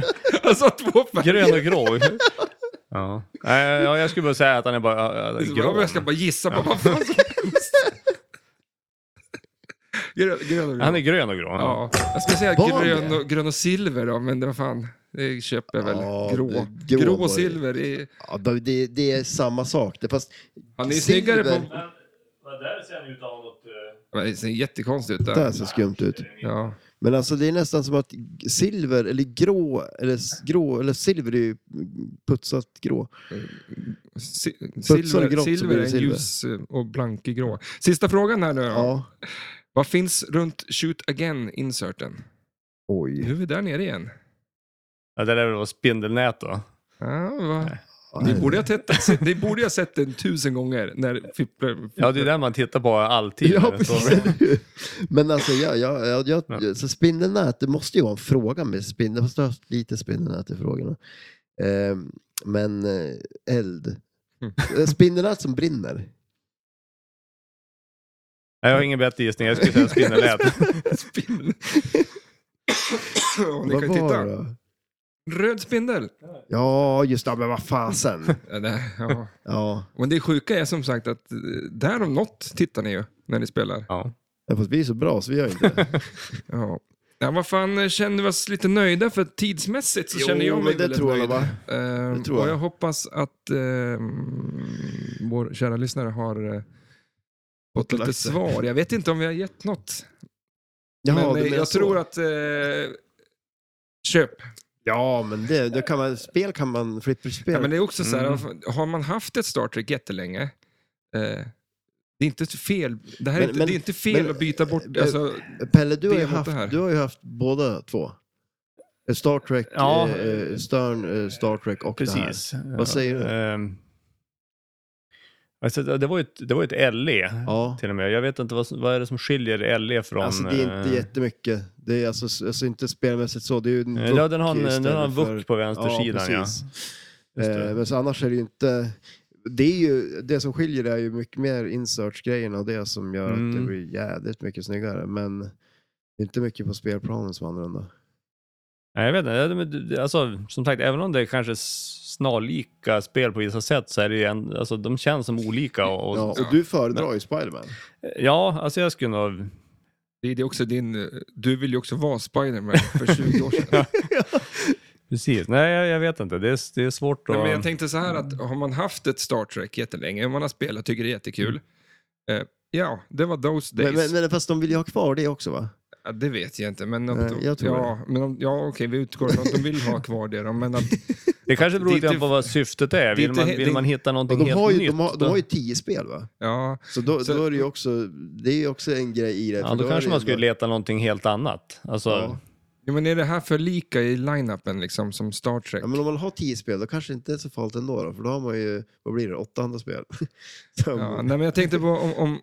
Speaker 3: Grö-
Speaker 1: Alltså två färger.
Speaker 3: grön och grå. Ja. Nej, ja, jag skulle bara säga att han är bara äh,
Speaker 1: Så bara,
Speaker 3: grå.
Speaker 1: Jag ska bara gissa på vad fan som helst. Grön, grön och grön.
Speaker 3: Han är grön och grå.
Speaker 1: Ja, jag skulle säga
Speaker 2: Var
Speaker 1: grön
Speaker 2: det?
Speaker 1: och, grön och silver då, men det var fan, det köper jag väl.
Speaker 2: Ja,
Speaker 1: grå.
Speaker 2: det-
Speaker 1: grå.
Speaker 2: grå var det.
Speaker 1: och silver, det är,
Speaker 2: Ja, det, det är samma sak. Det, fast
Speaker 1: han är ju
Speaker 2: silver-
Speaker 1: snyggare på...
Speaker 4: Men vad där ser han ut att ha något... eh,
Speaker 1: Men Det ser jättekonstigt ut
Speaker 2: Det här
Speaker 1: där.
Speaker 2: ser skumt ut.
Speaker 1: Ja.
Speaker 2: Men alltså det är nästan som att silver eller grå, eller s- grå, eller silver är ju putsat grå.
Speaker 1: Si-
Speaker 2: och
Speaker 1: Silver,
Speaker 2: grått så
Speaker 1: silver
Speaker 2: blir
Speaker 1: är
Speaker 2: det
Speaker 1: en
Speaker 2: silver.
Speaker 1: ljus eh, och blank i grå. Sista frågan här nu då.
Speaker 2: Ja.
Speaker 1: Vad finns runt shoot again inserten? Nu
Speaker 2: Oj.
Speaker 1: är vi där nere igen.
Speaker 3: Ja, det där var spindelnät då.
Speaker 1: Ja, va? Ni borde ha tittat, se- ni borde ha sett den tusen gånger när fipplar...
Speaker 3: Ja, det är där man tittar på alltid.
Speaker 2: Ja,
Speaker 3: Så-
Speaker 2: precis. Men alltså, jag, jag, jag, jag, så spindelnät, det måste ju vara en fråga med spindeln. Fast jag har haft lite spindelnät i frågorna. Ehm, men eh, eld.
Speaker 1: Mm.
Speaker 2: Eh, Spindelnät som brinner.
Speaker 3: Nej, jag har ingen bättre gissning. Jag skulle säga spindelnät.
Speaker 1: Spindel. Ja, ni kan ju
Speaker 2: Vad var
Speaker 1: titta.
Speaker 2: det då?
Speaker 1: Röd spindel.
Speaker 2: Ja, just det. Men vad fasen.
Speaker 1: Ja, det- Ja.
Speaker 2: Ja,
Speaker 1: Men det sjuka är som sagt att eh, där om något tittar ni ju när ni spelar.
Speaker 3: Ja.
Speaker 2: fast vi är så bra så vi gör inte det.
Speaker 1: Ja. Ja, vad fan, eh, känner vi oss lite nöjda för tidsmässigt så
Speaker 2: Jo,
Speaker 1: känner jag mig
Speaker 2: men det
Speaker 1: väldigt
Speaker 2: tror jag,
Speaker 1: nöjd.
Speaker 2: va?
Speaker 1: Ehm,
Speaker 2: Det tror
Speaker 1: och
Speaker 2: jag.
Speaker 1: jag hoppas att ehm, vår kära lyssnare har eh, fått lite
Speaker 2: lagt sig.
Speaker 1: svar. Jag vet inte om vi har gett något.
Speaker 2: Ja,
Speaker 1: men
Speaker 2: du
Speaker 1: eh,
Speaker 2: menar
Speaker 1: jag
Speaker 2: så.
Speaker 1: tror att... Eh, köp.
Speaker 2: Ja, men det, det kan man, spel kan man, flipperspel.
Speaker 1: Ja, men det är också så här,
Speaker 3: Mm.
Speaker 1: har man haft ett Star Trek jättelänge, eh, det är inte fel, det här är
Speaker 2: Men-
Speaker 1: inte,
Speaker 2: men-
Speaker 1: det är inte fel
Speaker 2: men-
Speaker 1: att byta bort,
Speaker 2: eh,
Speaker 1: alltså,
Speaker 2: Pelle, du har,
Speaker 1: Det
Speaker 2: ju
Speaker 1: är mot det här.
Speaker 2: haft, du har ju haft båda två. Eh, Star Trek,
Speaker 3: Ja.
Speaker 2: eh, eh, Stern, eh, Star Trek och det här.
Speaker 3: Precis.
Speaker 2: Vad säger du?
Speaker 3: Ehm, Alltså, det det var ju ett, det var ju ett LE
Speaker 2: Ja.
Speaker 3: till och med. Jag vet inte vad, som- vad är det som skiljer LE från...
Speaker 2: Alltså det är inte
Speaker 3: eh,
Speaker 2: jättemycket. Det är alltså, alltså inte spelmässigt så. Det är ju en
Speaker 3: Eh, Ja, den har en-
Speaker 2: istället
Speaker 3: den har en vuck
Speaker 2: för-
Speaker 3: på vänstersidan, ja.
Speaker 2: precis.
Speaker 3: Just det.
Speaker 2: Eh, men så annars är det ju inte... Det, är ju, det som skiljer det är ju mycket mer inserts-grejerna och det som gör att det
Speaker 3: Mm.
Speaker 2: blir jädrigt mycket snyggare. Men det är inte mycket på spelplanen som är annorlunda.
Speaker 3: Nej, jag vet inte. Ja, men det- Alltså, som sagt, även om det är kanske s- snarlika spel på vissa sätt så är det ju en, alltså, de känns som olika. Och, och,
Speaker 2: Ja,
Speaker 3: ja.
Speaker 2: och du föredrar ju Spiderman.
Speaker 3: alltså jag skulle nog...
Speaker 1: Det är det också din, eh, du vill ju också vara Spiderman för 20 år sedan.
Speaker 3: Precis. Nej, jag, jag vet inte. Det är, s- det är svårt att...
Speaker 1: Nej, men jag tänkte så här
Speaker 2: Mm.
Speaker 1: att har man haft ett Star Trek jättelänge, man har spelat, tycker det är jättekul. Eh, ja, det var those days.
Speaker 2: Men, men, men fast de vill ju ha kvar det också va?
Speaker 1: Ja, det vet jag inte, men... Om,
Speaker 2: Nej, jag tror
Speaker 1: ja, men om, ja, okej, vi utgår från att de vill ha kvar det då, men att,
Speaker 3: det kanske beror
Speaker 1: det är
Speaker 3: lite grann
Speaker 1: inte-
Speaker 3: på vad syftet är. Vill,
Speaker 1: inte
Speaker 3: man,
Speaker 1: he-
Speaker 3: vill
Speaker 1: det-
Speaker 3: man hitta
Speaker 2: Ja,
Speaker 3: någonting
Speaker 2: de,
Speaker 3: helt
Speaker 2: har ju,
Speaker 3: nytt?
Speaker 2: de, har, de
Speaker 3: då-
Speaker 2: har ju tio spel va?
Speaker 1: ja,
Speaker 2: Så, då,
Speaker 1: Så-
Speaker 2: då är det ju också, det är ju också en grej i det.
Speaker 3: ja,
Speaker 2: för
Speaker 3: då
Speaker 2: är
Speaker 3: kanske
Speaker 2: det
Speaker 3: man
Speaker 2: ju
Speaker 3: skulle
Speaker 2: bara-
Speaker 3: leta någonting helt annat. Alltså,
Speaker 2: Ja.
Speaker 1: ja, men är det här för lika i line-upen liksom, som Star Trek?
Speaker 2: Ja, men om man har tio spel, då kanske det inte är så farligt ändå. Då, för då har man ju, vad blir det, åtta andra spel. Så-
Speaker 1: Ja, nej, men jag tänkte på om, om,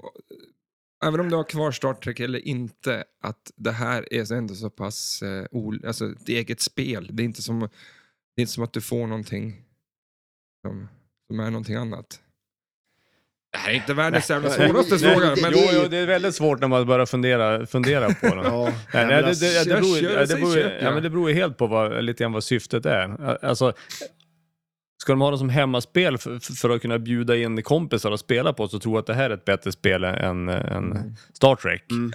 Speaker 1: även om du har kvar Star Trek eller inte, att det här är så- ändå så pass, eh, ol, alltså ett eget spel. Det är inte som, det är inte som att du får någonting som, som är någonting annat. Det här är inte världens jävla
Speaker 2: Nej.
Speaker 1: svåraste
Speaker 2: Nej,
Speaker 1: fråga,
Speaker 2: det-
Speaker 1: men
Speaker 3: Jo,
Speaker 2: det-
Speaker 3: jo, det är väldigt svårt när man börjar fundera, fundera på det.
Speaker 2: Ja,
Speaker 3: Nej,
Speaker 2: men
Speaker 3: nej, det,
Speaker 2: alltså-
Speaker 3: det, det,
Speaker 1: jag
Speaker 3: beror,
Speaker 1: kör,
Speaker 3: ja, det,
Speaker 1: säg
Speaker 3: beror,
Speaker 1: köp, ja.
Speaker 3: ja, men det beror ju helt på vad, lite grann vad syftet är. Alltså, ska de ha det som hemmaspel för, för att kunna bjuda in kompisar och spela på så tror jag att det här är ett bättre spel än, än Star Trek.
Speaker 2: Mm.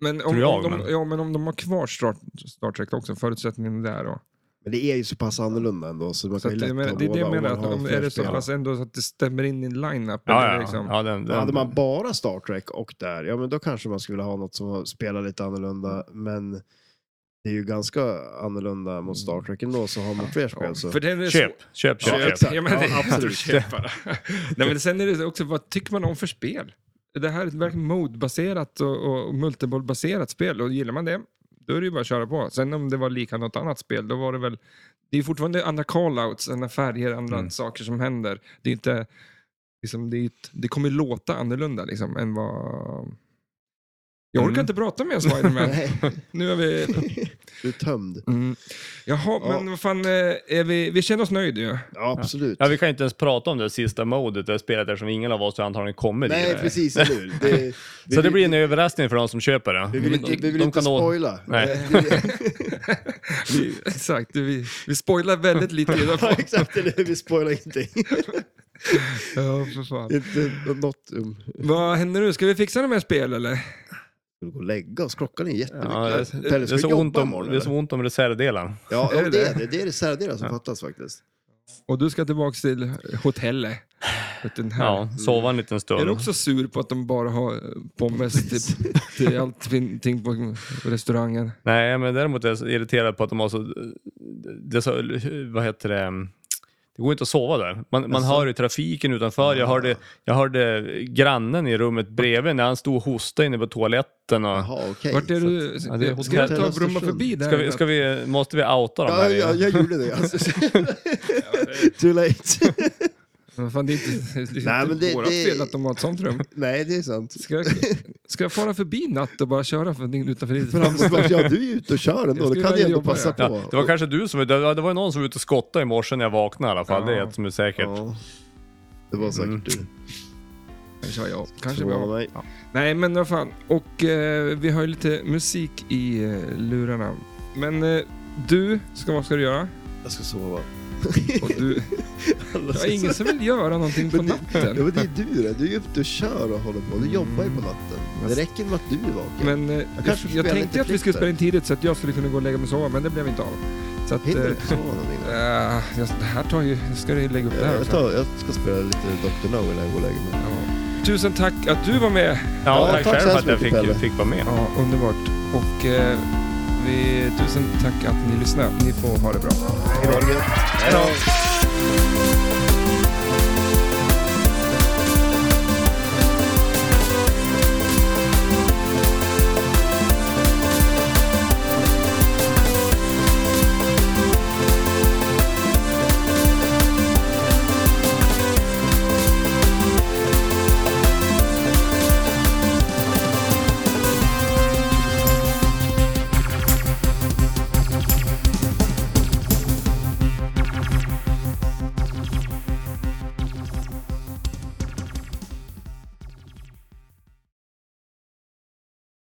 Speaker 1: men om,
Speaker 3: Tror jag,
Speaker 1: om de,
Speaker 3: men-
Speaker 1: Ja, men om de har kvar Star, Star Trek också, förutsättningen där då.
Speaker 2: Men det är ju så pass annorlunda ändå, så man
Speaker 1: Så
Speaker 2: kan ju
Speaker 1: att,
Speaker 2: lätt
Speaker 1: jag menar,
Speaker 2: ha
Speaker 1: det är det
Speaker 2: båda
Speaker 1: jag
Speaker 2: om
Speaker 1: menar,
Speaker 2: man
Speaker 1: att
Speaker 2: har
Speaker 1: om,
Speaker 2: fler
Speaker 1: är det så
Speaker 2: spel.
Speaker 1: pass ändå så att det stämmer in i line-upen?
Speaker 3: Ja,
Speaker 1: eller
Speaker 3: ja.
Speaker 1: liksom?
Speaker 3: ja den,
Speaker 2: Ja,
Speaker 3: den,
Speaker 2: hade man bara Star Trek och där, ja men då kanske man skulle vilja ha något som spelar lite annorlunda. Men det är ju ganska annorlunda mot Star Trek ändå, så har man fler spel så.
Speaker 1: För den är
Speaker 3: köp,
Speaker 1: så-
Speaker 3: köp, köp,
Speaker 2: Ja,
Speaker 3: köp.
Speaker 2: exakt.
Speaker 1: Ja, men det
Speaker 2: Ja,
Speaker 1: är
Speaker 2: absolut.
Speaker 1: absolut. Köpare. Nej, men sen är det också, vad tycker man om för spel? Det här är ett verkligen modbaserat och, och multibollbaserat spel och gillar man det, då är det ju bara att köra på. Sen om det var lika något annat spel, då var det väl... Det är ju fortfarande andra call-outs, andra färger, andra
Speaker 3: Mm.
Speaker 1: saker som händer. Det är inte... Liksom, det, är, ju ett- det kommer låta annorlunda liksom, än vad... Jag orkar
Speaker 3: Mm.
Speaker 1: inte prata mer om Spiderman.
Speaker 2: Nej,
Speaker 1: nu är vi...
Speaker 2: du är tömd.
Speaker 1: Mm. Jaha,
Speaker 2: Ja.
Speaker 1: men vad fan, eh, är vi, vi känner oss nöjda ju.
Speaker 2: Ja, absolut.
Speaker 3: Ja, vi kan ju inte ens prata om det sista modet i det spelet eftersom ingen av oss har antagligen kommit i
Speaker 2: Nej,
Speaker 3: det.
Speaker 2: precis, eller hur? Det,
Speaker 3: Så det
Speaker 2: vi-
Speaker 3: blir en överraskning för de som köper det.
Speaker 2: Vi vill inte, vi vill
Speaker 3: de
Speaker 2: inte
Speaker 3: kan nå-
Speaker 2: spoila.
Speaker 3: Nej.
Speaker 1: Vi, exakt, vi, vi spoilar väldigt lite i alla
Speaker 2: Ja,
Speaker 1: fall.
Speaker 2: exakt, eller hur? vi spoilar ingenting.
Speaker 1: Ja, för fan.
Speaker 2: inte något. Um,
Speaker 1: Vad händer nu? Ska vi fixa några mer spel eller?
Speaker 2: vi gå och lägga oss, klockan är jättemycket.
Speaker 3: Ja, det, det,
Speaker 2: Pelle,
Speaker 3: är
Speaker 2: ska vi
Speaker 3: så
Speaker 2: jobba
Speaker 3: ont om,
Speaker 2: imorgon,
Speaker 3: det är så ont om reservdelar.
Speaker 2: Ja,
Speaker 1: Är
Speaker 2: ja
Speaker 1: det
Speaker 2: det, är
Speaker 1: det?
Speaker 2: det. det är reservdelar som fattas faktiskt.
Speaker 1: Och du ska tillbaka till hotellet. Den här.
Speaker 3: Ja, sova en liten stund.
Speaker 1: Är du också sur på att de bara har pommes till, till allting på restaurangen?
Speaker 3: Nej, men däremot är jag så irriterad på att de har så... eh, Det är så vad heter det? Det går inte att sova där. Man, man hör ju trafiken utanför. Jag hörde, jag hörde grannen i rummet bredvid när han stod och hostade inne på toaletten. Och,
Speaker 2: Jaha, okej.
Speaker 1: Vart är du?
Speaker 3: ja, det är
Speaker 1: Ska du
Speaker 3: hotell-
Speaker 1: ta och brumma förbi där?
Speaker 3: ska vi, ska vi, måste vi outa dem
Speaker 2: Ja,
Speaker 3: här?
Speaker 2: ja, jag gjorde det. Alltså. Too late.
Speaker 1: Vad fan, det är inte, det är inte
Speaker 2: Nej, men det-
Speaker 1: vårat
Speaker 2: det-
Speaker 1: fel att de har ett sånt rum.
Speaker 2: Nej, det är sant.
Speaker 1: Ska jag, ska jag fara förbi natt och bara köra för, utanför ditt
Speaker 2: Men han bara, ja, du är ju ute och kör
Speaker 1: Jag
Speaker 2: ändå, det
Speaker 1: skulle
Speaker 2: kan jag
Speaker 1: vilja
Speaker 2: ändå
Speaker 1: jobba,
Speaker 2: passa
Speaker 3: Ja,
Speaker 2: på.
Speaker 3: det var kanske du som... Det var det var ju någon som var ute och skottade i morse när jag vaknade i alla fall. Det är
Speaker 1: Ja.
Speaker 3: ett som är säkert.
Speaker 2: Ja, det var säkert
Speaker 3: Mm.
Speaker 2: du.
Speaker 1: Kanske jag. Kanske
Speaker 2: Förvånar
Speaker 1: jag.
Speaker 2: mig.
Speaker 1: Nej, men vad fan. Och eh, vi har ju lite musik i eh, lurarna. Men eh, du, ska, vad ska du göra?
Speaker 2: Jag ska sova.
Speaker 1: Och du,
Speaker 2: Alla
Speaker 1: det
Speaker 2: ska
Speaker 1: är ingen som vill göra någonting på
Speaker 2: Men det- Ja,
Speaker 1: natten.
Speaker 2: men det är du det. Du är ju ute och kör och håller på. Du jobbar ju på natten. Det räcker med att du är vaken.
Speaker 1: Mm. Men eh,
Speaker 2: Jag
Speaker 1: jag,
Speaker 2: kanske får
Speaker 1: jag
Speaker 2: spela
Speaker 1: tänkte
Speaker 2: lite
Speaker 1: att vi skulle
Speaker 2: klipp där.
Speaker 1: spela in tidigt så att jag skulle kunna gå och lägga mig och sova, men det blev inte av. Så att...
Speaker 2: Hinner
Speaker 1: Eh,
Speaker 2: du inte sova någonting?
Speaker 1: eh, jag- det här tar ju... jag Ska du lägga upp det här
Speaker 2: Jag,
Speaker 1: också?
Speaker 2: tar, jag ska spela lite Dr. No innan jag går och lägger mig.
Speaker 1: Ja. Tusen tack att du var med.
Speaker 3: Ja,
Speaker 2: Ja,
Speaker 3: tack
Speaker 2: tack så
Speaker 3: själv för
Speaker 2: hemskt
Speaker 3: att jag
Speaker 2: mycket,
Speaker 3: fick,
Speaker 2: Pelle.
Speaker 3: fick vara med.
Speaker 1: Ja, underbart. Och eh, vi, tusen tack att ni lyssnade. Ni får ha det bra.
Speaker 2: Hej då!